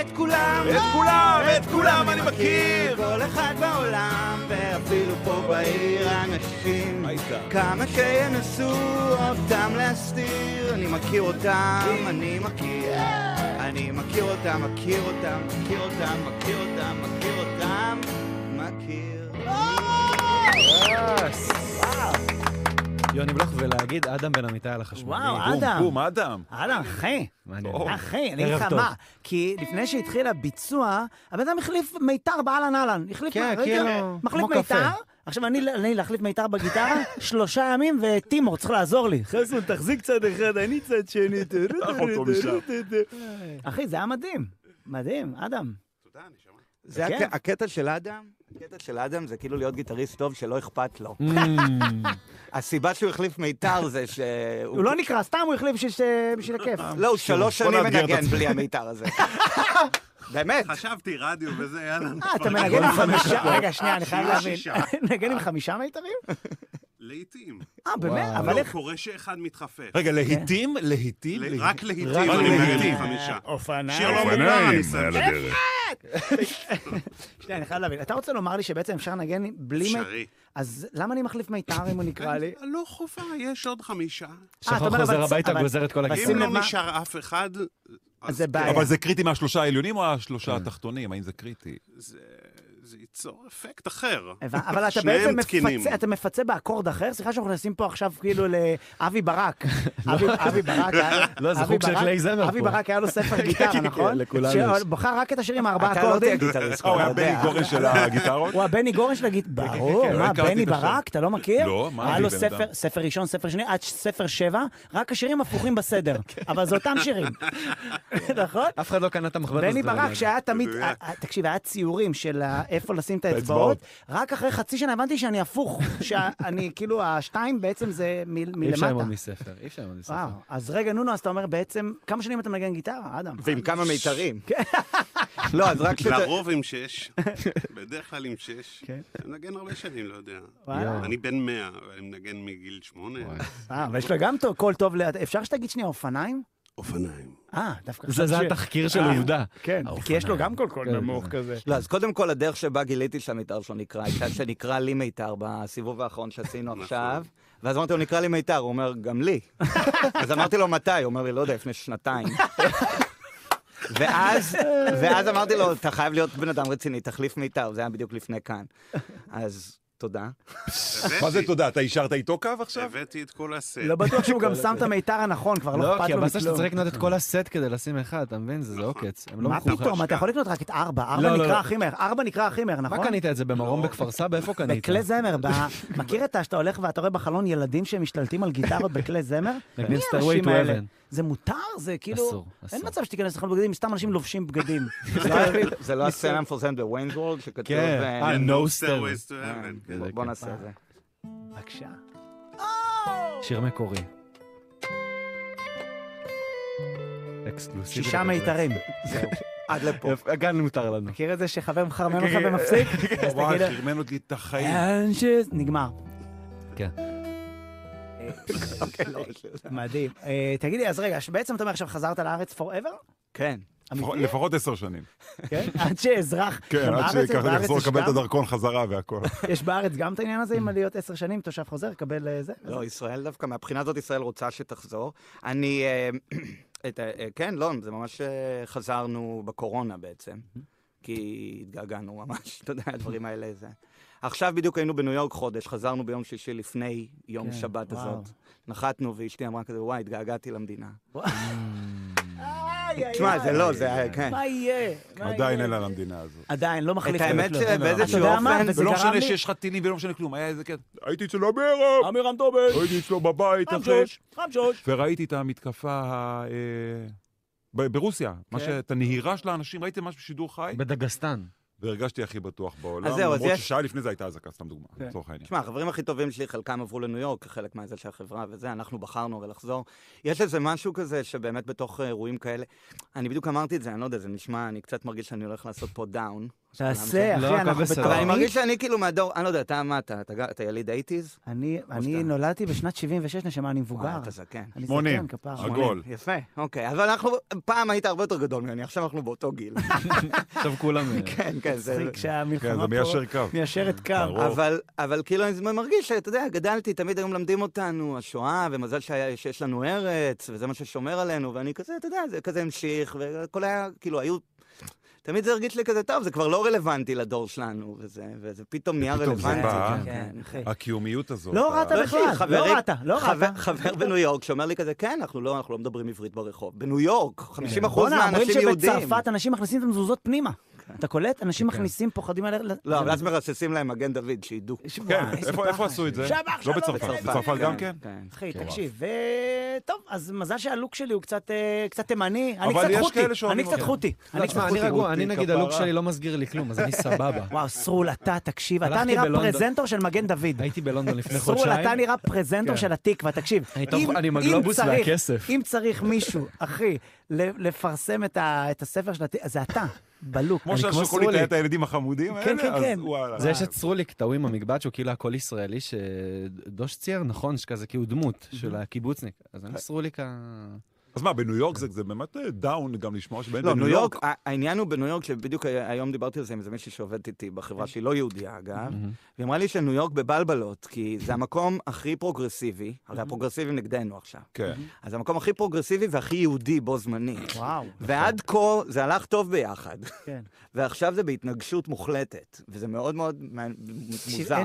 את כולם את כולם, את כולם אני מכיר מכיר! כל אחד בעולם, ואפילו פה בעיר אנשים הייתה. כמה שינסו אותם להסתיר אני מכיר אותם, אני מכיר אני מכיר אותם, מכיר אותם, מכיר אותם, מכיר אותם, מכיר אותם מכיר יוני בלוך ולהגיד אדם בן אמיתי על החשמלי. וואו, בום, אדם. בום, אדם. אהלן, אחי. מעניין. טוב. אחי, אני אגיד ערב לך טוב. מה, כי לפני שהתחיל הביצוע, הבן אדם החליף מיתר באהלן אהלן. החליף, כן, רגע, כאילו, מחליף כמו קפה. מיתר, עכשיו אני, אני להחליף מיתר בגיטרה, שלושה ימים, וטימור צריך לעזור לי. חסון, תחזיק צד אחד, אני צד שני. קח אותו משם. אחי, זה היה מדהים. מדהים, אדם. זה כן. הק- הקטע של אדם, הקטע של אדם זה כאילו להיות גיטריסט טוב שלא אכפת לו. הסיבה שהוא החליף מיתר זה שהוא... הוא לא אה, נקרא, סתם הוא החליף בשביל- בשביל הכיף. לא, הוא שלוש בוא שנים נאתגר את מנגן עצמי. בלי המיתר הזה. באמת. חשבתי רדיו וזה, יאללה. אה, אתה נפרק. מנגן עם חמישה... רגע, שנייה, אני חייב שישה, להבין. שישה. מנגן עם חמישה מיתרים? לעיתים. אה, באמת? וואו. אבל לא, איך... קורה שאחד מתחפף. כן. רגע, להיטים? להיטים? ל- רק לעיתים רק אני מנגן לעיתים. עם לא, אה, חמישה. אופניים. שיר לא מוכר, אני שם. הדרך. שנייה, אני חייב להבין. אתה רוצה לומר לי שבעצם אפשר לנגן בלי... מי- אפשרי. אז למה אני מחליף מיתר אם הוא נקרא לי? לא חובה, יש עוד חמישה. אה, אתה שחר אומר, חוזר אבל- הביתה, אבל- גוזר את כל שים הגיל. אם לא לב מה- נשאר אף אחד, אז אז זה כן, בעיה. אבל זה קריטי מהשלושה העליונים או השלושה התחתונים? האם זה קריטי? זה- זה ייצור אפקט אחר. הבנ- אבל אתה שניהם בעצם תקינים. מפצה, אתה מפצה באקורד אחר? סליחה שאנחנו נכנסים פה עכשיו כאילו לאבי ברק. לא, אבי אבי ברק היה... לא, זה אבי חוג של ברק- קליי זמר אבי פה. ברק היה לו ספר גיטרה, כן, נכון? לכולנו יש. שבחר רק את השירים עם ארבעה אתה לא תהיה אקורדים. גיטריסט. אה, הוא אתה היה יודע. בני גורן של הגיטרות? הוא הבני גורן של הגיט... ברור, כן, לא מה, הכרתי בני את השם. ברק? אתה לא מכיר? לא, מה, היה אני לו בן ספר, אדם. ספר ראשון, ספר שני, עד ספר שבע, רק השירים הפוכים בסדר. כן. אבל זה אותם שירים. נכון? אף אחד לא קנה את המחברת בני ברק, שהיה תמיד, מדויק. אה, אה, תקשיב, היה ציורים של ה- איפה לשים את האצבעות, האצבעות. רק אחרי חצי שנה הבנתי שאני הפוך, שאני כאילו, השתיים בעצם זה מ- אי אפשר ללמוד מלמטה. מספר, אי אפשר ללמוד מספר. וואו, אז רגע, נונו, אז אתה אומר בעצם, כמה שנים אתה מנגן גיטרה, אדם? ועם כמה מיתרים. כן. לא, אז רק שת- לרוב עם שש, בדרך כלל עם שש. כן. אני מנגן הרבה שנים, לא יודע. וואלה. אני בן מאה, אבל אני מנגן מגיל שמונה. אה, אבל יש לו גם טוב- קול טוב, ל- אפשר שתגיד שנייה אופניים? אופניים. אה, דווקא זה זה חשבתי ש- התחקיר של עובדה. כן, כי יש לו גם קול קול כן, נמוך כן. כזה. לא, אז קודם כל, הדרך שבה גיליתי שהמיתר שלו נקרא, הייתה שנקרא לי מיתר בסיבוב האחרון שעשינו נכון. עכשיו. ואז אמרתי לו, נקרא לי מיתר, הוא אומר, גם לי. אז אמרתי לו, מתי? הוא אומר לי, לא יודע, לפני שנתיים. ואז, ואז אמרתי לו, אתה חייב להיות בן אדם רציני, תחליף מיתר, זה היה בדיוק לפני כאן. אז תודה. מה זה הבאתי- תודה? אתה אישרת איתו קו עכשיו? הבאתי את כל הסט. לא בטוח שהוא גם שם את המיתר הנכון, כבר לא לא, אכפת כי לו הבאסה שאתה מכלום. צריך לקנות את כל הסט כדי לשים אחד, אתה מבין? זה זה עוקץ. הם לא מה מחוברים. פתאום, אתה יכול לקנות רק את ארבע, ארבע לא, לא, נקרא לא. הכי מהר, ארבע נקרא הכי מהר, נכון? מה קנית את זה במרום בכפר סבא? איפה קנית? בכלי זמר, ב- מכיר את ה... שאתה הולך ואתה רואה בחלון ילדים שמשתלטים על גיטרות בכלי זמר? נגנים מי Stairway האנשים to האלה? Heaven. זה מותר? זה כאילו... אסור, אסור. אין מצב שתיכנס לחנות בגדים, סתם אנשים לובשים בגדים. זה לא- זה לא הסצנה המפורסמת בוויינס וורד, שכתוב, כן, אה, אה, No no Stairways stairways. to אה, Heaven. כן. בוא- בוא נעשה את זה. בבקשה. שיר מקורי. אקסקלוסיבי. שישה לגמרי. מיתרים. עד לפה. יפה, כאן מותר לנו. מכיר את זה שחבר מחרמן אותך ומפסיק? אז וואי, תגיד לו, חרמן אותי את החיים. "אין ש-" נגמר. אה, כן. מדהים. אה, תגיד לי, אז רגע, בעצם אתה אומר עכשיו חזרת לארץ forever? כן. לפחות- לפחות עשר שנים. כן? עד שאזרח. כן, עד בארץ- שככה בארץ נחזור יש לקבל את גם- הדרכון חזרה והכל. יש בארץ גם את העניין הזה, אם להיות עשר שנים, תושב חוזר, קבל אה, זה? לא, ישראל דווקא, מהבחינה הזאת ישראל רוצה שתחזור. אני, אה, את, ה- אה, כן, לא, זה ממש אה, חזרנו בקורונה בעצם, Mm-hmm. כי התגעגענו ממש, אתה יודע, הדברים האלה זה. עכשיו בדיוק היינו בניו יורק חודש, חזרנו ביום שישי לפני יום כן, שבת וואו. אה, הזאת. נחתנו ואשתי אמרה כזה, וואי, התגעגעתי למדינה. איי, איי, תשמע, זה איי. לא, זה היה, כן. מה יהיה? מה עדיין יהיה? אין על המדינה הזאת. עדיין, לא מחליף. את האמת כלום. שבאיזשהו אתה יודע מה? אופן- וזה ולא גרם לי- לא משנה שיש לך טילים ולא משנה כלום, היה איזה כן. אה, קטע. הייתי אצל אמירם! אמירם דובש, הייתי אצלו בבית אחרי, חמשוש. אה, וראיתי את המתקפה ה- אה, ב- ברוסיה, מה ש- את הנהירה של האנשים, ראיתי משהו בשידור חי, בדגסטן. והרגשתי הכי בטוח בעולם, אז זהו, אז למרות יש- ששעה לפני זה הייתה אזעקה, סתם דוגמה, כן. לצורך העניין. תשמע, החברים הכי טובים שלי, חלקם עברו לניו יורק כחלק מזה של החברה וזה, אנחנו בחרנו הרי לחזור. יש איזה משהו כזה שבאמת בתוך אה, אירועים כאלה, אני בדיוק אמרתי את זה, אני לא יודע, זה נשמע, אני קצת מרגיש שאני הולך לעשות פה דאון. תעשה, לא, אחי, הכל אנחנו בסדר. אבל אני בתוכנית. מרגיש שאני כאילו מהדור, אני לא יודע, אתה מה, אתה, אתה, אתה יליד האיטיז? אני- אני שאתה- נולדתי בשנת 76, נשמה, אני מבוגר. אתה זקן. אני שמונים. זקן, כן, כפרה. שמונים. עגול. יפה, אוקיי. אבל אנחנו, פעם היית הרבה יותר גדול ממני, עכשיו אנחנו באותו גיל. עכשיו כולם... כן, כן, זה... כן. מצחיק שהמלחמה כן, פה... זה מיישר קו. כן, מיישרת קו. ברור. אבל, אבל כאילו אני מרגיש שאתה יודע, גדלתי, תמיד היו מלמדים אותנו, השואה, ומזל שהיה, שיש לנו ארץ, וזה מה ששומר עלינו, ואני כזה, אתה יודע, זה כזה המשיך, והכל היה, כאילו, היו... תמיד זה הרגיש לי כזה, טוב, זה כבר לא רלוונטי לדור שלנו, וזה, וזה פתאום נהיה ופתאום זה רלוונטי. בא, כן, כן, כן. אחי. הקיומיות הזאת. לא ה- רעת לא, בכלל, יש לי לא חברים- רעת, לא חבר- רעת. חבר בניו יורק שאומר לי כזה, כן, אנחנו לא, אנחנו לא מדברים עברית ברחוב. בניו יורק, 50 אחוז כן. בואנה, אומרים מהאנשים יהודים. שבצרפת אנשים מכניסים את המזוזות פנימה. אתה קולט? אנשים מכניסים, פוחדים על... לא, אבל אז מרססים להם מגן דוד, שידעו. כן, איפה- איפה עשו את זה? שם אח לא שלו בצרפת, בצרפת. בצרפת גם כן? אחי, תקשיב, ו- טוב, אז מזל שהלוק שלי הוא קצת אה, קצת תימני. אני אבל קצת יש חותי, כאלה כן. שאוהבים אני קצת אותו. חותי. אני קצת אני חותי. רגוע, אני נגיד הלוק כפרה. שלי לא מסגיר לי כלום, אז אני סבבה. וואו, סרול, אתה, תקשיב, אתה הלכתי נראה בלונדון. פרזנטור של מגן דוד. הייתי בלונדון לפני סרול, חודשיים. אתה נראה פרזנטור כן. של התקווה, תקשיב. אני אם- טוב, אני עם אם הגלובוס צריך- והכסף. אם צריך מישהו, אחי, ל- לפרסם את ה- את הספר של התקווה, זה אתה. בלוק. כמו אני כמו שהשוקולית היה סרולי. את הילדים החמודים האלה, כן, כן, אז כן. וואלה. זה יש את סרוליק, טעוי עם המגבעת, שהוא כאילו הכל ישראלי, שדוש צייר, נכון, שכזה כאילו דמות של הקיבוצניק. אז אני סרוליק ה... אז מה, בניו יורק זה זה באמת אה, דאון גם לשמוע שבן לא, בניו יורק... ה- העניין הוא בניו יורק, שבדיוק ה- היום דיברתי על זה עם איזה מישהי שעובדת איתי כן. בחברה שהיא לא יהודייה, אגב. מהמם. והיא אמרה לי שניו יורק בבלבלות, כי זה המקום הכי פרוגרסיבי, הרי הפרוגרסיבים נגדנו עכשיו. כן. אז המקום הכי פרוגרסיבי והכי יהודי בו זמנית. וואו, ועד כה זה הלך טוב ביחד, כן. ועכשיו זה בהתנגשות מוחלטת, וזה מאוד מאוד מעניין- אין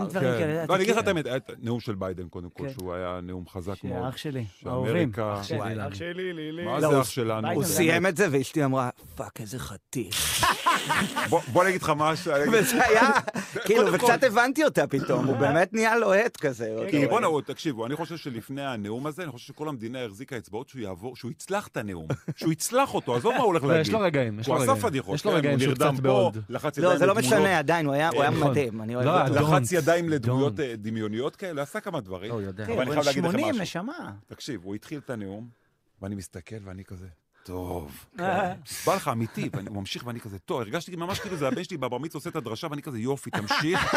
מוזר. דברים כן. כאלה. אתה לא, אני אגיד לך את כאילו- האמת, היה את הנאום של ביידן, קודם כל, כן. שהוא היה נאום חזק מאוד. שאח שלי, ההורים. שאמריקה... שלי וואי, לנו. אח שלי, לי, לי. מה לא, זה הוא- אח שלנו? ביידן הוא זה סיים את זה, ואשתי אמרה, פאק, איזה חתיך. בוא- בוא אני אגיד לך משהו, אני אגיד- וזה היה, כאילו, וקצת הבנתי אותה פתאום, הוא באמת נהיה לוהט כזה. אתה כן. כי רואה? בוא'נה, הוא- תקשיבו, אני חושב שלפני הנאום הזה, אני חושב שכל המדינה החזיקה אצבעות שהוא יעבור, שהוא יצלח את הנאום. שהוא יצלח אותו, עזוב מה הוא הולך לא, להגיד. יש לו רגעים, יש לו הוא רגעים. עשה פדיחות. יש לו כן, רגעים הוא שהוא נרדם קצת פה, בהוד. לחץ לא, ידיים זה לא לדמויות. משנה, עדיין, הוא היה הוא היה נכון. מדהים, אני אוהב לא, אותו. אתה- לחץ Don't. ידיים לדמויות Don't. אה, דמיוניות כאלה, עשה כמה דברים. לא, הוא יודע. כן, אבל אני הוא חייב בן להגיד לכם 80, משהו. נשמה. תקשיב, הוא התחיל את הנאום, ואני מסתכל ואני כזה, טוב. כן." בא לך אמיתי, ואני הוא ממשיך ואני כזה, טוב, הרגשתי ממש כאילו זה הבן שלי בבר מצווה עושה את הדרשה, ואני כזה, יופי, תמשיך.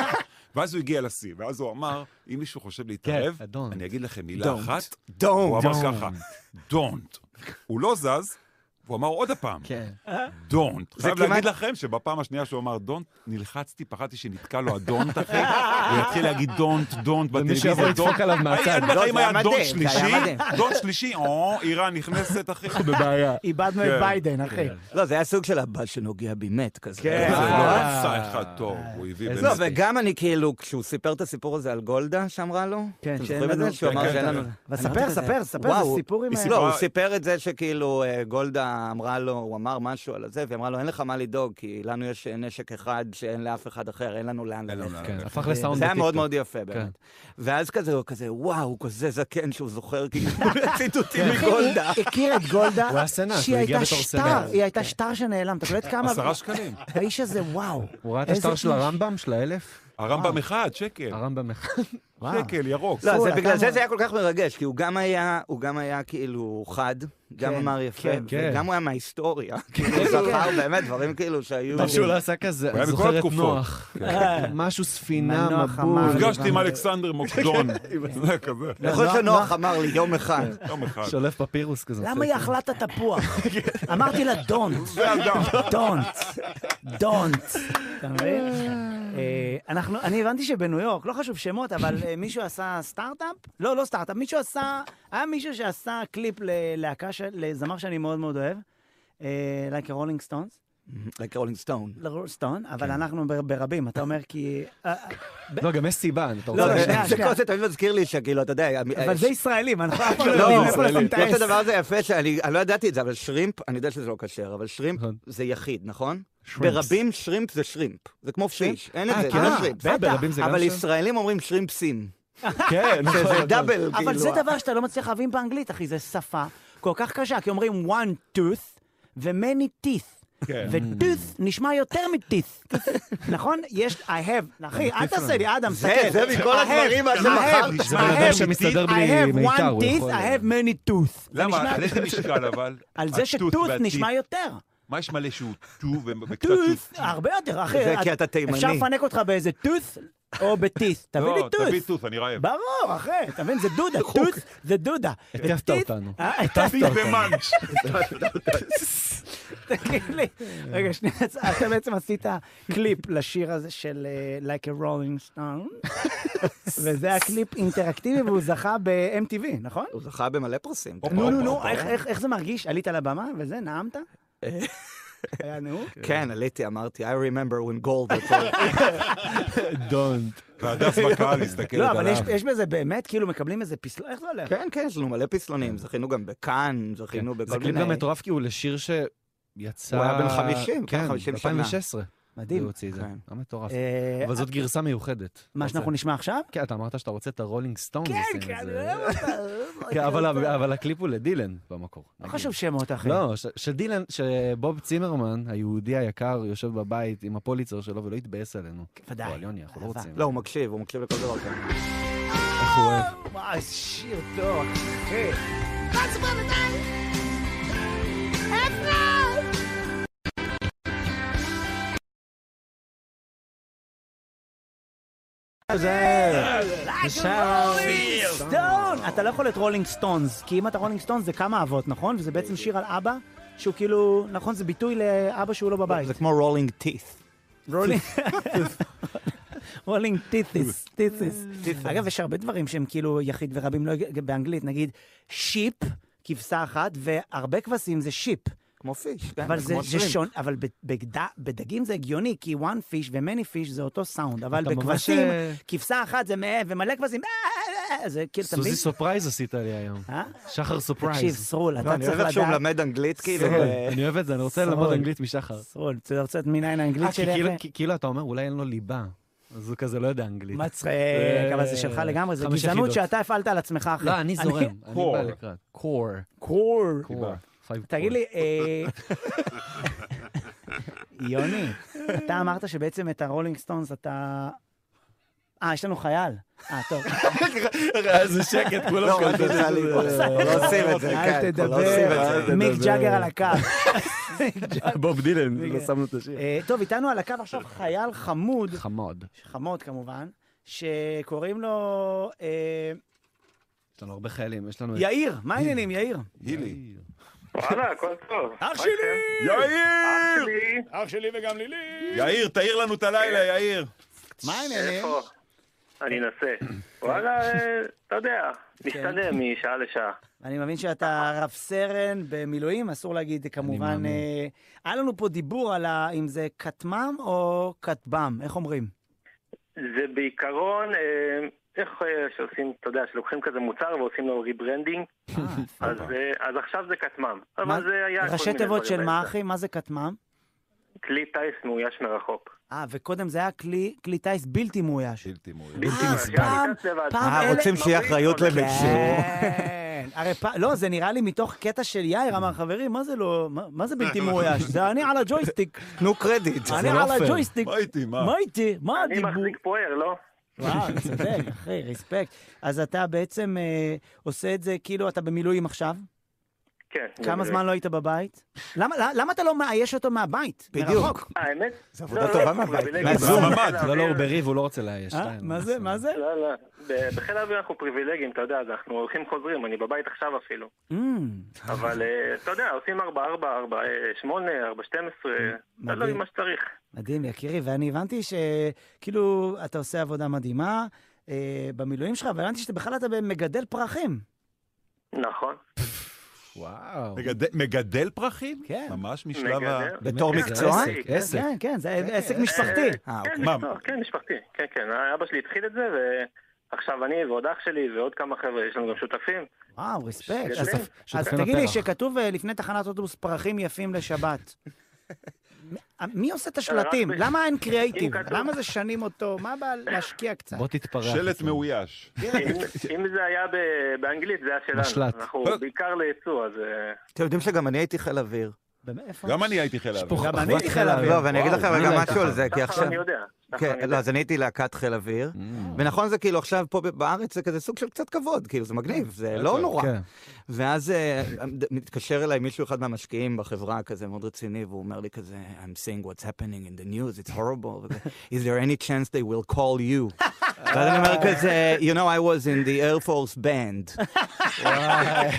ואז הוא הגיע לשיא, ואז הוא אמר, אם מישהו חושב להתערב, כן, don't. אני אגיד לכם מילה Don't. אחת. הוא דום. אמר ככה, don't. הוא לא זז, הוא אמר עוד הפעם, כן. don't. חייב כמעט- להגיד לכם שבפעם השנייה שהוא אמר don't, נלחצתי, פחדתי שנתקע לו הדונט אחי, הוא יתחיל להגיד don't, don't ומישהו בטלוויזיה, יבוא לדפוק don't. עליו מהצד. אני אומר לך, לא, אם זה היה היה דונט מדהים, זה היה שלישי, מדהים. דונט שלישי, או, איראן נכנסת, אחי. בבעיה. איבדנו את כן. ביידן, אחי. לא, זה היה סוג של הבת שנוגע בי מת כזה. זה כן. לא אה. עשה אחד טוב, הוא הביא איזה לא, באמת. וגם אני כאילו, כשהוא סיפר את הסיפור הזה על גולדה, שאמרה לו, כן, אתם שאין זוכרים את לנו- זה? שהוא כן, אמר כן, שאין כן. לנו... אבל אני ספר, אמרתי כזה, ספר, ספר, וואו, זה סיפורים הוא- האלה. לא, הוא סיפר את זה שכאילו אה, גולדה אמרה לו, הוא אמר משהו על זה, והיא אמרה לו, אין לך מה לדאוג, כי לנו יש נשק אחד שאין לאף אחד אחר, אין לנו לאן אין לנו ללכת. לאן. כן, הפך לסאונד זה היה מאוד בטיקטוק. מאוד כן. יפה באמת. ואז כזה, הוא כזה, וואו, הוא כזה זקן שהוא זוכר כאילו ציטוטים אחי, הוא מגולדה. הכיר את גולדה, הוא היה סנאט, הוא שהיא הגיע הייתה בתור כן. שטר, סנאט. היא הייתה שטר שנעלם, אתה קולט כמה... עשרה שקלים. האיש הזה, וואו. הוא ראה את איזה השטר של איש. הרמב"ם, של האלף? הרמב"ם אחד, שקל. הרמב"ם אחד. וואו. שקל, ירוק. לא, פול, זה אתה בגלל זה אמר. זה היה כל כך מרגש, כי הוא גם היה, הוא גם היה כאילו חד, גם כן, אמר יפה, כן, כן. וגם הוא היה מההיסטוריה. כאילו, הוא זכר באמת דברים כאילו שהיו... משהו לא עשה כזה, הוא היה אני בכל זוכר את התקופות. כן. נוח. אה, משהו ספינה, מנוח מבול. אמר. נפגשתי עם אלכסנדר מוקדון. זה כזה, אני חושב לא, שנוח אמר לי יום אחד. יום אחד. שולף פפירוס כזה. למה עושה היא את זה. אכלה את התפוח? כן. אמרתי לה, דונט. דונט. דונט. אתה מבין? אה, אנחנו, אני הבנתי שבניו יורק, לא חשוב שמות, אבל אה, מישהו עשה סטארט-אפ? לא, לא סטארט-אפ, מישהו עשה, היה מישהו שעשה קליפ ללהקה, של- לזמר שאני מאוד מאוד אוהב, אה, like a rolling stones. like rolling stone. לרולסטון, כן. אבל אנחנו בר- ברבים, אתה אומר כי... אה, אה, ב- לא, גם יש סיבה, אתה לא, רוצה... לא, זה- שנייה, שנייה. זה כל זה תמיד מזכיר לי שכאילו, אתה יודע... אה, אבל זה ישראלים, אנחנו אף פעם לא לא, יודעים איפה לשים את יש את העס. הדבר הזה יפה, שאני אני לא ידעתי את זה, אבל שרימפ, אני יודע שזה לא כשר, אבל שרימפ נכון. זה יחיד, נכון? שרימפס. ברבים שרימפ זה שרימפ. זה כמו פיש, אין את אה, זה, זה כן, לא אה, שרימפ. אה, ברבים זה גם אבל שם? ישראלים אומרים שרימפסים. כן, שזה דאבל, כאילו. אבל זה דבר שאתה לא מצליח להבין באנגלית, אחי, זה שפה כל כך קשה, כי אומרים one tooth ו-many teeth. כן. ו-tooth נשמע יותר מ-teeth, נכון? יש, I have, אחי, אל תעשה לי, אדם, זה- תסתכל. זה מכל I have, הדברים, אז I שבחרת. have, זה בן אדם I have שמסתדר teeth, בלי מיתר, I have הוא one teeth, יכול- I have many tooth. זה למה? נשמע- על איזה משקל אבל? על זה הטוט שטוט והטיט. נשמע יותר. מה יש מלא שהוא טו וקצת טוס, הרבה יותר, אחי. זה את- כי אתה תימני. אפשר לפנק אותך באיזה טוס או בטיס. תביא לי לא, תביא טוס. טוס, אני רעב. ברור, אחי, אתה מבין? זה דודה, טוס זה דודה. הטפת וטיס- אותנו. אה, הטפת אותנו. במאנץ'. תגיד לי, רגע, שנייה, אתה בעצם עשית קליפ לשיר הזה של אה, Like a Rolling Stone, וזה היה קליפ אינטראקטיבי והוא זכה ב-MTV, נכון? הוא זכה במלא פרסים. נו, נו, נו, איך- איך איך זה מרגיש? עלית לבמה וזה, נאמת? היה נאום? כן, עליתי, אמרתי, I remember when gold was gold." דונט. והדס בקהל כן, מסתכלת לא, עליו. אבל יש- יש בזה באמת, כאילו מקבלים איזה פסלון, איך זה הולך? כן, כן, יש לנו מלא פסלונים, זכינו גם בכאן, זכינו כן. זה בכל קליפ מיני... גם מטורף, כי הוא לשיר שיצא... הוא היה בן 50, כן, כן, 50 שנה. 2016. הוא מדהים. הוציא את זה. כן. היה מטורף. אה, אבל זאת גרסה מיוחדת. מה שאנחנו נשמע עכשיו? כן, אתה אמרת שאתה רוצה את הרולינג סטונס. כן, עושים כן, את אני זה. אוהב אותה. כן, אבל אבל הקליפ הוא לדילן במקור. אה, לא נגיד. חשוב שמות, אחי. לא, ש- שדילן, שבוב צימרמן, היהודי היקר, יושב בבית עם הפוליצר שלו ולא יתבאס עלינו. כן, ודאי. אבל יוני, אנחנו לא אהבה. רוצים. לא, הוא מקשיב, הוא מקשיב לכל דבר כזה. איך הוא אוהב. וואי, איזה שיר טוב, אחי. Once upon a time, at night. סטון! אתה לא יכול להיות רולינג סטונס, כי אם אתה רולינג סטונס זה כמה אבות, נכון? וזה בעצם שיר על אבא, שהוא כאילו, נכון, זה ביטוי לאבא שהוא לא בבית. זה כמו רולינג תית'. רולינג... רולינג טיתיס, טיתיס. אגב, יש הרבה דברים שהם כאילו יחיד ורבים לא... הג- באנגלית, נגיד שיפ, כבשה אחת, והרבה כבשים זה שיפ. כמו פיש, כן? אבל זה, כמו זה shrimp. שונה, אבל בד... בדגים זה הגיוני, כי one fish ו-many fish זה אותו סאונד, אבל אתה ממש, בכבשים, אה, כבשה אחת זה מאה, ומלא כבשים, אה, אה, אה, זה כאילו, אתה מבין? סוזי סופרייז עשית לי היום. אה? שחר תקשיב, אה, סופרייז. סרול, לא, אתה אני צריך אוהב איך שהוא לדעת... מלמד אנגלית, כאילו. סול. ו- אני אוהב את זה, אני רוצה סול. ללמוד אנגלית משחר. סרול, אתה רוצה לדעת מניין האנגלית אה, כי כאילו- שלי? אחי? כי כאילו אתה אומר, אולי אין לו ליבה. אז הוא כזה לא יודע אנגלית. מצחיק, אה, אבל זה שלך לגמרי, זה חמש גזענות יחידות. שאתה הפעלת על עצמך אחי. לא, אני זורם. אני core. בא לקראת. קור. קור. קור. תגיד לי, אה, יוני, אתה אמרת שבעצם את הרולינג סטונס אתה... אה, יש לנו חייל. אה, טוב. איזה שקט, כולם לא, אל תדע לי, לא עושים את זה, אל כן, לא תדבר, עושים את זה. מיק ג'אגר על הקו. בוב דילן, לא שמנו את השיר. אה, טוב, איתנו על הקו עכשיו חייל חמוד, חמוד. חמוד כמובן, שקוראים לו אה, יש לנו הרבה חיילים, יש לנו... את- יאיר. מה העניינים, יאיר? הילי. וואלה, הכל טוב. אח שלי! יאיר! שלי, יאיר, תאיר לנו את הלילה, יאיר. מה העניינים? איפה? אני אנסה. וואלה, אה, אתה יודע, כן. משתנה משעה לשעה. אני מבין שאתה רב סרן במילואים, אסור להגיד כמובן. מאמין. אה, היה לנו פה דיבור על ה- אם זה כטמ"ם או כטב"ם, איך אומרים? זה בעיקרון, אה, איך אה, שעושים, אתה יודע, שלוקחים כזה מוצר ועושים לו ריברנדינג, אז אה, אז עכשיו זה כטמ"ם. מה- אבל זה היה... כל ראשי מיני תיבות דברים של מה, באמצע. אחי? מה זה כטמ"ם? כלי טיס מאויש מרחוק. אה, וקודם זה היה כלי כלי טיס בלתי מאויש. שילתי מוי. אה, מאויש. אז פעם- אני טס לבד. פעם אה, אלה- רוצים לא, שיהיה אחריות למישהו. כן. הרי פ- לא, זה נראה לי מתוך קטע של יאיר, אמר, חברים, מה זה לא, מה- מה זה בלתי מאויש? זה אני על הג'ויסטיק, תנו קרדיט, זה אני לא על פייר. הג'ויסטיק. מה איתי, מה? מה איתי? מה אני הדיבור? מחזיק פוער, לא? וואו, צודק, אחי, רספקט. אז אתה בעצם אה, עושה את זה, כאילו אתה במילואים עכשיו? כן. כמה בדיוק. זמן לא היית בבית? למה- למה אתה לא מאייש אותו מהבית? בדיוק. מרחוק? אה, האמת? זה עבודה לא, לא, טובה לא, מהבית. פריבילגיה. מהזום. בחיל ממ"ד, לא, לא, הוא האוויר- בריב, הוא לא רוצה לאייש. אה, די, מה נו, זה? נו. מה זה? לא, לא. ב- בחיל האוויר אנחנו פריבילגיים, אתה יודע, אז אנחנו הולכים חוזרים, אני בבית עכשיו אפילו. Mm. אמ, אבל אה, אתה יודע, עושים 4, 4, 4, 8, 4, 12, תלוי מדהים. מה שצריך. מדהים, יקירי, ואני הבנתי שכאילו אתה עושה עבודה מדהימה אה, במילואים שלך, והבנתי שבכלל אתה מגדל פרחים. נכון. וואו. מגדל- מגדל פרחים? כן. ממש משלב ה... מגדל. בתור באמת, זה מקצוע? עסק, עסק. כן, כן, אוקיי. זה עסק משפחתי. אה, כן, מה? משפחתי, כן, משפחתי. כן, כן, אבא שלי התחיל את זה, ועכשיו אני ועוד אח שלי ועוד כמה חבר'ה, יש לנו גם שותפים. וואו, רספקט. שותפים. אז- שותפים אז לפרח. תגיד לי, שכתוב אה, לפני תחנת אוטובוס פרחים יפים לשבת. מ- מי עושה את השלטים? רק- למה אין קריאייטיב? אם כתוב- למה זה שנים אותו? מה הבעיה להשקיע קצת? בוא תתפרח. שלט איתו. מאויש. אם- אם זה היה ב- באנגלית, זה היה שלנו. משל"ט. אנחנו לא- בעיקר לייצוא, אז... אה, אתם יודעים שגם אני הייתי חיל אוויר. באמת, איפה? גם אני הייתי חיל האוויר. גם אני אחוות הייתי חיל אה, חיל האוויר. אוויר. לא, ואני אגיד וואו, לך אני רגע לא משהו על הייתי זה, כי שחר, עכשיו... אני יודע. שחר, אני כן, יודע. לא, אז אני הייתי להקת חיל אוויר, ונכון זה כאילו עכשיו פה בארץ זה כזה סוג של קצת כבוד, כאילו זה מגניב, זה לא נורא. כן. ואז אה, מתקשר אליי מישהו אחד מהמשקיעים בחברה, כזה מאוד רציני, והוא אומר לי כזה, I'm seeing what's happening in the news, it's horrible. וזה, Is there any chance they will call you? ואז אני אומר כזה, you know, I was in the Air Force Band.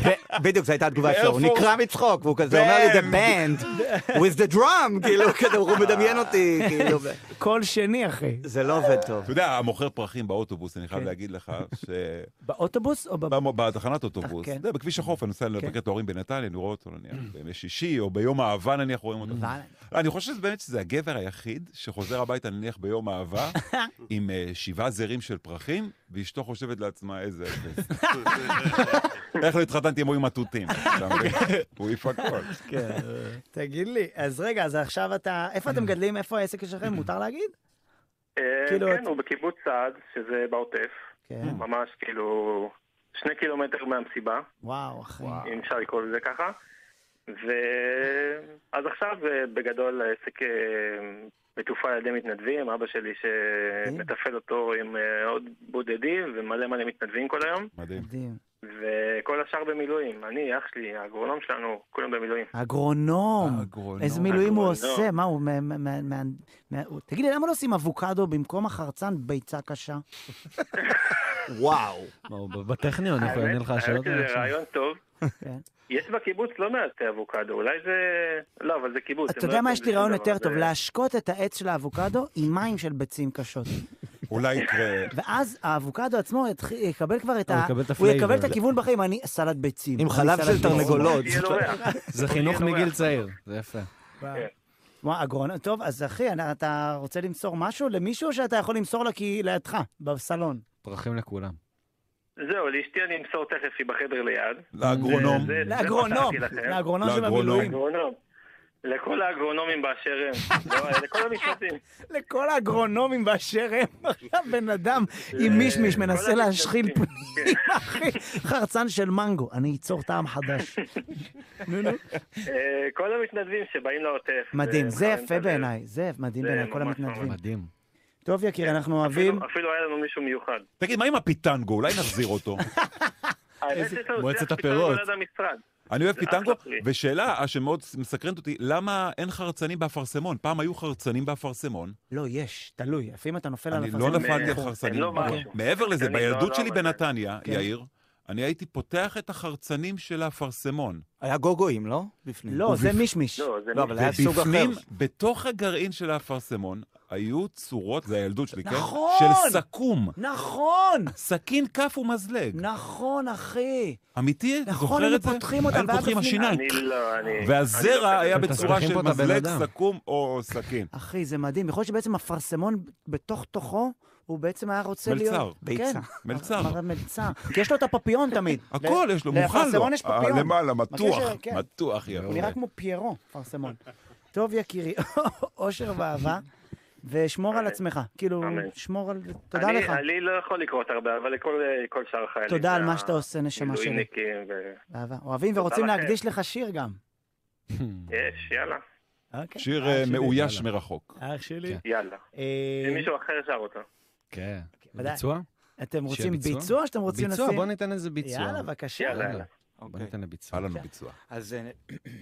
ו- בדיוק, זו הייתה התגובה שלו, הוא Force נקרע מצחוק, והוא כזה אומר לי, the band, with the drum, כאילו, כזה, הוא מדמיין אותי, כאילו, ו- כל שני, אחי. זה לא עובד טוב. אתה יודע, המוכר פרחים באוטובוס, אני כן. חייב להגיד לך, ש... באוטובוס או בב... במו- בתחנת אוטובוס, כן. אה. אתה יודע, בכביש החוף, אני נוסע לבקר את ההורים בנתניה, אני רואה אותו נניח בימי שישי, או ביום האהבה נניח רואים אותו. וואלה. אני חושב שזה באמת שזה הגבר היחיד שחוזר הביתה נניח ביום אהבה, עם אה, שבעה זרים של פרחים, ואשתו חושבת לעצמה איזה... אפס." איך לא התחתנתי עם הוא עם התותים? אתה מבין? הוא העיף הכל. כן. תגיד לי, אז רגע, אז עכשיו אתה... איפה אתם מגדלים? איפה העסק שלכם? מותר להגיד? אה, כאילו, כן, אתה- הוא בקיבוץ סעד, שזה בעוטף. כן. ממש כאילו שני קילומטר מהמסיבה, וואו, אחי. אה. אם אפשר לקרוא לזה ככה. ואז עכשיו אה, בגדול העסק אה, מתופעל על ידי מתנדבים, אבא שלי אוקיי. שמתפעל אותו עם אה, עוד בודדים ומלא מלא מתנדבים כל היום. מדהים. מדהים. וכל השאר במילואים. אני, אח שלי, האגרונום שלנו, כולם במילואים. אגרונום. אגרונום. איזה מילואים הוא אגרונום. עושה, מה הוא... מה- מה- מה- מה- מה- הוא- תגיד לי, למה לא עושים אבוקדו במקום החרצן ביצה קשה? וואו. מה, הוא ב- בטכניון, איפה יענה לך האמת השאלות האלה שזה עכשיו? רעיון טוב. כן. יש בקיבוץ לא מעט אבוקדו, אולי זה... לא, אבל זה קיבוץ. הם אתה לא יודע מה, עושים יש לי שום רעיון דבר, יותר זה- טוב, להשקות את העץ של האבוקדו עם מים של ביצים קשות. אולי יקרה... ואז האבוקדו עצמו יתח- יקבל כבר את הוא ה... יקבל את הוא יקבל הפלייבר. את הכיוון בחיים, אני סלט ביצים. עם אני חלב סלט של ביצים. תרנגולות. יהיה לא לו ריח. זה חינוך מגיל צעיר, לא זה יפה. וואי, אגרונום, טוב, אז אחי, אני- אתה רוצה למסור משהו למישהו, או שאתה יכול למסור לה כי לידך, בסלון? פרחים לכולם. זהו, לאשתי אני אמסור תכף, היא בחדר ליד. לאגרונום. זה- זה לאגרונום, פתחתי לכם. לאגרונום של לאגרונום. המילואים. לאגרונום. לכל האגרונומים באשר הם. לא, לכל המשפטים. לכל האגרונומים באשר הם, עכשיו בן אדם עם מישמיש כל מנסה להשחיל המתנדבים. פנים, אחי. חרצן של מנגו, אני אצור טעם חדש. נו, נו. אה, כל המתנדבים שבאים לעוטף. אה, מדהים, זה מחמם את יפה הלב. בעיניי, זה מדהים נכון, זה בעיניי, כל ממש המתנדבים. ממש. מדהים. טוב, יקיר, אנחנו אפילו- לא- אוהבים. אפילו היה לנו מישהו מיוחד. תגיד, מה עם הפיטנגו? אולי נחזיר אותו. האמת שיש לנו מועצת שיח פתאום הפירות. עם ילד המשרד. אני אוהב זה פיטנגו, אחלה פרי. ושאלה אה, שמאוד מסקרנת אותי, למה אין חרצנים באפרסמון? פעם היו חרצנים באפרסמון, לא, יש, תלוי. לפעמים אתה נופל על אני הפרסם. לא נפלתי על הם חרצנים. לא משהו. אוקיי. מעבר לזה, אני לא- בילדות לא שלי עבדתי. בנתניה, כן. יאיר, אני הייתי פותח את החרצנים של האפרסמון. היה גוגויים, לא? בפנים. לא, זה מישמיש. לא, זה לא, אבל היה סוג אחר. ובפנים, בתוך הגרעין של האפרסמון, היו צורות, זה הילדות שלי, כן? נכון! של סכו"ם. נכון! סכין כף ומזלג. נכון, אחי. אמיתי? נכון, זוכר היינו את זה? פותחים אותם, היינו והיה פותחים בפנים- השיניים. אני לא, אני... אני והזרע לא היה כזה. אתם בצורה מסריחים של פה את הבן מזלג, אדם. סכו"ם או סכין. אחי, זה מדהים. יכול להיות שבעצם אפרסמון בתוך תוכו, הוא בעצם היה רוצה מלצר. להיות... ביצה. כן, מלצר. מר- מלצר. כי יש לו את הפפיון תמיד. הכל יש לו, מוכן לו. לאפרסמון יש אה, פפיון. למעלה, מתוח, מגיע ש- כן. מתוח הוא יפה. נראה כמו פיירו, אפרסמון. טוב, יקירי, אושר ואהבה, ושמור על עצמך. כאילו, אמן. שמור על... תודה אני- לך. לי לא יכול לקרות הרבה, אבל לכל כל שאר החיילים. תודה על וה- מה שאתה עושה, נשמה שלי. מילואימניקים ו... אהבה. אוהבים ורוצים לכם. להקדיש לך שיר גם. יש, יאללה, אוקיי. שיר אח אה, שלי. מאויש מרחוק. אח שלי. כן. יאללה. אה, אם מישהו אחר שר אותו. כן. ודאי. ביצוע? אתם רוצים ביצוע? ביצוע או שאתם רוצים לשים? ביצוע, בוא ניתן איזה ביצוע. יאללה, בבקשה. יאללה. יאללה. בוא אוקיי. ניתן לביצוע. היה לנו ביצוע. אז אה,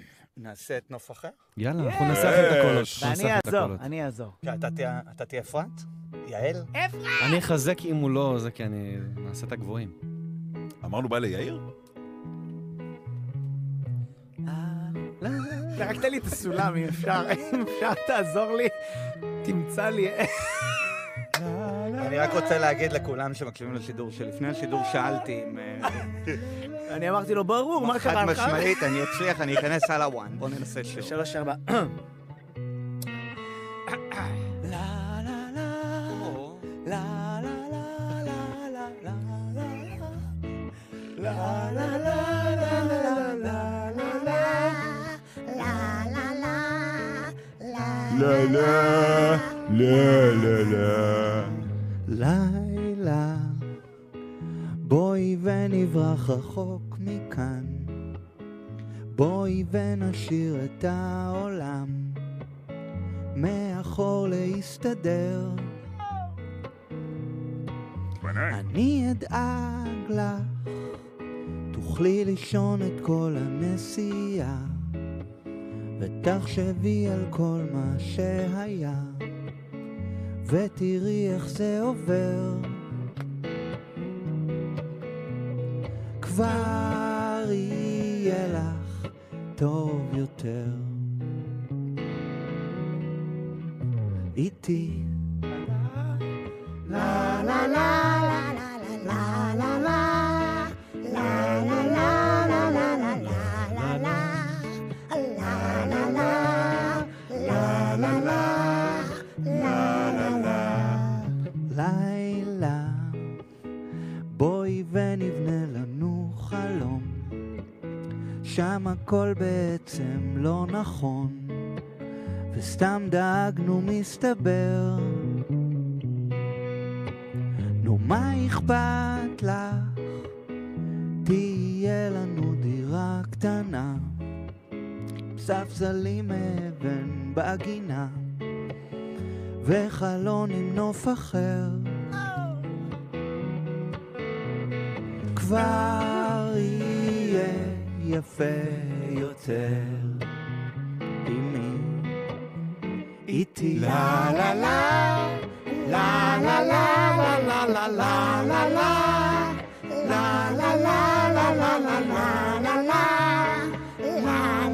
נעשה את נוף אחר? יאללה, אנחנו נסף את הקולות. ואני נסף את אעזור, הקולות. אני אעזור. כן, אתה תהיה- אתה תהיה אפרת? יעל? אה, אני אחזק אם הוא לא זה, כי אני נעשה את הגבוהים. אמרנו בא ליאיר? רק תן לי את הסולם, אם אפשר. אם אפשר, תעזור לי. תמצא לי. אני רק רוצה להגיד לכולם שמקשיבים לשידור שלפני השידור שאלתי אם... אה, אני אמרתי לו, ברור, מה חד קרה לך? משמעית, אני אצליח, אני אכנס על הוואן. בוא ננסה שוב. שלוש, ארבע. לא, לא, לא, לא, לא. לילה, בואי ונברח רחוק מכאן. בואי ונשאיר את העולם מאחור להסתדר. אני אדאג לך, תוכלי לישון את כל הנסיעה, ותחשבי על כל מה שהיה, ותראי איך זה עובר. כבר יהיה לך טוב יותר. איתי. לילה, בואי ונבנה לנו חלום, שם הכל בעצם לא נכון, וסתם דאגנו מסתבר. נו מה אכפת לך? תהיה לנו דירה קטנה, ספסלים אבן בגינה, וחלון עם נוף אחר. כבר יהיה יפה יותר אם היא איתי. לה לה לה לה לה לה לה לה לה לה לה לה לה לה לה לה לה לה לה לה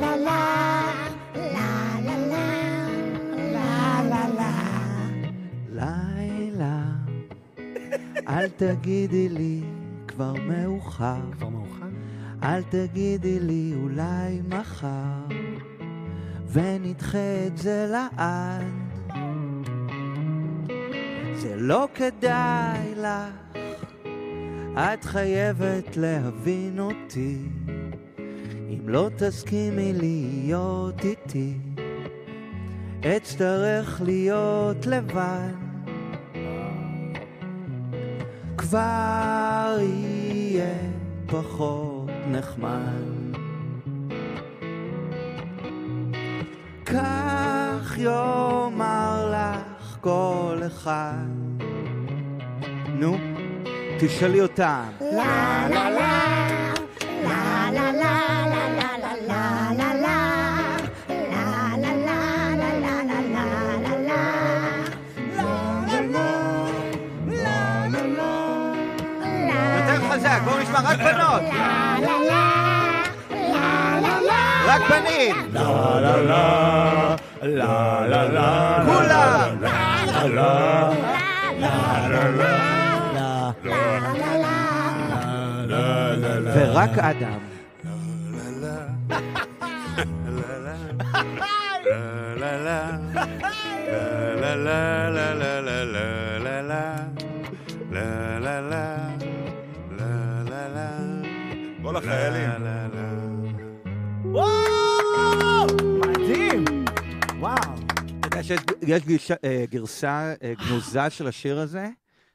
לילה, אל תגידי לי כבר מאוחר, כבר מאוחר? אל תגידי לי אולי מחר, ונדחה את זה לעד. זה לא כדאי לך, את חייבת להבין אותי, אם לא תסכימי להיות איתי, אצטרך להיות לבד. כבר יהיה פחות נחמד. כך יאמר לך כל אחד. נו, תשאלי אותם. יותר חזק, בואו נשמע רק בנות. רק בנים. כולם. ורק אדם. כל החיילים. וואו! מדהים! וואו. אתה יודע שיש יש גישה- אה, גרסה אה, גנוזה של השיר הזה,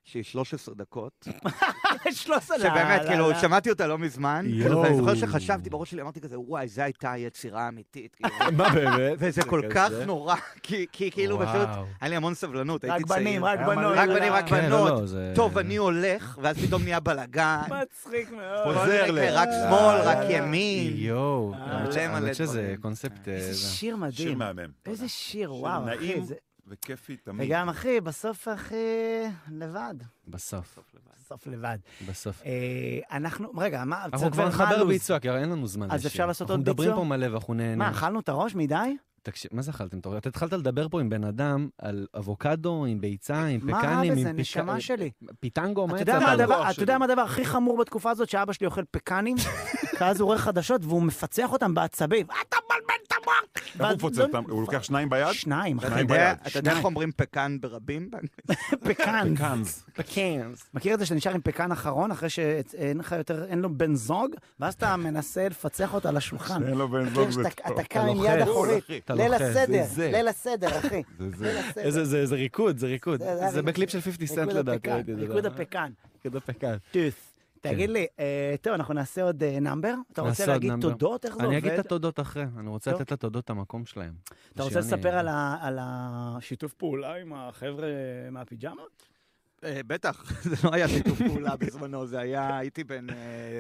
שהיא 13 דקות. שלוש עלה. שבאמת, כאילו, שמעתי אותה לא מזמן. כאילו, יואו. ואני זוכר שחשבתי בראש שלי, אמרתי כזה, וואי, זו הייתה היצירה האמיתית. כאילו. מה באמת? וזה כל כך נורא, כי כי כאילו וואו. פשוט, היה לי המון סבלנות, רק הייתי צעיר. בנים, רק היה מלא- בנות. רק בנים, רק כן, כן, לא, לא, בנות. זה... טוב, אני הולך, ואז פתאום נהיה בלאגן. מצחיק מאוד. חוזר כל ל- רגע, רק לא, שמאל, לא, רק לא. ימין. יואו, אה, האמת ש- מלא מלא האמת שזה דברים. קונספט... אה, איזה זה. שיר שיר מדהים. מהמם. איזה שיר, שיר וואו, אחי. נעים. זה- וכיפי תמיד. וגם, אחי, בסוף, אחי, לבד. בסוף, בסוף לבד. בסוף. אה, אנחנו, רגע, מה, אנחנו צריך כבר כבר נחבר הלו"ז? ביצוע, כי הרי אין לנו זמן אז לשיר. אפשר לעשות עוד אנחנו ביצוע? מדברים פה מלא ואנחנו נהנים. מה, אכלנו את הראש מדי? תקשיב, מה זה אכלתם? אתה רואה? אתה התחלת לדבר פה עם בן אדם על אבוקדו, עם ביצה, עם מה רע פקנים, בזה, עם אה, נשמה שלי? פיטנגו, מה אתה יודע יצא? מה לך? הדבר- הלוח אתה יודע שלי. מה הדבר הכי חמור בתקופה הזאת? שאבא שלי אוכל פקנים, ואז הוא רואה חדשות והוא מפצח אותם בעצבים. אתה מבלבל את המוח! לא- איך הוא מפוצץ אותם? הוא לוקח שניים ביד? שניים, אתה אחי. שניים יודע- ביד. אתה יודע איך שניים. אומרים פקן ברבים? פקן. קאנז. פקאנס. מכיר את כן, זה שאתה נשאר עם פקן אחרון, אחרי שאין לך יותר, אין לו בן זוג, ואז אתה מנסה לפצח אותו על השולחן. לא אין לו בן זוג. מכיר זה שאתה טוב. אתה קם עם יד לוחץ, אחורית. אתה ליל לוחץ, זה הסדר, זה. ליל הסדר, אחי. זה זה. ליל הסדר. איזה, זה, זה ריקוד, זה ריקוד. זה- זה זה הריקוד. בקליפ של 50 סנט ריקוד לדעתי. הפקן, ראיתי את זה. ריקוד הפקן. ריקוד הפקן. טוס. תגיד לי, אה, טוב, אנחנו נעשה עוד אה, נאמבר? אתה נעשה רוצה עוד להגיד נאמבר. תודות? איך זה אני אגיד עובד? את התודות אחרי, אני רוצה טוב. לתת לתודות את המקום שלהם. אתה רוצה לספר על ה- על השיתוף פעולה עם החבר'ה מהפיג'מות? אה, בטח, זה לא היה שיתוף פעולה בזמנו, זה היה, הייתי בן אה,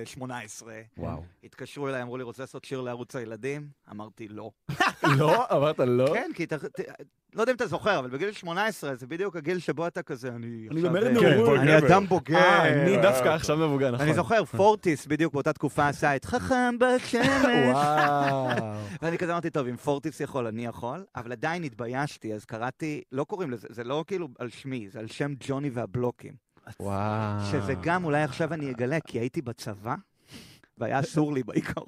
18. וואו. התקשרו אליי, אמרו לי, רוצה לעשות שיר לערוץ הילדים? אמרתי, לא. לא? אמרת לא? כן, כי אתה... ת- לא יודע אם אתה זוכר, אבל בגיל 18 זה בדיוק הגיל שבו אתה כזה, אני... עכשיו, גומר אה, כן, נעורים. אני אדם בוגר. אה, אני אוקיי. דווקא עכשיו מבוגר, נכון. אני זוכר, פורטיס בדיוק באותה תקופה עשה את חכם אה, בשמש. וואו. ואני כזה אמרתי, טוב, אם פורטיס יכול, אני יכול, אבל עדיין התביישתי, אז קראתי, לא קוראים לזה, זה לא כאילו על שמי, זה על שם ג'וני והבלוקים. וואו. שזה גם, אולי עכשיו אני אגלה, כי הייתי בצבא, והיה אסור לי בעיקרון.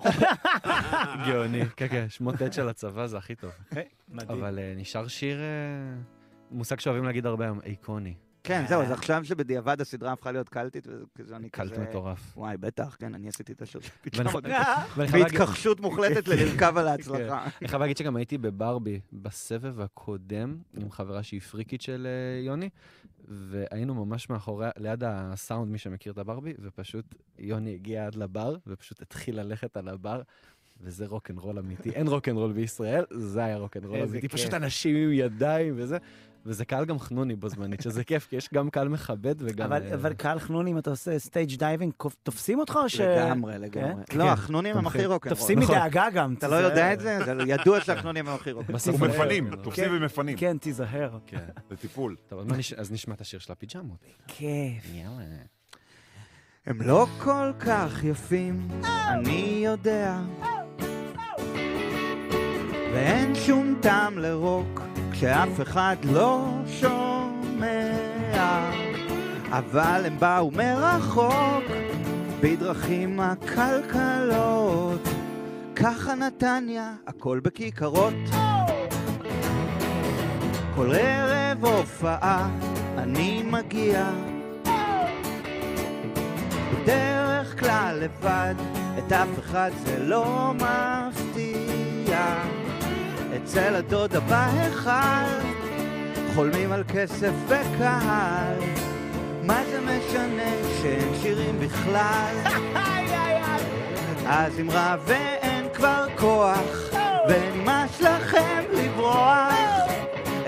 גאוני. כן, כן, שמות עד של הצבא זה הכי טוב. מדהים. אבל אה, נשאר שיר, אה, מושג שאוהבים להגיד הרבה היום, איקוני. כן, זהו, אז עכשיו שבדיעבד הסדרה הפכה להיות קלטית, וכזה אני כזה... קלט מטורף. וואי, בטח, כן, אני עשיתי את השיר של ואני- פיג'מות. ואני חייב להגיד- כן. בהתכחשות מוחלטת ללרכב על ההצלחה. אני חייב להגיד שגם הייתי בברבי בסבב הקודם עם חברה שהיא פריקית של אה, יוני, והיינו ממש מאחורי, ליד הסאונד, מי שמכיר את הברבי, ופשוט יוני הגיע עד לבר, ופשוט התחיל ללכת על הבר. וזה רוקנרול אמיתי, אין רוקנרול בישראל, זה היה רוקנרול איזה אמיתי, כיף. פשוט אנשים עם ידיים וזה. וזה קהל גם חנוני בו זמנית, שזה כיף, כי יש גם קהל מכבד וגם... אבל אה, אבל קהל חנון, אם אתה עושה סטייג' דייבינג, קוף- תופסים אותך או ש... לגמרי, לגמרי. כן? לא, כן, החנונים הם הכי תומכים. רוקנרול. תופסים נכון. מדאגה גם. אתה לא תיזהר. יודע את זה? זה ידוע שהחנונים הם הכי רוקנרול. בסוף אני- ומפנים, תופסים כן. ומפנים. כן, תיזהר. כן. זה טיפול. טוב, אז מה נש- אז נשמע את השיר של הפיג'מות. כיף. יאללה. הם לא כל כך יפים, אני יודע. ואין שום טעם לרוק כשאף אחד לא שומע. אבל הם באו מרחוק בדרכים עקלקלות. ככה נתניה, הכל בכיכרות. כל ערב הופעה אני מגיע בדרך כלל לבד, את אף אחד זה לא מפתיע. אצל הדודה בהיכל, חולמים על כסף וקהל. מה זה משנה שאין שירים בכלל? אז אם רע ואין כבר כוח, ונמאס לכם לברוח,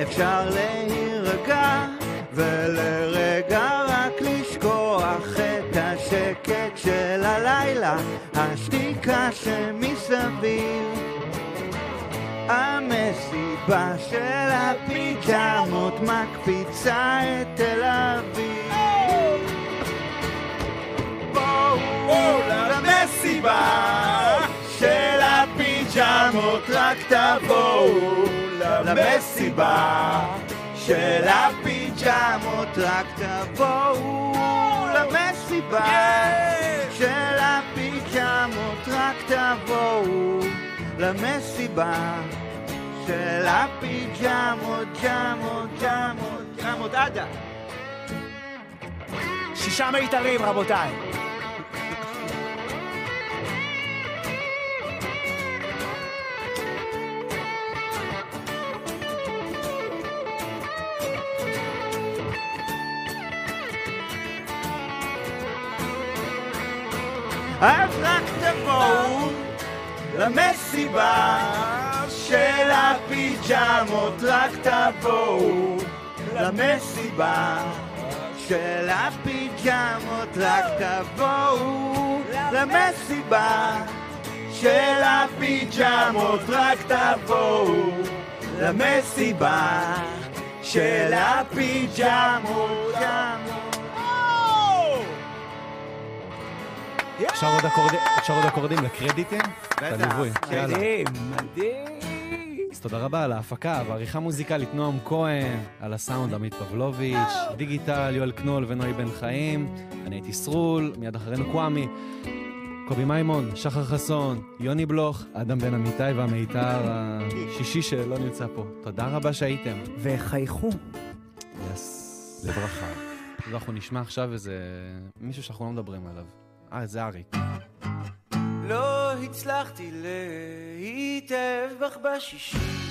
אפשר להירגע ולרגע רק לשכוח את השקט של הלילה, השתיקה שמסביב. המסיבה של הפיג'מות מקפיצה את תל אביב. בואו Oh, למסיבה של הפיג'מות רק oh. תבואו למסיבה של הפיג'מות רק תבואו oh. למסיבה של הפיג'מות רק תבואו oh. למסיבה של הפיג'מות ג'מות ג'מות ג'מות עדה שישה מיתרים, רבותיי. אז רק תבואו למסיבה של הפיג'מות, רק תבואו למסיבה של הפיג'מות, רק תבואו למסיבה של הפיג'מות, רק תבואו למסיבה של הפיג'מות. אפשר עוד אקורד- אפשר עוד אקורדים לקרדיטים? את הליווי. יאללה. מדהים, מדהים. אז תודה רבה על ההפקה ועריכה מוזיקלית נועם כהן, על הסאונד עמית פבלוביץ', דיגיטל יואל קנול ונוי בן חיים, אני הייתי סרול, מיד אחרינו קוואמי, קובי מימון, שחר חסון, יוני בלוך, אדם בן אמיתי והמיתר השישי שלא נמצא פה. תודה רבה שהייתם. וחייכו. יס. לברכה. אנחנו נשמע עכשיו איזה מישהו שאנחנו לא מדברים עליו. אה, זה אריק. לא הצלחתי להתאהב בך בשישי